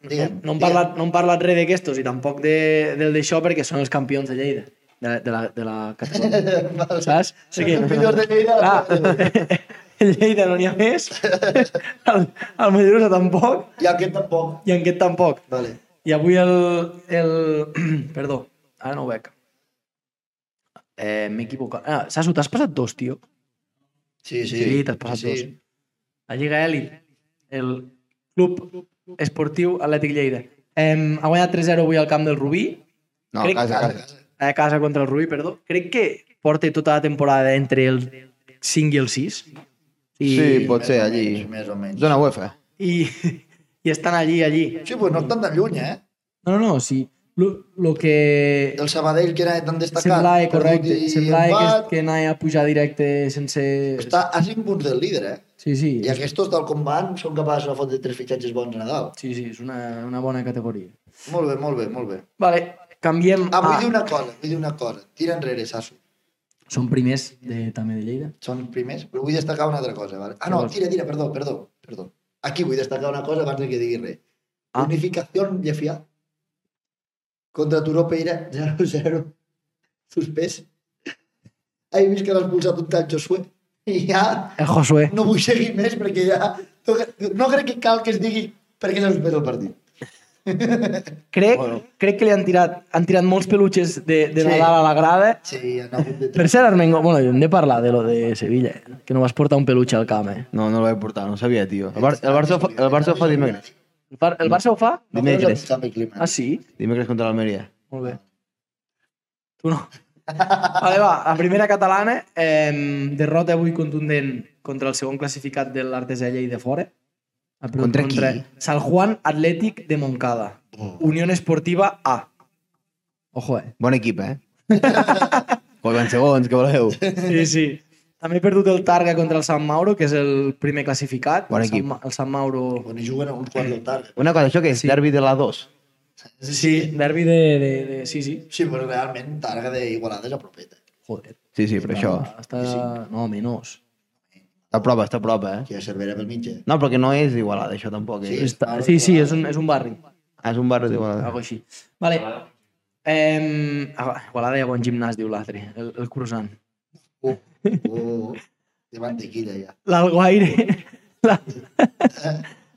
[SPEAKER 1] Digue'm.
[SPEAKER 3] no hem
[SPEAKER 1] digue'm.
[SPEAKER 3] parlat, no hem parlat res d'aquestos i tampoc de, del d'això perquè són els campions de Lleida, de, de, la, de la categoria.
[SPEAKER 1] Vale.
[SPEAKER 3] Saps?
[SPEAKER 1] Són els millors de Lleida. Ah.
[SPEAKER 3] Clar, Lleida Ah. no n'hi ha més, el, el Mollerussa tampoc
[SPEAKER 1] I aquest tampoc.
[SPEAKER 3] i en aquest tampoc.
[SPEAKER 1] Vale.
[SPEAKER 3] I avui el... el... Perdó, ara no ho veig. Eh, M'he equivocat. Ah, Sasu, t'has passat dos, tio.
[SPEAKER 1] Sí, sí.
[SPEAKER 3] Sí, t'has passat
[SPEAKER 1] sí.
[SPEAKER 3] dos. La Lliga Elit, el Club Esportiu Atlètic Lleida. Em, ha guanyat 3-0 avui al camp del Rubí,
[SPEAKER 2] No,
[SPEAKER 3] Crec-
[SPEAKER 2] casa, casa.
[SPEAKER 3] a casa contra el Rubí, perdó. Crec que porta tota la temporada entre el 5 i el 6. I,
[SPEAKER 2] Sí, pot
[SPEAKER 1] Més
[SPEAKER 2] ser,
[SPEAKER 1] o
[SPEAKER 2] allí.
[SPEAKER 1] menys, Més o menys.
[SPEAKER 2] Zona UEFA.
[SPEAKER 3] i, i estan allí, allí.
[SPEAKER 1] Sí, pues no estan tan lluny, eh?
[SPEAKER 3] No, no, no, sí. Lo, lo que...
[SPEAKER 1] El Sabadell, que era tan destacat.
[SPEAKER 3] Semblava
[SPEAKER 1] perdut
[SPEAKER 3] correcte,
[SPEAKER 1] i
[SPEAKER 3] semblava
[SPEAKER 1] empat,
[SPEAKER 3] que, que anava a pujar directe sense...
[SPEAKER 1] Està a 5 punts del líder, eh?
[SPEAKER 3] Sí, sí,
[SPEAKER 1] I aquests, tal com van, són capaços de fotre tres fitxatges bons a Nadal.
[SPEAKER 3] sí, sí, és una, una bona categoria.
[SPEAKER 1] Molt bé, molt bé, molt bé.
[SPEAKER 3] Vale, canviem
[SPEAKER 1] Ah, vull
[SPEAKER 3] a...
[SPEAKER 1] dir una cosa, vull dir una cosa. Tira enrere, Sasso.
[SPEAKER 3] Són primers de, també de Lleida.
[SPEAKER 1] Són primers, però vull destacar una altra cosa. Vale? Ah, no,
[SPEAKER 3] Què vols?
[SPEAKER 1] tira, tira, perdó, perdó, perdó. Aquí vull destacar una cosa abans de que digui res.
[SPEAKER 3] Ah.
[SPEAKER 1] Unificació llefià contra Turó Peira 0-0 suspès. He vist que l'ha expulsat un tal Josué i ja
[SPEAKER 3] El Josué.
[SPEAKER 1] no vull seguir més perquè ja no, no crec que cal que es digui perquè s'ha suspès el partit.
[SPEAKER 3] Crec, crec que li han tirat, han tirat molts pelutxes de, de
[SPEAKER 1] Sí.
[SPEAKER 3] Nadal a la grada.
[SPEAKER 1] Sí, han hagut de
[SPEAKER 3] Per cert, Armengo, bueno, hem de parlar de lo de Sevilla, eh, que no vas portar un peluche al camp, eh?
[SPEAKER 2] No, no el vaig portar, no ho sabia, tio. El, Bar el Barça, ho fa- el Barça ho fa dimecres.
[SPEAKER 3] El, Bar el Barça ho fa?
[SPEAKER 1] No, però és el
[SPEAKER 2] Dimecres.
[SPEAKER 1] canvi climàtic.
[SPEAKER 3] Ah, sí?
[SPEAKER 2] Dimecres contra l'Almeria.
[SPEAKER 3] Molt bé. Tu no. Vale, va, a primera catalana, eh, derrota avui contundent contra el segon classificat de l'Artesà Lleida fora. Ha perdut
[SPEAKER 2] Contra qui?
[SPEAKER 3] Sant Juan Atlètic de Montcada.
[SPEAKER 1] Oh.
[SPEAKER 3] Unió Esportiva A. Ojo, eh?
[SPEAKER 2] Bon equip, eh? Colgan segons, què voleu?
[SPEAKER 3] Sí, sí. També he perdut el Targa contra el Sant Mauro, que és el primer classificat.
[SPEAKER 2] Bon
[SPEAKER 3] el
[SPEAKER 2] equip.
[SPEAKER 3] Sant, Ma- el Sant Mauro...
[SPEAKER 1] On hi juguen a uns quarts del tard.
[SPEAKER 2] Una cosa, això que és
[SPEAKER 3] Sí.
[SPEAKER 2] derbi de la 2.
[SPEAKER 3] Sí, derbi de, de, de... Sí, sí.
[SPEAKER 1] Sí, però realment Targa d'Igualada és a propeta.
[SPEAKER 3] Joder.
[SPEAKER 2] Sí, sí, però això...
[SPEAKER 3] Està... No, menys.
[SPEAKER 2] Està a prova, està a prova, eh?
[SPEAKER 1] Que ja Cervera pel mitjà.
[SPEAKER 2] No, però que no és Igualada, això tampoc.
[SPEAKER 1] Sí.
[SPEAKER 2] És,
[SPEAKER 3] Està... Sí, sí, és un, és un barri.
[SPEAKER 2] Ah, és un barri d'Igualada.
[SPEAKER 3] Algo així. Vale. Eh, Igualada hi ha bon gimnàs, diu l'altre, el, el cursant.
[SPEAKER 1] Uh, uh, de mantequilla ja.
[SPEAKER 3] L'Alguaire... la-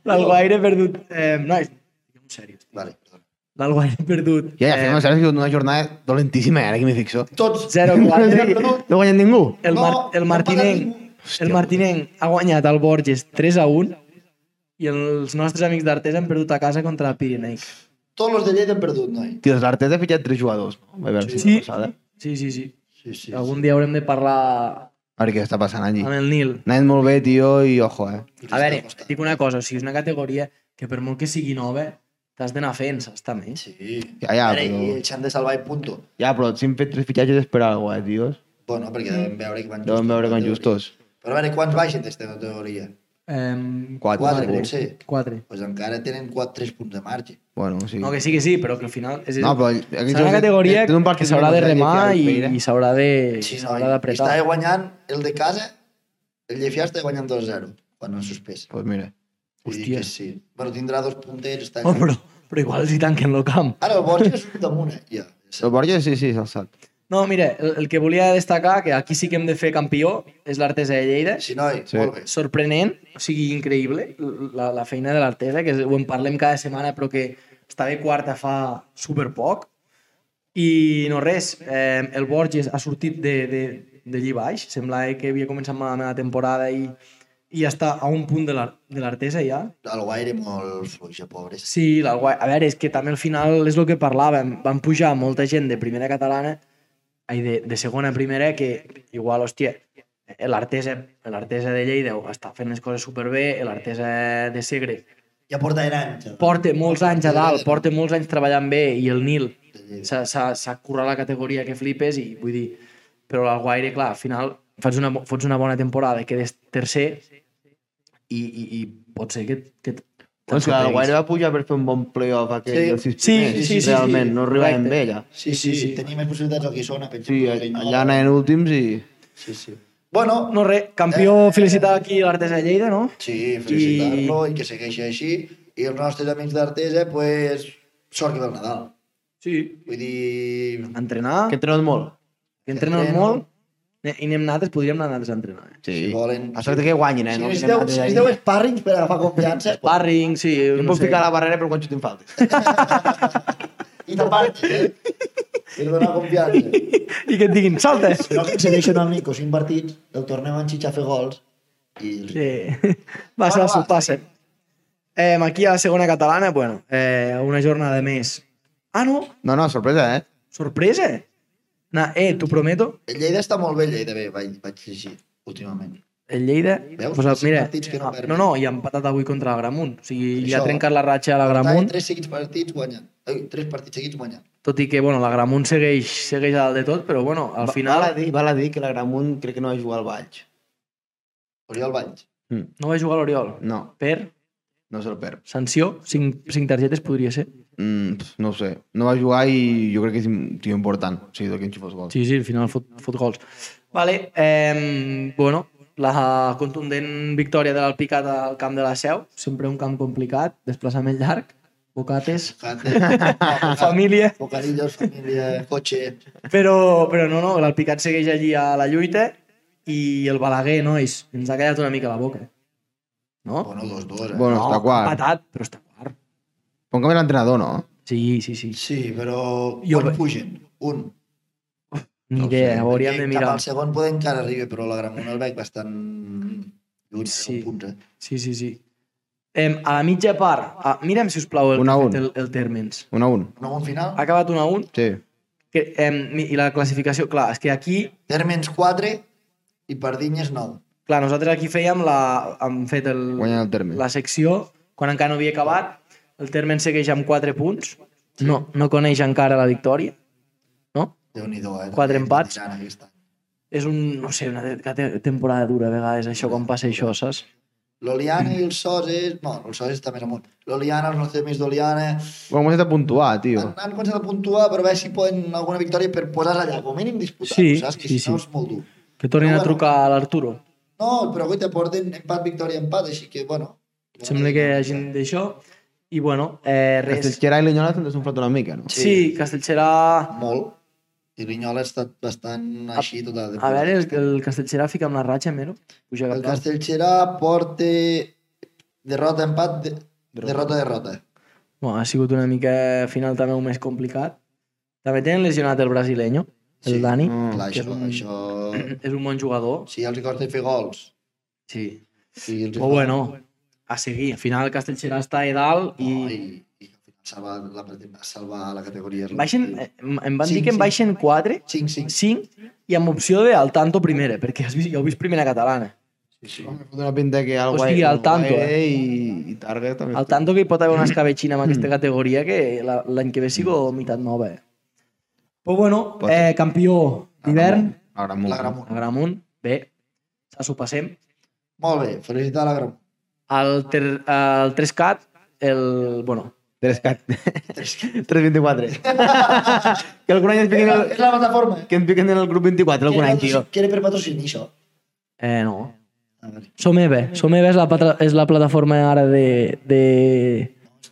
[SPEAKER 3] L'Alguaire ha perdut... Eh, no, és... En sèrio.
[SPEAKER 1] Vale, perdona.
[SPEAKER 3] L'Alguaire ha perdut...
[SPEAKER 2] Ja, ja, fem, saps que és una jornada dolentíssima, eh, ara que m'hi fixo.
[SPEAKER 1] Tots.
[SPEAKER 3] 0-4.
[SPEAKER 2] No guanyen ningú.
[SPEAKER 3] El, Mar el Martinenc...
[SPEAKER 2] Hòstia,
[SPEAKER 3] El Martinenc ha guanyat al Borges 3 a 1 i els nostres amics d'Artesa han perdut a casa contra la Pirineic.
[SPEAKER 1] Tots els de Lleida han perdut, noi.
[SPEAKER 2] Tio, l'Arteta ha fitxat tres jugadors, no? Vaig veure la
[SPEAKER 3] Sí.
[SPEAKER 2] setmana passada.
[SPEAKER 3] Sí, sí, sí.
[SPEAKER 1] Sí, sí.
[SPEAKER 3] Algun dia haurem de parlar
[SPEAKER 2] A veure què està passant allí.
[SPEAKER 3] amb el Nil.
[SPEAKER 2] Anant molt bé, tio, i ojo, eh?
[SPEAKER 3] A veure, et dic una cosa, o sigui, és una categoria que per molt que sigui nova, t'has d'anar fent, saps, també?
[SPEAKER 1] Sí.
[SPEAKER 2] Ja, ja,
[SPEAKER 1] a veure,
[SPEAKER 2] però-
[SPEAKER 1] i s'han de salvar i punto.
[SPEAKER 2] Ja, però si hem fet tres fitxatges és per alguna cosa, eh, tios.
[SPEAKER 1] Bueno, perquè devem veure que van
[SPEAKER 2] Deuen veure
[SPEAKER 1] en
[SPEAKER 2] com
[SPEAKER 1] teoria.
[SPEAKER 2] justos.
[SPEAKER 1] Però a veure, quants baixen d'esta teoria?
[SPEAKER 3] Eh,
[SPEAKER 2] Quatre,
[SPEAKER 1] Quatre,
[SPEAKER 2] segur.
[SPEAKER 1] potser.
[SPEAKER 3] Quatre.
[SPEAKER 1] Doncs encara tenen 4-3 punts de marge.
[SPEAKER 2] Bueno, sí.
[SPEAKER 3] No, que sí, que sí, però que al final... És,
[SPEAKER 2] No, però aquí
[SPEAKER 3] serà una categoria
[SPEAKER 2] té un partit
[SPEAKER 3] que s'haurà de
[SPEAKER 2] contra el
[SPEAKER 3] remar
[SPEAKER 2] Llefià i
[SPEAKER 3] i,
[SPEAKER 2] el Peira.
[SPEAKER 3] i s'haurà de...
[SPEAKER 1] Sí,
[SPEAKER 3] s'haurà
[SPEAKER 1] noi,
[SPEAKER 3] d'apretar.
[SPEAKER 1] estava guanyant el de casa, el Llefià estava guanyant 2-0 quan han suspès.
[SPEAKER 2] Pues mira.
[SPEAKER 1] Vull dir
[SPEAKER 3] Hòstia.
[SPEAKER 1] Que sí. Bueno, tindrà dos punters. Està...
[SPEAKER 2] eh.
[SPEAKER 3] Oh, però, però igual els hi tanquen el camp.
[SPEAKER 1] Ara el Borja és un damunt, eh? Ja.
[SPEAKER 2] El Borja sí, sí, s'ha alçat.
[SPEAKER 3] No, mira, el, el que volia destacar, que aquí sí que hem de fer campió, és l'artesa de Lleida.
[SPEAKER 1] Sí, noi, sí.
[SPEAKER 2] Sí.
[SPEAKER 1] molt bé.
[SPEAKER 3] Sorprenent, o sigui, increïble, la, la feina de l'artesa, que és- ho en parlem cada setmana, però que estava quarta fa superpoc. I no res, eh, el Borges ha sortit de, de, de allí baix, semblava que havia començat malament la temporada i, i està a un punt de l'ar- de l'artesa ja.
[SPEAKER 1] El Guaire molt fluixa, pobres.
[SPEAKER 3] Sí, l'Alguai. A veure, és que també al final és el que parlàvem. Van pujar molta gent de primera catalana, ai, de, de segona a primera, que igual, hòstia, l'artesa l'artesa de Lleida està fent les coses superbé, l'artesa de Segre
[SPEAKER 1] Ja porta anys. eh?
[SPEAKER 3] porta molts anys a dalt, porta molts anys treballant bé i el Nil
[SPEAKER 1] Sí.
[SPEAKER 3] s'ha- s'ha s'ha currat la categoria que flipes i vull dir, però l'Alguaire, clar, al final fas una, bo- fots una bona temporada, quedes tercer i, i, i pot ser que... Pues que t-
[SPEAKER 2] Doncs clar, el Guaire va pujar per fer un bon playoff aquell
[SPEAKER 1] Sí.
[SPEAKER 2] sí. dels sis
[SPEAKER 3] Sí,
[SPEAKER 2] primers,
[SPEAKER 3] sí, sí, sí,
[SPEAKER 2] realment,
[SPEAKER 3] sí.
[SPEAKER 2] no arribàvem
[SPEAKER 3] Correcte.
[SPEAKER 2] bé allà.
[SPEAKER 1] Sí, sí, sí, Tenia més possibilitats al Guissona, per
[SPEAKER 2] Sí, eh,
[SPEAKER 1] exemple. al
[SPEAKER 2] allà anaven últims i...
[SPEAKER 1] Sí, sí. Bueno,
[SPEAKER 3] No, res, campió, felicitar aquí l'artesa de Lleida, no?
[SPEAKER 1] sí, felicitar-lo i... que segueixi així. I els nostres amics d'Artesa, doncs, pues, sort que ve el Nadal.
[SPEAKER 3] Sí.
[SPEAKER 1] Vull dir...
[SPEAKER 3] Entrenar,
[SPEAKER 2] Que
[SPEAKER 3] que,
[SPEAKER 2] entrenat molt.
[SPEAKER 3] que entrenen
[SPEAKER 1] entreno.
[SPEAKER 3] molt, ne- i anem nosaltres, podríem anar nosaltres a entrenar. Eh?
[SPEAKER 2] Sí.
[SPEAKER 1] Si volen-
[SPEAKER 2] A sort que guanyin, eh?
[SPEAKER 1] Si
[SPEAKER 2] no?
[SPEAKER 1] necessiteu, si necessiteu sparrings per agafar confiança, pues,
[SPEAKER 3] Sparring, sí,
[SPEAKER 2] Jo em puc ficar a la barrera per quan xutin faltes.
[SPEAKER 1] i tapar-te, eh? Per donar confiança.
[SPEAKER 3] I que et diguin, salta!
[SPEAKER 1] Si no, que accedeixen al Nico 5 partits, el tornem a enxitxar a fer gols i els
[SPEAKER 3] Sí. Va, se la
[SPEAKER 1] va.
[SPEAKER 3] sorpassa. Eh, aquí a la segona catalana, bueno, eh, una jornada més. Ah, no?
[SPEAKER 2] No, no, sorpresa, eh?
[SPEAKER 3] Sorpresa! Na, eh, t'ho prometo,
[SPEAKER 1] El Lleida està molt bé, el Lleida bé, vaig, vaig llegir últimament.
[SPEAKER 3] el Lleida...
[SPEAKER 1] Veus?
[SPEAKER 3] Pues,
[SPEAKER 1] Cinc
[SPEAKER 3] mira,
[SPEAKER 1] partits que no
[SPEAKER 3] ah,
[SPEAKER 1] perden.
[SPEAKER 3] no, no, i ha empatat avui contra el Gramunt. O sigui, li ha
[SPEAKER 1] Això.
[SPEAKER 3] trencat la ratxa a la
[SPEAKER 1] Portava
[SPEAKER 3] Gramunt.
[SPEAKER 1] tres seguits partits guanyant. Ai, tres partits seguits guanyant.
[SPEAKER 3] Tot i que, bueno, la Gramunt segueix, segueix a dalt de tot, però, bueno, al final
[SPEAKER 2] Val a dir, val a dir que la Gramunt crec que no va jugar al Valls.
[SPEAKER 1] Oriol Valls.
[SPEAKER 3] no va jugar l'Oriol.
[SPEAKER 2] No,
[SPEAKER 3] Per
[SPEAKER 2] no se'l perd.
[SPEAKER 3] sanció, 5, 5 targetes podria ser.
[SPEAKER 2] Mm, pf, no ho sé. No va jugar i jo crec que és un tio important. O sigui, de que enxufos gols.
[SPEAKER 3] Sí, sí, al final fot, fot gols. Vale, eh, bueno, la contundent victòria de l'Alpicat al camp de la Seu, sempre un camp complicat, desplaçament llarg, bocates, família,
[SPEAKER 1] Bocadillos, família, cotxe...
[SPEAKER 3] però, però no, no, l'Alpicat segueix allí a la lluita i el Balaguer, nois, ens ha quedat una mica la boca. No?
[SPEAKER 1] Bueno, dos, dos, eh?
[SPEAKER 2] Bueno,
[SPEAKER 3] no,
[SPEAKER 2] està quart.
[SPEAKER 3] Patat, però està quart.
[SPEAKER 2] Pon canvi l'entrenador, no?
[SPEAKER 3] Sí, sí, sí.
[SPEAKER 1] Sí, però
[SPEAKER 3] Jo
[SPEAKER 1] quan
[SPEAKER 3] ve-
[SPEAKER 1] pugen? Un.
[SPEAKER 3] Ni
[SPEAKER 2] No ho
[SPEAKER 3] idea,
[SPEAKER 2] sé,
[SPEAKER 3] hauríem de
[SPEAKER 1] Perquè
[SPEAKER 3] mirar.
[SPEAKER 1] Cap al segon poder encara arriba, però la Gramona el veig bastant lluny, sí.
[SPEAKER 3] Sí.
[SPEAKER 1] un punt, eh?
[SPEAKER 3] Sí, sí, sí. Em, a la mitja part, a, mira'm, si us plau, el,
[SPEAKER 2] Un a
[SPEAKER 3] que ha
[SPEAKER 2] un.
[SPEAKER 3] fet el, el Térmens.
[SPEAKER 2] Un a un.
[SPEAKER 1] No, un final.
[SPEAKER 3] Ha acabat 1 a 1
[SPEAKER 2] Sí.
[SPEAKER 3] que, em, mi- i la classificació, clar, és que aquí,
[SPEAKER 1] Termens 4 i Pardinyes 9.
[SPEAKER 3] clar, nosaltres aquí fèiem la, hem fet el,
[SPEAKER 2] Guanyant el terme.
[SPEAKER 3] la secció quan encara no havia acabat, el Térmens segueix amb 4 punts, no, no coneix encara la victòria, no?
[SPEAKER 1] Déu-n'hi-do, eh?
[SPEAKER 3] Quatre
[SPEAKER 1] També
[SPEAKER 3] empats.
[SPEAKER 1] aniran aquesta.
[SPEAKER 3] És un, no sé, una te- te- temporada dura a vegades, això, quan passa això, saps?
[SPEAKER 1] L'Oliana i el Soses... Bueno, el Soses està més amunt. L'Oliana, els nostres amics d'Oliana...
[SPEAKER 2] Bueno, comença a puntuar, tio.
[SPEAKER 1] Han, han començat a puntuar, però a veure si poden alguna victòria per posar-la allà, com a mínim disputar
[SPEAKER 3] Sí,
[SPEAKER 1] saps? Que
[SPEAKER 3] sí,
[SPEAKER 1] si no
[SPEAKER 3] sí.
[SPEAKER 1] és molt dur.
[SPEAKER 3] Que tornin
[SPEAKER 1] No,
[SPEAKER 3] a
[SPEAKER 1] bueno.
[SPEAKER 3] trucar a l'Arturo.
[SPEAKER 1] No, però avui te porten empat, victòria, empat, així que, bueno...
[SPEAKER 3] Sembla que hagin d'això. I, bueno, eh, res.
[SPEAKER 2] Castellxera i Linyola s'han desenfrontat una mica, no?
[SPEAKER 3] Sí, Castellxerà...
[SPEAKER 1] Molt. I Linyola ha estat bastant així tota la
[SPEAKER 3] A
[SPEAKER 1] temporada.
[SPEAKER 3] veure, el, el Castellserà fica amb la ratxa, Mero. Puja cap
[SPEAKER 1] El
[SPEAKER 3] dalt.
[SPEAKER 1] Castellxerà porta derrota, empat, de... derrota, derrota.
[SPEAKER 3] Bueno, ha sigut una mica eh, final també un més complicat. També tenen lesionat el brasileño, el
[SPEAKER 1] Sí.
[SPEAKER 3] Dani.
[SPEAKER 2] Mm.
[SPEAKER 1] Clar,
[SPEAKER 3] que
[SPEAKER 1] això,
[SPEAKER 3] és un-
[SPEAKER 1] això...
[SPEAKER 3] És un bon jugador.
[SPEAKER 1] Si els hi costa fer gols,
[SPEAKER 3] Sí.
[SPEAKER 1] si els hi
[SPEAKER 3] Però bueno, a seguir. Al final el Castellserà està a dalt
[SPEAKER 1] i... No,
[SPEAKER 3] i...
[SPEAKER 1] i, i al final salvar la, pretén- salvar la categoria.
[SPEAKER 3] Baixen, eh, em em van
[SPEAKER 1] Cinc,
[SPEAKER 3] dir que en
[SPEAKER 1] cinc.
[SPEAKER 3] baixen 4,
[SPEAKER 1] 5, 5.
[SPEAKER 3] 5 i amb opció de al tanto primera, perquè has vist, ja heu vist primera catalana.
[SPEAKER 1] Sí, sí.
[SPEAKER 2] Home, em fot una pinta que el
[SPEAKER 3] Hosti,
[SPEAKER 2] Guai-
[SPEAKER 3] al
[SPEAKER 2] el
[SPEAKER 3] tanto,
[SPEAKER 2] Guaire i, i Targa també.
[SPEAKER 3] Al tanto que hi pot haver una escabetxina en aquesta categoria que la- l'any que ve sigo meitat nova. eh. Però bueno,
[SPEAKER 2] Pot ser.
[SPEAKER 3] eh, campió d'hivern,
[SPEAKER 2] Agramunt.
[SPEAKER 1] L'Agramunt.
[SPEAKER 3] Agramunt, bé, ja s'ho passem.
[SPEAKER 1] Molt bé, felicitar l'Agramunt.
[SPEAKER 3] El, ter, el 3CAT, el... Bueno,
[SPEAKER 2] 3K. 324. que algun any ens
[SPEAKER 1] És
[SPEAKER 2] piquen
[SPEAKER 1] la,
[SPEAKER 2] el,
[SPEAKER 1] és la plataforma.
[SPEAKER 2] que ens piquen en el grup 24 algun any, tio.
[SPEAKER 1] Que era per patrocini, això.
[SPEAKER 3] eh, no.
[SPEAKER 1] A veure,
[SPEAKER 3] Someve. Someve és la, patra- és la plataforma ara de, de...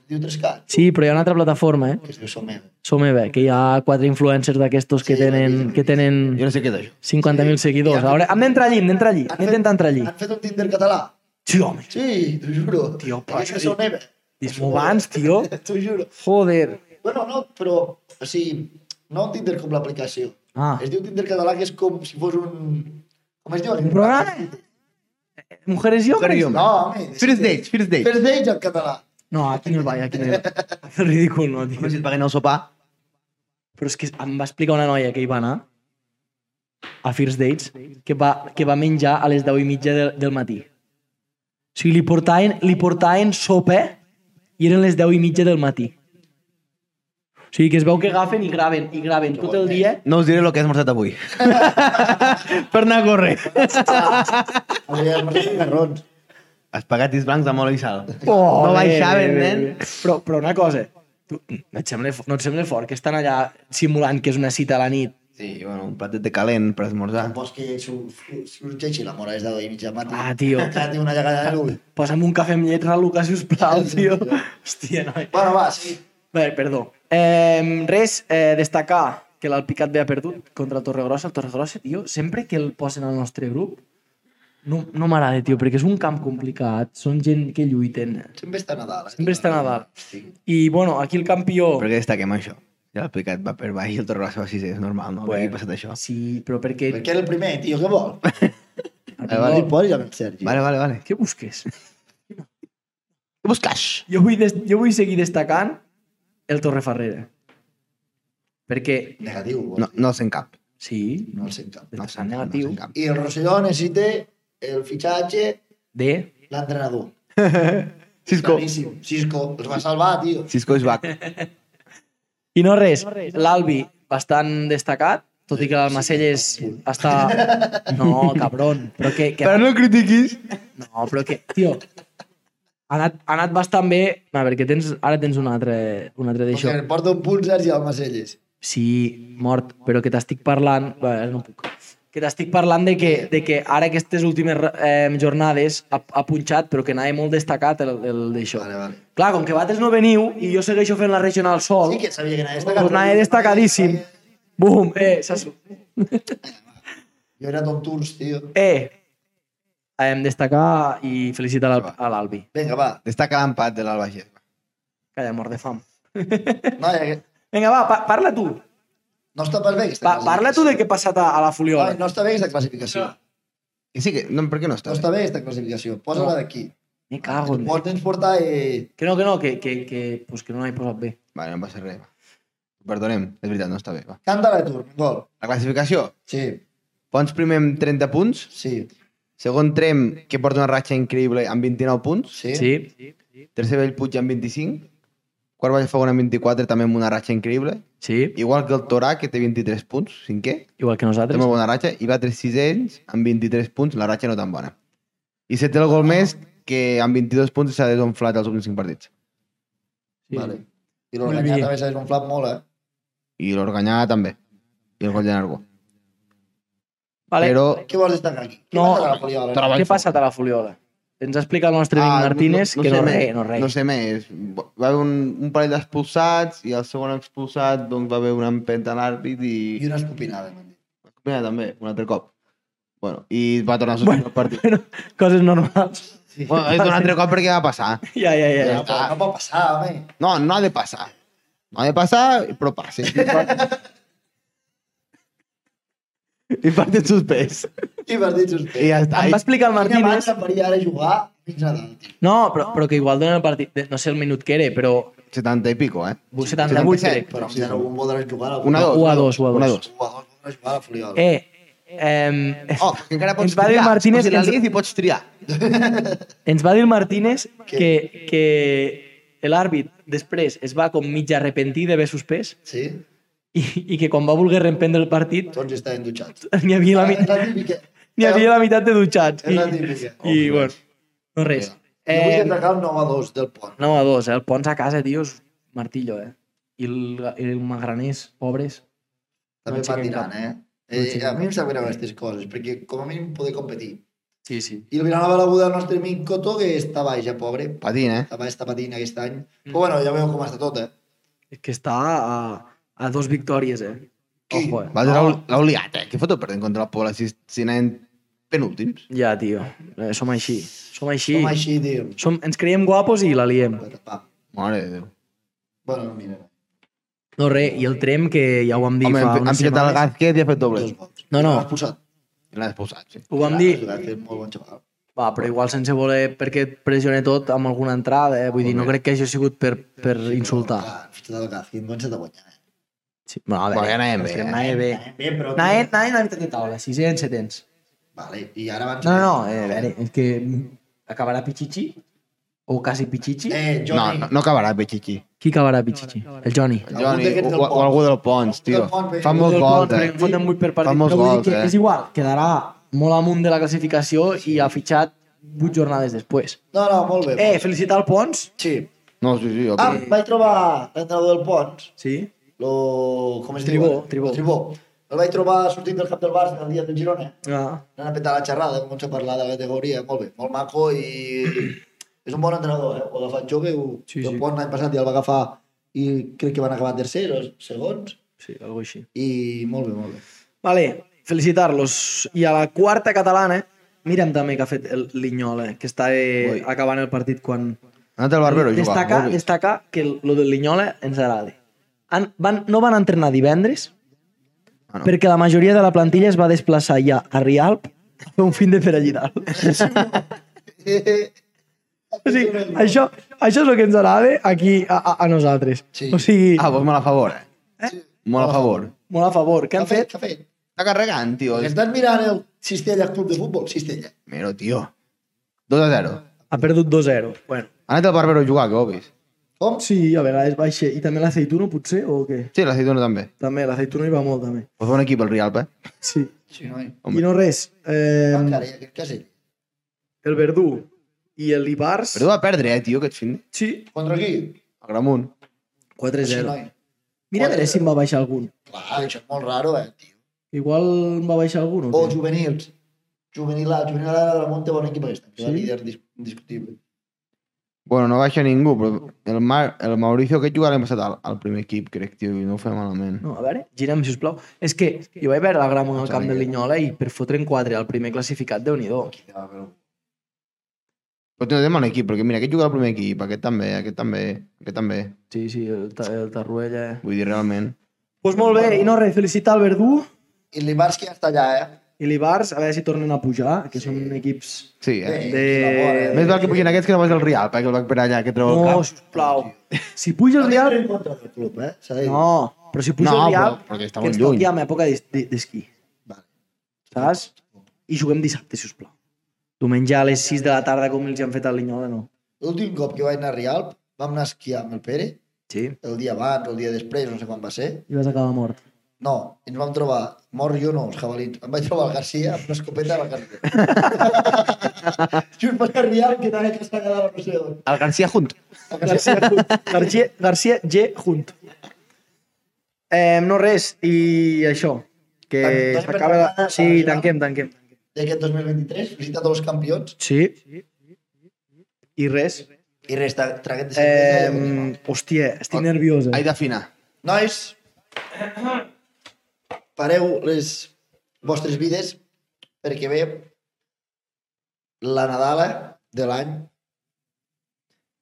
[SPEAKER 1] diu 3K,
[SPEAKER 3] Sí, però hi ha una altra plataforma, eh?
[SPEAKER 1] que es diu Somem.
[SPEAKER 3] Someve, que hi ha quatre influencers d'aquestos que
[SPEAKER 1] Sí,
[SPEAKER 3] tenen, que tenen
[SPEAKER 2] Jo no sé què és això.
[SPEAKER 3] 50.000 seguidors. Ara, hem d'entrar allí, hem d'entrar allí, hem d'entrar entrar allí.
[SPEAKER 1] Han fet un Tinder català.
[SPEAKER 3] Sí, home,
[SPEAKER 1] Sí, t'ho juro.
[SPEAKER 3] Tio, però
[SPEAKER 1] Aquests
[SPEAKER 3] això
[SPEAKER 1] que són neve.
[SPEAKER 3] dismovants, tio.
[SPEAKER 1] T'ho juro.
[SPEAKER 3] Joder.
[SPEAKER 1] Bueno, no, però, o sigui, no un Tinder com l'aplicació.
[SPEAKER 3] Ah,
[SPEAKER 1] Es diu Tinder català que és com si fos un... Com es diu?
[SPEAKER 3] un programa? Eh, Mujeres i
[SPEAKER 2] Mujeres i homes.
[SPEAKER 3] homes?
[SPEAKER 1] No, home.
[SPEAKER 2] First dates, first dates.
[SPEAKER 1] First dates en català.
[SPEAKER 3] No, aquí no hi vaig, aquí no hi vaig. És ridícul, no,
[SPEAKER 2] Home,
[SPEAKER 3] tio.
[SPEAKER 2] si et paguen el sopar.
[SPEAKER 3] Però és que em va explicar una noia que hi va anar, a First Dates, que va, que va menjar a les 10 i mitja del, del matí. O sigui, li portaven, li portaven sopa i eren les 10 i mitja del matí. O sigui, que es veu que agafen i graven, i graven tot el dia.
[SPEAKER 2] No us diré el que he esmorzat avui. per anar a córrer.
[SPEAKER 1] Hauria de marxar marrons.
[SPEAKER 2] Espaguetis blancs de mola i sal.
[SPEAKER 3] Oh,
[SPEAKER 2] no
[SPEAKER 3] bé,
[SPEAKER 2] baixaven,
[SPEAKER 3] bé, bé,
[SPEAKER 2] nen.
[SPEAKER 3] bé. Però, però una cosa, tu, no, et sembla, fo- no et sembla fort que estan allà simulant que és una cita a la nit?
[SPEAKER 2] Sí, bueno, un platet de calent per esmorzar.
[SPEAKER 1] Tampoc que su- su- sorgeixi la mora és de i mitja matí.
[SPEAKER 3] Ah, tio.
[SPEAKER 1] Ja té una llegada de l'ull.
[SPEAKER 3] Posa'm un cafè amb lletra, Lucas, sisplau, tio. Hòstia, noi.
[SPEAKER 1] Bueno, va, sí.
[SPEAKER 3] Bé, perdó. Eh, res, eh, destacar que l'Alpicat ve ha perdut contra el Torregrossa. El Torregrossa, tio, sempre que el posen al nostre grup, no, no m'agrada, tio, perquè és un camp complicat, són gent que lluiten.
[SPEAKER 1] Sempre està Nadal. Eh?
[SPEAKER 3] Sempre està Nadal.
[SPEAKER 1] Sí.
[SPEAKER 3] I, bueno, aquí el campió...
[SPEAKER 2] Per què destaquem això? Ja l'ha aplicat, va per baix i el Torrassa va sisè, és normal, no? Bueno.
[SPEAKER 3] Bueno.
[SPEAKER 2] Aquí ha passat això.
[SPEAKER 3] Sí, però perquè...
[SPEAKER 1] Perquè era el primer, tio, què vol? No
[SPEAKER 2] Eh, vale.
[SPEAKER 1] li posis amb el Sergi.
[SPEAKER 2] Vale, vale, vale.
[SPEAKER 3] Què busques?
[SPEAKER 2] Què busques?
[SPEAKER 3] Jo vull, des... jo vull seguir destacant el Torrefarrera. Perquè,
[SPEAKER 1] Negatiu. Vol.
[SPEAKER 2] No,
[SPEAKER 1] No.
[SPEAKER 2] no el sent cap.
[SPEAKER 3] sí,
[SPEAKER 1] no el sent cap.
[SPEAKER 2] No el
[SPEAKER 3] destacant
[SPEAKER 2] sent, no el
[SPEAKER 3] negatiu
[SPEAKER 2] sent cap.
[SPEAKER 1] I el Rosselló necessita el fitxatge,
[SPEAKER 3] de...
[SPEAKER 1] l'entrenador.
[SPEAKER 2] Cisco.
[SPEAKER 1] Claríssim. Cisco. Els va salvar, tio.
[SPEAKER 2] Cisco és back.
[SPEAKER 3] I no res, l'Albi, bastant destacat, tot i que el Macelles està... No, cabron, però que... que...
[SPEAKER 2] Però no el critiquis.
[SPEAKER 3] No, però que, tio, ha anat, ha anat bastant bé... A veure, que tens, ara tens un altre, un altre d'això.
[SPEAKER 1] Perquè en porta un punt Sergi al Macelles.
[SPEAKER 3] Sí, mort, però que t'estic parlant... Bé, ara no puc. Que t'estic parlant de que, de que ara aquestes últimes eh, jornades ha, ha punxat, però que anava molt destacat el, el d'això.
[SPEAKER 1] Vale, vale.
[SPEAKER 3] Clar, com que vosaltres no veniu i jo segueixo fent la regional sol,
[SPEAKER 1] Sí que sabia que anava destacat.
[SPEAKER 3] doncs anava destacadíssim. Bum, eh, s'ha su-
[SPEAKER 1] Jo era Tom Tours, tio.
[SPEAKER 3] Eh, hem destacar i felicitar al- a l'Albi.
[SPEAKER 1] Vinga, va.
[SPEAKER 2] Destaca l'empat de l'Alba Gés.
[SPEAKER 3] Calla, mort de fam.
[SPEAKER 1] Noia, que...
[SPEAKER 3] Vinga, va, pa parla tu.
[SPEAKER 1] No està pas bé aquesta
[SPEAKER 3] Pa parla tu de què ha passat a, a la
[SPEAKER 1] Noia,
[SPEAKER 3] Fuliola.
[SPEAKER 1] no està bé aquesta classificació.
[SPEAKER 2] I sí que, no, per què no
[SPEAKER 1] No
[SPEAKER 2] està?
[SPEAKER 1] està bé aquesta classificació. Posa-la d'aquí.
[SPEAKER 3] Me cago en... Déu.
[SPEAKER 1] Pots ens portar eh, i...
[SPEAKER 3] Que no, que no, que, que, que, pues que no l'he posat bé.
[SPEAKER 2] Vale, no passa res. Va. Perdonem, és veritat, no està bé. Va.
[SPEAKER 1] Canta-la tu, gol.
[SPEAKER 2] La classificació.
[SPEAKER 1] Sí,
[SPEAKER 2] Pons primer amb 30 punts,
[SPEAKER 1] sí,
[SPEAKER 2] segon Trem, que porta una ratxa increïble, amb 29 punts,
[SPEAKER 1] sí.
[SPEAKER 3] Sí,
[SPEAKER 2] tercer Bellpuig amb 25, quart Baix Fogon amb 24, també amb una ratxa increïble,
[SPEAKER 3] sí,
[SPEAKER 2] igual que el Torà, que té 23 punts, cinquè,
[SPEAKER 3] igual que
[SPEAKER 2] té
[SPEAKER 3] nosaltres.
[SPEAKER 2] molt bona ratxa, i va 3 sisens amb 23 punts, la ratxa no tan bona. I setè el gol més, que amb 22 punts s'ha desenflat els últims 5 partits.
[SPEAKER 3] Sí.
[SPEAKER 1] Vale. I
[SPEAKER 3] Molt
[SPEAKER 1] l'Organyà
[SPEAKER 3] bé.
[SPEAKER 1] també s'ha desinflat molt, eh?
[SPEAKER 2] I l'Organyà també. I el gol de Nargó.
[SPEAKER 3] Vale.
[SPEAKER 2] Però...
[SPEAKER 1] Què vols destacar aquí? Què
[SPEAKER 3] No.
[SPEAKER 1] passa a la Foliola?
[SPEAKER 2] Troba-
[SPEAKER 3] Què ha passat a la Fuliola? Ens ha explicat el nostre Vic Martínez que no
[SPEAKER 2] sé
[SPEAKER 3] rei,
[SPEAKER 2] més,
[SPEAKER 3] no rei.
[SPEAKER 2] ah, No sé més. Va haver un, un parell d'expulsats i el segon expulsat doncs, va haver una empenta a l'àrbit i...
[SPEAKER 1] I una escopinada, m'han dit.
[SPEAKER 2] Mira, també, un altre cop. Bueno, i va tornar a suspendre bueno. el partit.
[SPEAKER 3] Coses normals.
[SPEAKER 2] Bueno, és un altre cop perquè va passar.
[SPEAKER 3] Ja, ja, ja.
[SPEAKER 1] Ja,
[SPEAKER 3] ja.
[SPEAKER 1] però no pot passar, home.
[SPEAKER 2] No, no ha de passar. No ha de passar, però passa. I partit suspès.
[SPEAKER 1] I partit suspès.
[SPEAKER 2] I ja està.
[SPEAKER 3] Em va explicar el
[SPEAKER 1] Quina
[SPEAKER 3] Martínez
[SPEAKER 1] manca faria ara jugar fins a dalt, tio.
[SPEAKER 3] No, però, però que igual donen el partit, de- no sé el minut que era, però
[SPEAKER 2] 70 i pico, eh?
[SPEAKER 3] 78
[SPEAKER 2] 77,
[SPEAKER 3] crec.
[SPEAKER 1] Però si ara algun voldràs jugar... algun-
[SPEAKER 2] Una, dos.
[SPEAKER 3] U a dos, U a
[SPEAKER 2] Una,
[SPEAKER 3] dos.
[SPEAKER 2] dos.
[SPEAKER 1] Un a dos voldrà jugar a la Foliola.
[SPEAKER 3] Eh, eh,
[SPEAKER 2] Oh, que encara pots
[SPEAKER 3] Ens va dir
[SPEAKER 2] triar.
[SPEAKER 3] Martínez
[SPEAKER 2] o sigui,
[SPEAKER 3] que
[SPEAKER 2] la
[SPEAKER 3] ens-
[SPEAKER 2] Liga hi pots triar.
[SPEAKER 3] ens va dir el Martínez que, que l'àrbit després es va com mitja arrepentir d'haver suspès
[SPEAKER 1] Sí?
[SPEAKER 3] i, i que quan va voler reemprendre el partit
[SPEAKER 1] Tots estaven dutxats.
[SPEAKER 3] n'hi havia, la
[SPEAKER 1] És
[SPEAKER 3] mi-
[SPEAKER 1] la típica.
[SPEAKER 3] n'hi havia la meitat de dutxats.
[SPEAKER 1] És
[SPEAKER 3] I,
[SPEAKER 1] la típica.
[SPEAKER 3] i bueno, no
[SPEAKER 1] Eh...
[SPEAKER 3] res.
[SPEAKER 1] Jo vull
[SPEAKER 3] Eh,
[SPEAKER 1] destacar el 9 a 2 del pont.
[SPEAKER 3] 9 a 2, eh? El Pons a casa, tio, és martillo, eh? I el, i el Magraners, pobres.
[SPEAKER 1] També
[SPEAKER 3] No
[SPEAKER 1] van
[SPEAKER 3] aixequen
[SPEAKER 1] tirant, eh?
[SPEAKER 3] No
[SPEAKER 1] eh
[SPEAKER 3] aixequen
[SPEAKER 1] a mi em sap greu aquestes coses, perquè com a mínim poder competir.
[SPEAKER 3] Sí, sí.
[SPEAKER 1] I el Vilanova de l'Aguda, el nostre amic Coto, que està baix, ja, pobre.
[SPEAKER 2] Patina, eh?
[SPEAKER 1] Està baix, està patint aquest any.
[SPEAKER 3] Mm.
[SPEAKER 1] Però bueno, ja veieu com està tot, eh?
[SPEAKER 3] És que està a, a dos victòries, eh?
[SPEAKER 1] Qui?
[SPEAKER 3] Ojo, eh?
[SPEAKER 2] Va, oh. l'ha obligat, eh? Què foto perdent contra el Pola si, si anem penúltims?
[SPEAKER 3] Ja, tio. Eh, som així. Som així.
[SPEAKER 1] Com així, tio.
[SPEAKER 3] Som, ens creiem guapos i la liem.
[SPEAKER 1] Pam.
[SPEAKER 2] Mare de Déu.
[SPEAKER 1] Bueno, mira,
[SPEAKER 3] No, res, i el Trem, que ja ho vam dir
[SPEAKER 2] Home,
[SPEAKER 3] fa
[SPEAKER 2] han, han
[SPEAKER 3] unes
[SPEAKER 2] pillat el
[SPEAKER 3] setmanes.
[SPEAKER 2] Gázquez i ha fet doble.
[SPEAKER 1] dos gols.
[SPEAKER 3] No, no.
[SPEAKER 1] L'ha expulsat.
[SPEAKER 2] I l'ha expulsat, sí.
[SPEAKER 3] Ho vam dir,
[SPEAKER 1] L'ha fet molt bon xaval.
[SPEAKER 3] va, però igual sense voler, perquè et pressioné tot amb alguna entrada, eh? Vull dir, no crec que hagi sigut per, per insultar.
[SPEAKER 1] Ah, ha fet el Gazquín, comença a guanyar. eh?
[SPEAKER 3] Sí. Bueno, a
[SPEAKER 2] Bueno, ja
[SPEAKER 3] veure,
[SPEAKER 2] anàvem bé,
[SPEAKER 3] és que
[SPEAKER 2] eh?
[SPEAKER 3] anàvem bé.
[SPEAKER 1] Bé, però...
[SPEAKER 3] Anàvem, anàvem a la meitat de taula, sisens, setens.
[SPEAKER 1] Vale, i ara abans...
[SPEAKER 3] No, no, no, eh, a veure, és que acabarà Pichichi, o quasi Pichichi.
[SPEAKER 1] Eh,
[SPEAKER 2] No,
[SPEAKER 1] Johnny,
[SPEAKER 2] no, no acabarà Pichichi.
[SPEAKER 3] Qui acabarà Pichichi? El Johnny.
[SPEAKER 2] El
[SPEAKER 1] Algú
[SPEAKER 2] Johnny,
[SPEAKER 1] d'aquests
[SPEAKER 2] o,
[SPEAKER 1] del
[SPEAKER 2] o, o
[SPEAKER 1] Pons.
[SPEAKER 2] algú del Pons, tio.
[SPEAKER 1] Del Pons, bé.
[SPEAKER 2] Fa molts
[SPEAKER 3] Del
[SPEAKER 2] gols,
[SPEAKER 3] perquè
[SPEAKER 2] eh?
[SPEAKER 3] en foten vuit per partit.
[SPEAKER 2] Fa molts
[SPEAKER 3] però vull dir
[SPEAKER 2] gols,
[SPEAKER 3] que
[SPEAKER 2] eh?
[SPEAKER 3] És igual, quedarà molt amunt de la classificació i ha fitxat vuit jornades després.
[SPEAKER 1] no, no, molt bé.
[SPEAKER 3] Eh, felicitar el Pons.
[SPEAKER 1] Sí.
[SPEAKER 2] No, sí, sí,
[SPEAKER 1] Ah,
[SPEAKER 2] òbvio.
[SPEAKER 1] vaig trobar l'entrenador del Pons,
[SPEAKER 3] Sí.
[SPEAKER 1] lo... com es
[SPEAKER 3] Tribó,
[SPEAKER 1] diu?
[SPEAKER 3] Tribó.
[SPEAKER 1] Tribó. El vaig trobar sortint del cap del Barça el dia del Girona.
[SPEAKER 3] Ah.
[SPEAKER 1] Anant a petar la xerrada, comença a parlar de la categoria, molt bé, molt maco i és un bon entrenador, eh? Ho ha agafat jove, ho... Sí,
[SPEAKER 3] Sí,
[SPEAKER 1] sí.
[SPEAKER 3] sí.
[SPEAKER 1] el Pons l'any passat ja el va agafar i crec que van acabar tercers o segons
[SPEAKER 3] Sí, algo així.
[SPEAKER 1] i molt bé, molt bé.
[SPEAKER 3] Vale, felicitar-los. I a la quarta catalana, mira'm també que ha fet el Linyola, que està eh,
[SPEAKER 2] Ui.
[SPEAKER 3] acabant el partit quan...
[SPEAKER 2] Ha anat el Barbero a jugar,
[SPEAKER 3] destaca,
[SPEAKER 2] molt bé.
[SPEAKER 3] destaca que el, lo del Linyola ens agrada. Han, van, no van entrenar divendres,
[SPEAKER 2] Ah, no.
[SPEAKER 3] perquè la majoria de la plantilla es va desplaçar ja a Rialp a fer un fin de fer allí dalt. O sigui, això, això és el que ens agrada aquí a, a, a nosaltres.
[SPEAKER 1] Sí.
[SPEAKER 3] O sigui,
[SPEAKER 2] Ah, doncs molt a favor, eh?
[SPEAKER 3] Eh?
[SPEAKER 2] Molt a favor.
[SPEAKER 3] molt a favor. Què
[SPEAKER 1] Què
[SPEAKER 3] han fet?
[SPEAKER 1] Què ha fet?
[SPEAKER 2] Està carregant, tio.
[SPEAKER 1] Estàs mirant el Cistella Club de Futbol? Cistella.
[SPEAKER 2] Mira, tio. 2 a 0.
[SPEAKER 3] Ha perdut 2-0. Bueno.
[SPEAKER 2] Ha anat el Barbero a jugar, que ho heu vist.
[SPEAKER 1] Com?
[SPEAKER 3] Sí, a vegades baixa. I també l'aceituno, potser, o què?
[SPEAKER 2] Sí, la Citona també.
[SPEAKER 3] També, l'aceituno hi va molt, també.
[SPEAKER 2] Pues bon equip, el Rialp, eh?
[SPEAKER 3] Sí.
[SPEAKER 1] Sí, noi.
[SPEAKER 2] Home.
[SPEAKER 3] I no res. Eh,
[SPEAKER 1] Encara, ja, què has dit?
[SPEAKER 3] el Verdú i el Ibars...
[SPEAKER 2] Però va perdre, eh, tio, aquest fin.
[SPEAKER 3] Sí.
[SPEAKER 1] Contra qui?
[SPEAKER 2] A Gramunt.
[SPEAKER 1] Sí,
[SPEAKER 3] 4-0.
[SPEAKER 1] noi.
[SPEAKER 3] Mira a veure si en va baixar algun.
[SPEAKER 1] Clar, això és molt raro, eh, tio.
[SPEAKER 3] Igual en va baixar
[SPEAKER 1] O
[SPEAKER 3] algun, o què?
[SPEAKER 1] juvenils. Juvenil A, juvenil A de Ramon té bon equip aquesta, que és
[SPEAKER 3] Sí?
[SPEAKER 1] sí? líder dis- indiscutible.
[SPEAKER 2] Bueno, no baixa ningú, però el, Mar, el Mauricio aquest jugarà l'hem passat al, al primer equip, crec, tio, i no ho fa malament.
[SPEAKER 3] No, a veure, gira'm, sisplau. És que jo vaig veure la grama al camp de Linyola i per fotre'n 4 al primer classificat, déu nhi
[SPEAKER 1] Aquí deu haver un-
[SPEAKER 2] Però tio, té mal equip, perquè mira, aquest jugarà al primer equip, aquest també, aquest també, aquest també.
[SPEAKER 3] Sí, sí, el, ta- el Tarruella... eh.
[SPEAKER 2] Vull dir, realment.
[SPEAKER 3] Doncs pues molt bé, i no res, felicitar el Verdú
[SPEAKER 1] I l'Ibars que ja està allà, eh?
[SPEAKER 3] i l'Ibars, a veure si tornen a pujar, que sí. són equips...
[SPEAKER 2] Sí, eh?
[SPEAKER 1] Eh,
[SPEAKER 3] De-
[SPEAKER 1] col·labora, eh?
[SPEAKER 2] Més val que pugin aquests que no vagi al Rialp, eh, que el va per allà, que treu el
[SPEAKER 3] No,
[SPEAKER 2] cap.
[SPEAKER 3] sisplau. Si puja
[SPEAKER 1] No
[SPEAKER 3] el
[SPEAKER 1] tinc
[SPEAKER 3] Real...
[SPEAKER 1] res en contra del club, eh? S'ha de dir.
[SPEAKER 3] No, però si puja
[SPEAKER 2] No,
[SPEAKER 3] el Real,
[SPEAKER 2] però- perquè està
[SPEAKER 3] que
[SPEAKER 2] molt
[SPEAKER 3] ens toqui
[SPEAKER 2] lluny.
[SPEAKER 3] en època d'es- de- d'esquí,
[SPEAKER 1] Vale.
[SPEAKER 3] saps? I juguem dissabte, sisplau. Diumenge a les 6 de la tarda, com els han fet a Linyola, no.
[SPEAKER 1] L'últim cop que vaig anar a Rialp, vam anar a esquiar amb el Pere,
[SPEAKER 3] Sí.
[SPEAKER 1] el dia abans, el dia després, no sé quan va ser.
[SPEAKER 3] I vas acabar mort.
[SPEAKER 1] No, ens vam trobar, mort jo no, els jabalins. Em vaig trobar el Garcia amb una escopeta a la carretera. Just per anar a Rialp, que anava a estar quedada no sé on.
[SPEAKER 2] El García Junt.
[SPEAKER 1] El Garcia.
[SPEAKER 3] Garcia, Garcia G. Hunt. Eh, no res, i això, que
[SPEAKER 1] Tanquem
[SPEAKER 3] s'acaba...
[SPEAKER 1] per
[SPEAKER 3] La...
[SPEAKER 1] la-
[SPEAKER 3] Sí, tanquem, tanquem.
[SPEAKER 1] D'aquest 2023, visita tots els campions.
[SPEAKER 3] Sí. I res.
[SPEAKER 1] I res, tra- traguet de cervesa. i a continuar.
[SPEAKER 3] Eh, hòstia, estic nerviós,
[SPEAKER 2] Hai
[SPEAKER 3] eh?
[SPEAKER 2] d'afinar.
[SPEAKER 1] Nois, pareu les vostres vides perquè ve la Nadala de l'any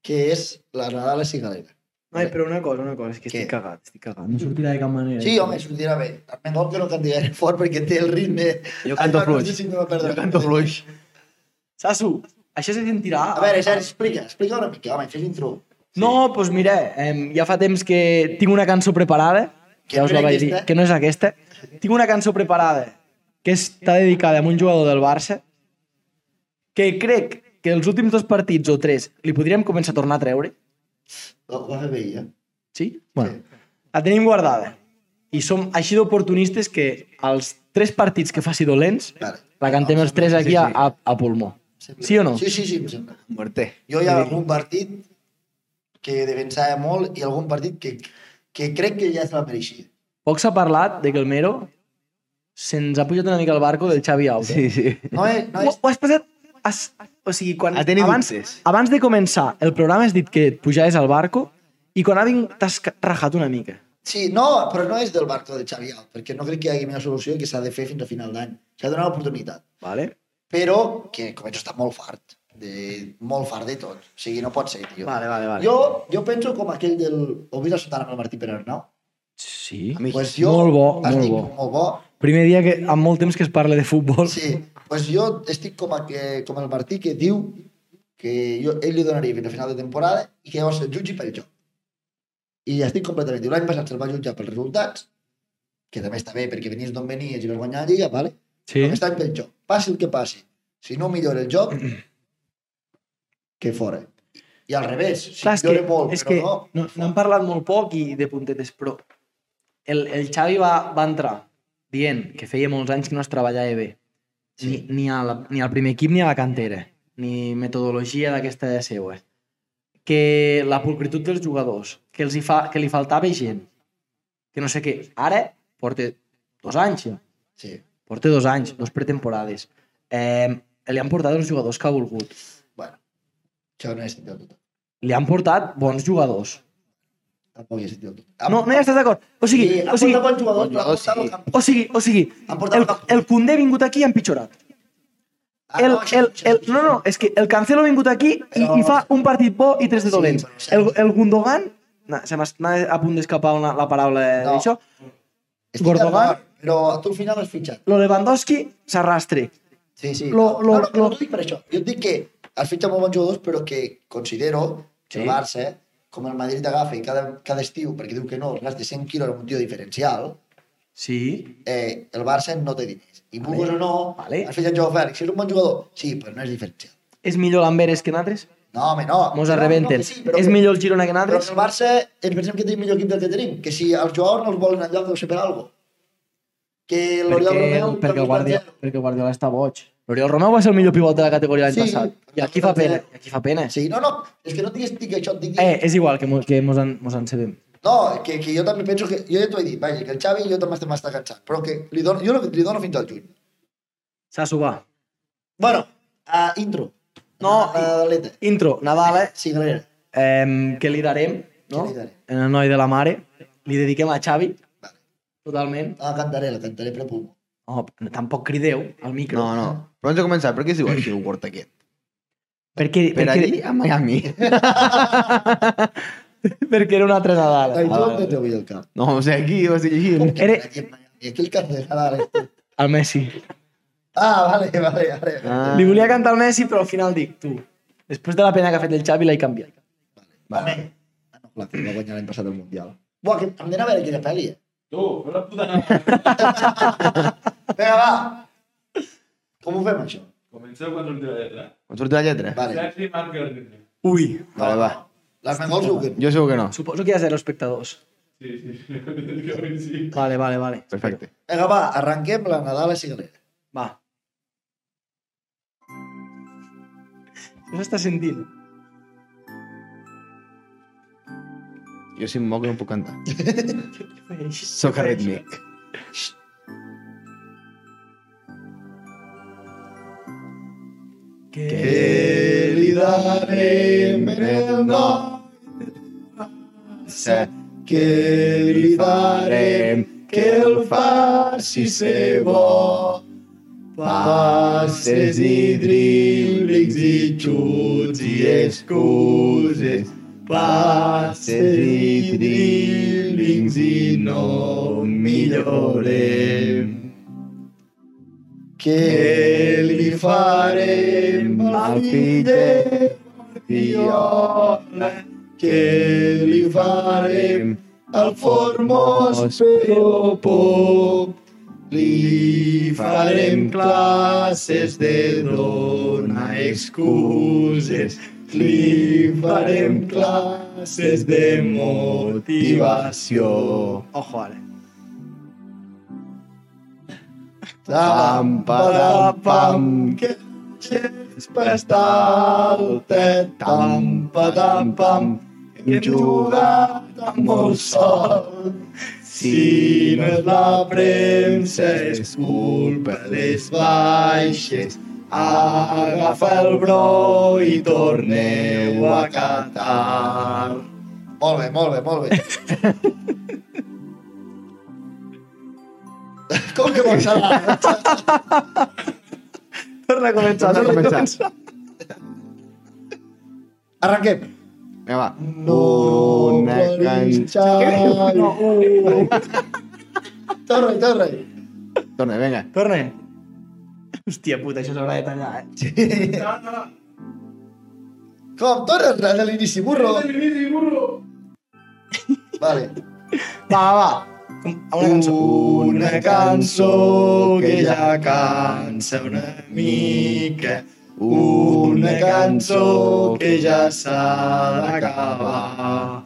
[SPEAKER 1] que és la Nadala cigalera.
[SPEAKER 3] Ai, però una cosa, una cosa, és que
[SPEAKER 1] Què?
[SPEAKER 3] estic cagat, estic cagat. No sortirà de cap manera.
[SPEAKER 1] Sí, home, sortirà bé. També no que no canti gaire fort perquè té el ritme...
[SPEAKER 2] Jo canto
[SPEAKER 1] Ai, no, no
[SPEAKER 2] fluix.
[SPEAKER 1] sé si no va perdre.
[SPEAKER 2] Jo canto fluix.
[SPEAKER 3] Sasu, això se sentirà...
[SPEAKER 1] A veure, Sergi, explica, explica una mica, home, fes intro.
[SPEAKER 3] No, doncs pues mira, eh, ja fa temps que tinc una cançó preparada,
[SPEAKER 1] Que
[SPEAKER 3] ja us
[SPEAKER 1] no
[SPEAKER 3] la
[SPEAKER 1] era
[SPEAKER 3] vaig dir,
[SPEAKER 1] aquesta?
[SPEAKER 3] que no és aquesta. Tinc una cançó preparada que està dedicada a un jugador del Barça que crec que els últims dos partits o tres li podríem començar a tornar a treure,
[SPEAKER 1] Ho va fer bé, eh?
[SPEAKER 3] sí? Bueno, la tenim guardada. I i som així d'oportunistes que els tres partits que faci dolents
[SPEAKER 1] Vale.
[SPEAKER 3] la cantem els tres aquí a, a, a pulmó. Sí o no?
[SPEAKER 1] Sí, sí, sí, em sembla.
[SPEAKER 2] Muerte.
[SPEAKER 1] Jo hi ha algun partit que defensava molt i algun partit que, que crec que ja se la mereixia.
[SPEAKER 3] Poc s'ha parlat de que el Mero se'ns ha pujat una mica el barco del Xavi Auto.
[SPEAKER 2] Sí, sí.
[SPEAKER 1] No és, no
[SPEAKER 3] Ho,
[SPEAKER 1] és,
[SPEAKER 3] ho has passat... Has, o sigui, quan,
[SPEAKER 2] Ha tenit
[SPEAKER 3] abans,
[SPEAKER 2] dubtes.
[SPEAKER 3] abans de començar el programa has dit que et pujaves al barco i quan ha vingut t'has ca- rajat una mica.
[SPEAKER 1] sí, no, però no és del barco del Xavi Alt, perquè no crec que hi hagi una solució que s'ha de fer fins a final d'any. S'ha de donar l'oportunitat.
[SPEAKER 3] Vale?
[SPEAKER 1] Però que començo a estar molt fart, de, molt fart de tot. O sigui, no pot ser, tio.
[SPEAKER 3] Vale, vale, vale.
[SPEAKER 1] Jo, jo penso com aquell del... Ho vist a Sotana amb el Martí Pere Arnau?
[SPEAKER 3] Sí.
[SPEAKER 2] Amic.
[SPEAKER 1] Pues jo
[SPEAKER 3] Molt bo, molt
[SPEAKER 1] estic
[SPEAKER 3] bo.
[SPEAKER 1] molt bo.
[SPEAKER 3] Primer dia que amb molt temps que es parla de futbol.
[SPEAKER 1] Sí, pues jo estic com, a, que, com el Martí que diu que jo, ell li donaria fins a final de temporada i que llavors el jutgi pel joc. I estic completament diu. L'any passat se'l va jutjar pels resultats, que també està bé perquè venies d'on venies i vas guanyar la Lliga, vale?
[SPEAKER 3] Sí.
[SPEAKER 1] Aquest any pel joc. Passi el que passi. Si no millora el joc,
[SPEAKER 3] Mm-hmm.
[SPEAKER 1] que fora. I al revés, si
[SPEAKER 3] Clar, és
[SPEAKER 1] millora molt,
[SPEAKER 3] és
[SPEAKER 1] però
[SPEAKER 3] que
[SPEAKER 1] no...
[SPEAKER 3] no, n'han parlat molt poc i de puntetes, però el, el Xavi va, va entrar dient que feia molts anys que no es treballava bé.
[SPEAKER 1] Sí.
[SPEAKER 3] Ni, ni, a la, ni al primer equip ni a la cantera. Ni metodologia d'aquesta de seua. Que la pulcritud dels jugadors. Que, els hi fa, que li faltava gent. Que no sé què. Ara porta dos anys. ja.
[SPEAKER 1] Sí.
[SPEAKER 3] Porta dos anys, dos pretemporades. Eh, li han portat els jugadors que ha volgut.
[SPEAKER 1] Bueno, això no és sentit del tot.
[SPEAKER 3] Li han portat bons jugadors.
[SPEAKER 1] Tampoc hi ha sentit del tot.
[SPEAKER 3] No, no hi estàs d'acord. O sigui,
[SPEAKER 1] Sí,
[SPEAKER 3] o sigui,
[SPEAKER 1] Han portat bons jugadors, però han
[SPEAKER 2] Bons
[SPEAKER 1] portat el
[SPEAKER 2] jugadors,
[SPEAKER 1] camp.
[SPEAKER 3] o sigui, o sigui,
[SPEAKER 1] Han portat
[SPEAKER 3] el,
[SPEAKER 1] cap-
[SPEAKER 3] el Koundé ha vingut aquí i ha empitjorat.
[SPEAKER 1] Ah,
[SPEAKER 3] El,
[SPEAKER 1] no, això-
[SPEAKER 3] el,
[SPEAKER 1] això-
[SPEAKER 3] el, no, no, és que el Cancelo ha vingut aquí i, i fa un partit bo i tres de
[SPEAKER 1] Sí,
[SPEAKER 3] dolents.
[SPEAKER 1] però això-
[SPEAKER 3] El, el Gundogan, na, se m'ha a punt d'escapar una- la paraula
[SPEAKER 1] No.
[SPEAKER 3] d'això,
[SPEAKER 1] Estic
[SPEAKER 3] Gordogan.
[SPEAKER 1] d'acord, Però tu al final has fitxat.
[SPEAKER 3] lo Lewandowski s'arrastre.
[SPEAKER 1] Sí, sí. no,
[SPEAKER 3] Lo- lo-
[SPEAKER 1] no, no,
[SPEAKER 3] lo-
[SPEAKER 1] t'ho dic per això. Jo et dic que has fitxat molt bons jugadors, però que considero que
[SPEAKER 3] Sí.
[SPEAKER 1] el Barça, com el Madrid agafa cada, cada estiu, perquè diu que no, es gasta 100 quilos en un tio diferencial,
[SPEAKER 3] Sí.
[SPEAKER 1] eh, el Barça no té diners. I vulguis o no,
[SPEAKER 3] vale.
[SPEAKER 1] has fitxat Joao Fèlix, si és un bon jugador, sí, però no és diferencial.
[SPEAKER 3] És millor l'Amberes que nosaltres?
[SPEAKER 1] No, home, no.
[SPEAKER 3] Mos
[SPEAKER 1] No, no,
[SPEAKER 3] arrebenten.
[SPEAKER 1] que sí, però
[SPEAKER 3] És
[SPEAKER 1] que-
[SPEAKER 3] millor el Girona que
[SPEAKER 1] Però
[SPEAKER 3] nosaltres?
[SPEAKER 1] el Barça ens pensem que tenim millor equip del que tenim, que si els jugadors no els volen enlloc doncs deu ser per algo. Que l'Oriol
[SPEAKER 3] Perquè,
[SPEAKER 1] Romeu...
[SPEAKER 3] perquè, el Guardiola, perquè el Guardiola està boig. L'Oriol Romeu va ser el millor pivot de la categoria l'any
[SPEAKER 1] Sí.
[SPEAKER 3] passat. I aquí fa pena, i aquí fa pena.
[SPEAKER 1] Sí, no, no, és que no diguis dic això, et dic...
[SPEAKER 3] Eh, és igual que, mo, que mos, en, mos en sabem.
[SPEAKER 1] No, que, que jo també penso que... Jo ja t'ho he dit, vaja, que el Xavi jo també estem estar cansat, però que li dono, jo li dono fins al juny.
[SPEAKER 3] Sasso va.
[SPEAKER 1] Bueno, uh, intro.
[SPEAKER 3] No,
[SPEAKER 1] uh, l'Eta.
[SPEAKER 3] Intro, Nadal, eh?
[SPEAKER 1] Sí, galera.
[SPEAKER 3] eh que li darem, no?
[SPEAKER 1] Què li darem?
[SPEAKER 3] En el noi de la mare. Li dediquem a Xavi,
[SPEAKER 1] Vale.
[SPEAKER 3] totalment.
[SPEAKER 1] La cantaré, la cantaré per pum.
[SPEAKER 3] Oh, tampoc crideu al micro.
[SPEAKER 2] No, no. Però abans de començar, per què es diu així el Word aquest?
[SPEAKER 3] Perquè,
[SPEAKER 2] Per
[SPEAKER 3] perquè,
[SPEAKER 2] allí, a Miami.
[SPEAKER 3] perquè era un altre
[SPEAKER 1] Ai,
[SPEAKER 3] Nadal.
[SPEAKER 1] tu em treu el cap.
[SPEAKER 2] No, o sigui, aquí ho estic llegint.
[SPEAKER 3] Era-
[SPEAKER 1] I aquell cap de Nadal. este.
[SPEAKER 3] El Messi.
[SPEAKER 1] Ah, vale, vale, vale.
[SPEAKER 2] Ah,
[SPEAKER 3] Li volia cantar al Messi, però al final dic, tu, després de la pena que ha fet el Xavi, l'he canviat.
[SPEAKER 1] Home, ah, no, clar, que va guanyar l'any passat el Mundial. Buah, que hem d'anar a veure quina pel·li. eh?
[SPEAKER 4] Tu, no la puta...
[SPEAKER 1] Vinga, va! Com ho fem, això?
[SPEAKER 4] Comenceu quan surti la lletra.
[SPEAKER 2] em surt la lletra?
[SPEAKER 1] Vale.
[SPEAKER 4] Sergi marca el ritme.
[SPEAKER 3] Ui.
[SPEAKER 2] Vale, va.
[SPEAKER 1] Les mengols ho que...
[SPEAKER 2] Jo segur que no.
[SPEAKER 3] Suposo que ja ser espectadors.
[SPEAKER 4] Sí, sí, sí. sí.
[SPEAKER 3] Vale, vale, vale.
[SPEAKER 2] Perfecte.
[SPEAKER 1] Vinga, va, arrenquem la Nadal a Cigalera.
[SPEAKER 3] Va. No s'està sentint.
[SPEAKER 2] Jo si em moc no puc cantar.
[SPEAKER 3] Eix.
[SPEAKER 2] Soc arrítmic.
[SPEAKER 3] Que...
[SPEAKER 2] Que li darem en el nom que li farem que el faci ser bo. Passes i driblings i xuts i excuses. Passes i driblings i no millorem. Que li farem al fill de Viola, que li farem al formós però pop. Li farem classes de donar excuses, li farem classes de motivació.
[SPEAKER 3] Ojo, ara.
[SPEAKER 2] Pam, pam, pam, que és per estar al tet. Tam, padam, pam, hem jugat amb molt sol. Si no és la premsa, és culpa les baixes. Agafa el bro i torneu a Qatar.
[SPEAKER 1] Molt bé, molt bé, molt bé. Com que vols anar?
[SPEAKER 3] Torna a començar.
[SPEAKER 2] Torna a començar.
[SPEAKER 1] Arrenquem.
[SPEAKER 2] Vinga, va. Una uh. canxa.
[SPEAKER 1] No. Torna-hi, torna-hi.
[SPEAKER 2] Torna, vinga.
[SPEAKER 3] Torna. Hòstia puta, això s'haurà de tallar, eh?
[SPEAKER 1] Com? Torna's de l'inici, burro.
[SPEAKER 4] burro!
[SPEAKER 1] Vale.
[SPEAKER 3] Va, va, va. Com- A una cançó.
[SPEAKER 2] Una cançó que ja cansa una mica. Una cançó que ja s'ha d'acabar.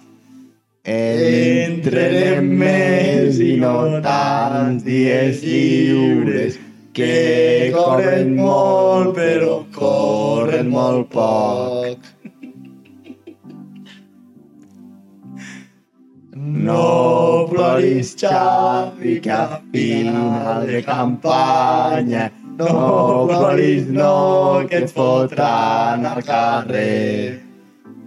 [SPEAKER 2] Entrarem més i no tants dies lliures que corren molt però corren molt poc. No ploris, Xavi, que a final de campanya no ploris, no, que et fotran al carrer.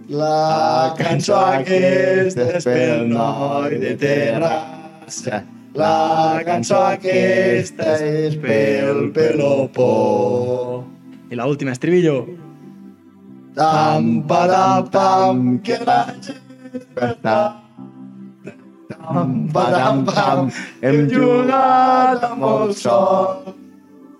[SPEAKER 2] La
[SPEAKER 1] La
[SPEAKER 2] cançó aquesta és pel noi de Terrassa. La cançó aquesta és pel Pelopó.
[SPEAKER 3] I l'última, estribillo.
[SPEAKER 2] Tam, padam, pam, que la gent desperta. Tam, padam, pam, hem jugat amb el sol.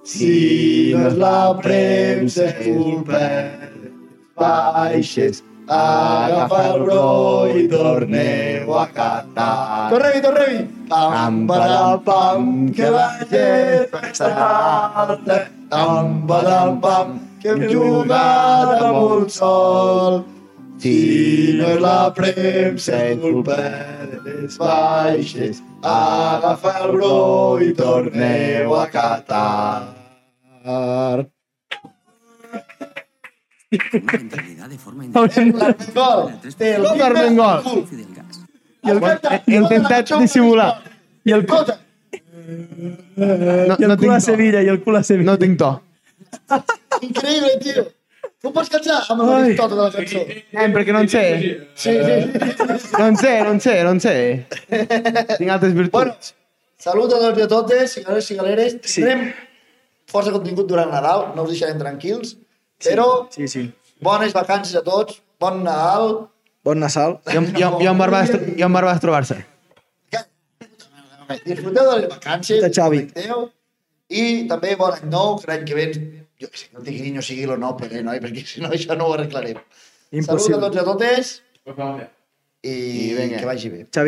[SPEAKER 2] Si no és la premsa, és culpa de les baixes. Agafa el bro i torneu a Qatar.
[SPEAKER 1] Torna-hi, torna-hi.
[SPEAKER 2] Pam, padam, pam, que la gent s'alta. Pam, padam, pam, que hem jugat amb el sol. Si no és la premsa, és culpa de les baixes. Agafa el bro i torneu a Qatar.
[SPEAKER 5] En realidad, de forma
[SPEAKER 3] Haurem de...
[SPEAKER 1] Gol. El
[SPEAKER 2] Gol, Carmen, gol.
[SPEAKER 5] independiente del gas.
[SPEAKER 2] I el he intentat dissimular.
[SPEAKER 3] I el, cul-
[SPEAKER 1] Escolta,
[SPEAKER 2] No,
[SPEAKER 3] i el cul a Sevilla, i el cul a Sevilla.
[SPEAKER 2] tinc to.
[SPEAKER 1] increïble, tio. Tu pots cansar amb
[SPEAKER 3] Ai.
[SPEAKER 1] l'anistota de la cançó.
[SPEAKER 2] Eh, perquè no en sé.
[SPEAKER 1] Sí, sí.
[SPEAKER 2] No en sé, no en sé, no en sé. Tinc altres virtuts.
[SPEAKER 1] Bueno, salut a tots i a totes, cigalers i cigaleres.
[SPEAKER 3] Sí.
[SPEAKER 1] Tindrem força contingut durant Nadal, no us deixarem tranquils, però
[SPEAKER 3] Sí, sí.
[SPEAKER 1] bones vacances a tots, bon Nadal.
[SPEAKER 3] Bon Nassal.
[SPEAKER 2] Jo, jo, jo, em barba, jo em barba trobar-se.
[SPEAKER 1] Disfruteu de les vacances,
[SPEAKER 3] De Xavi.
[SPEAKER 1] disfruteu, i també bon any nou, que l'any que ve, jo que sé, que el tigrinyo sigui o no, però, noi, perquè si no això no ho arreglarem. Salut a
[SPEAKER 3] Impossible.
[SPEAKER 1] tots i a totes
[SPEAKER 4] Pues vamos allá.
[SPEAKER 1] i,
[SPEAKER 2] I vinga.
[SPEAKER 1] que vagi bé.
[SPEAKER 3] Xavi,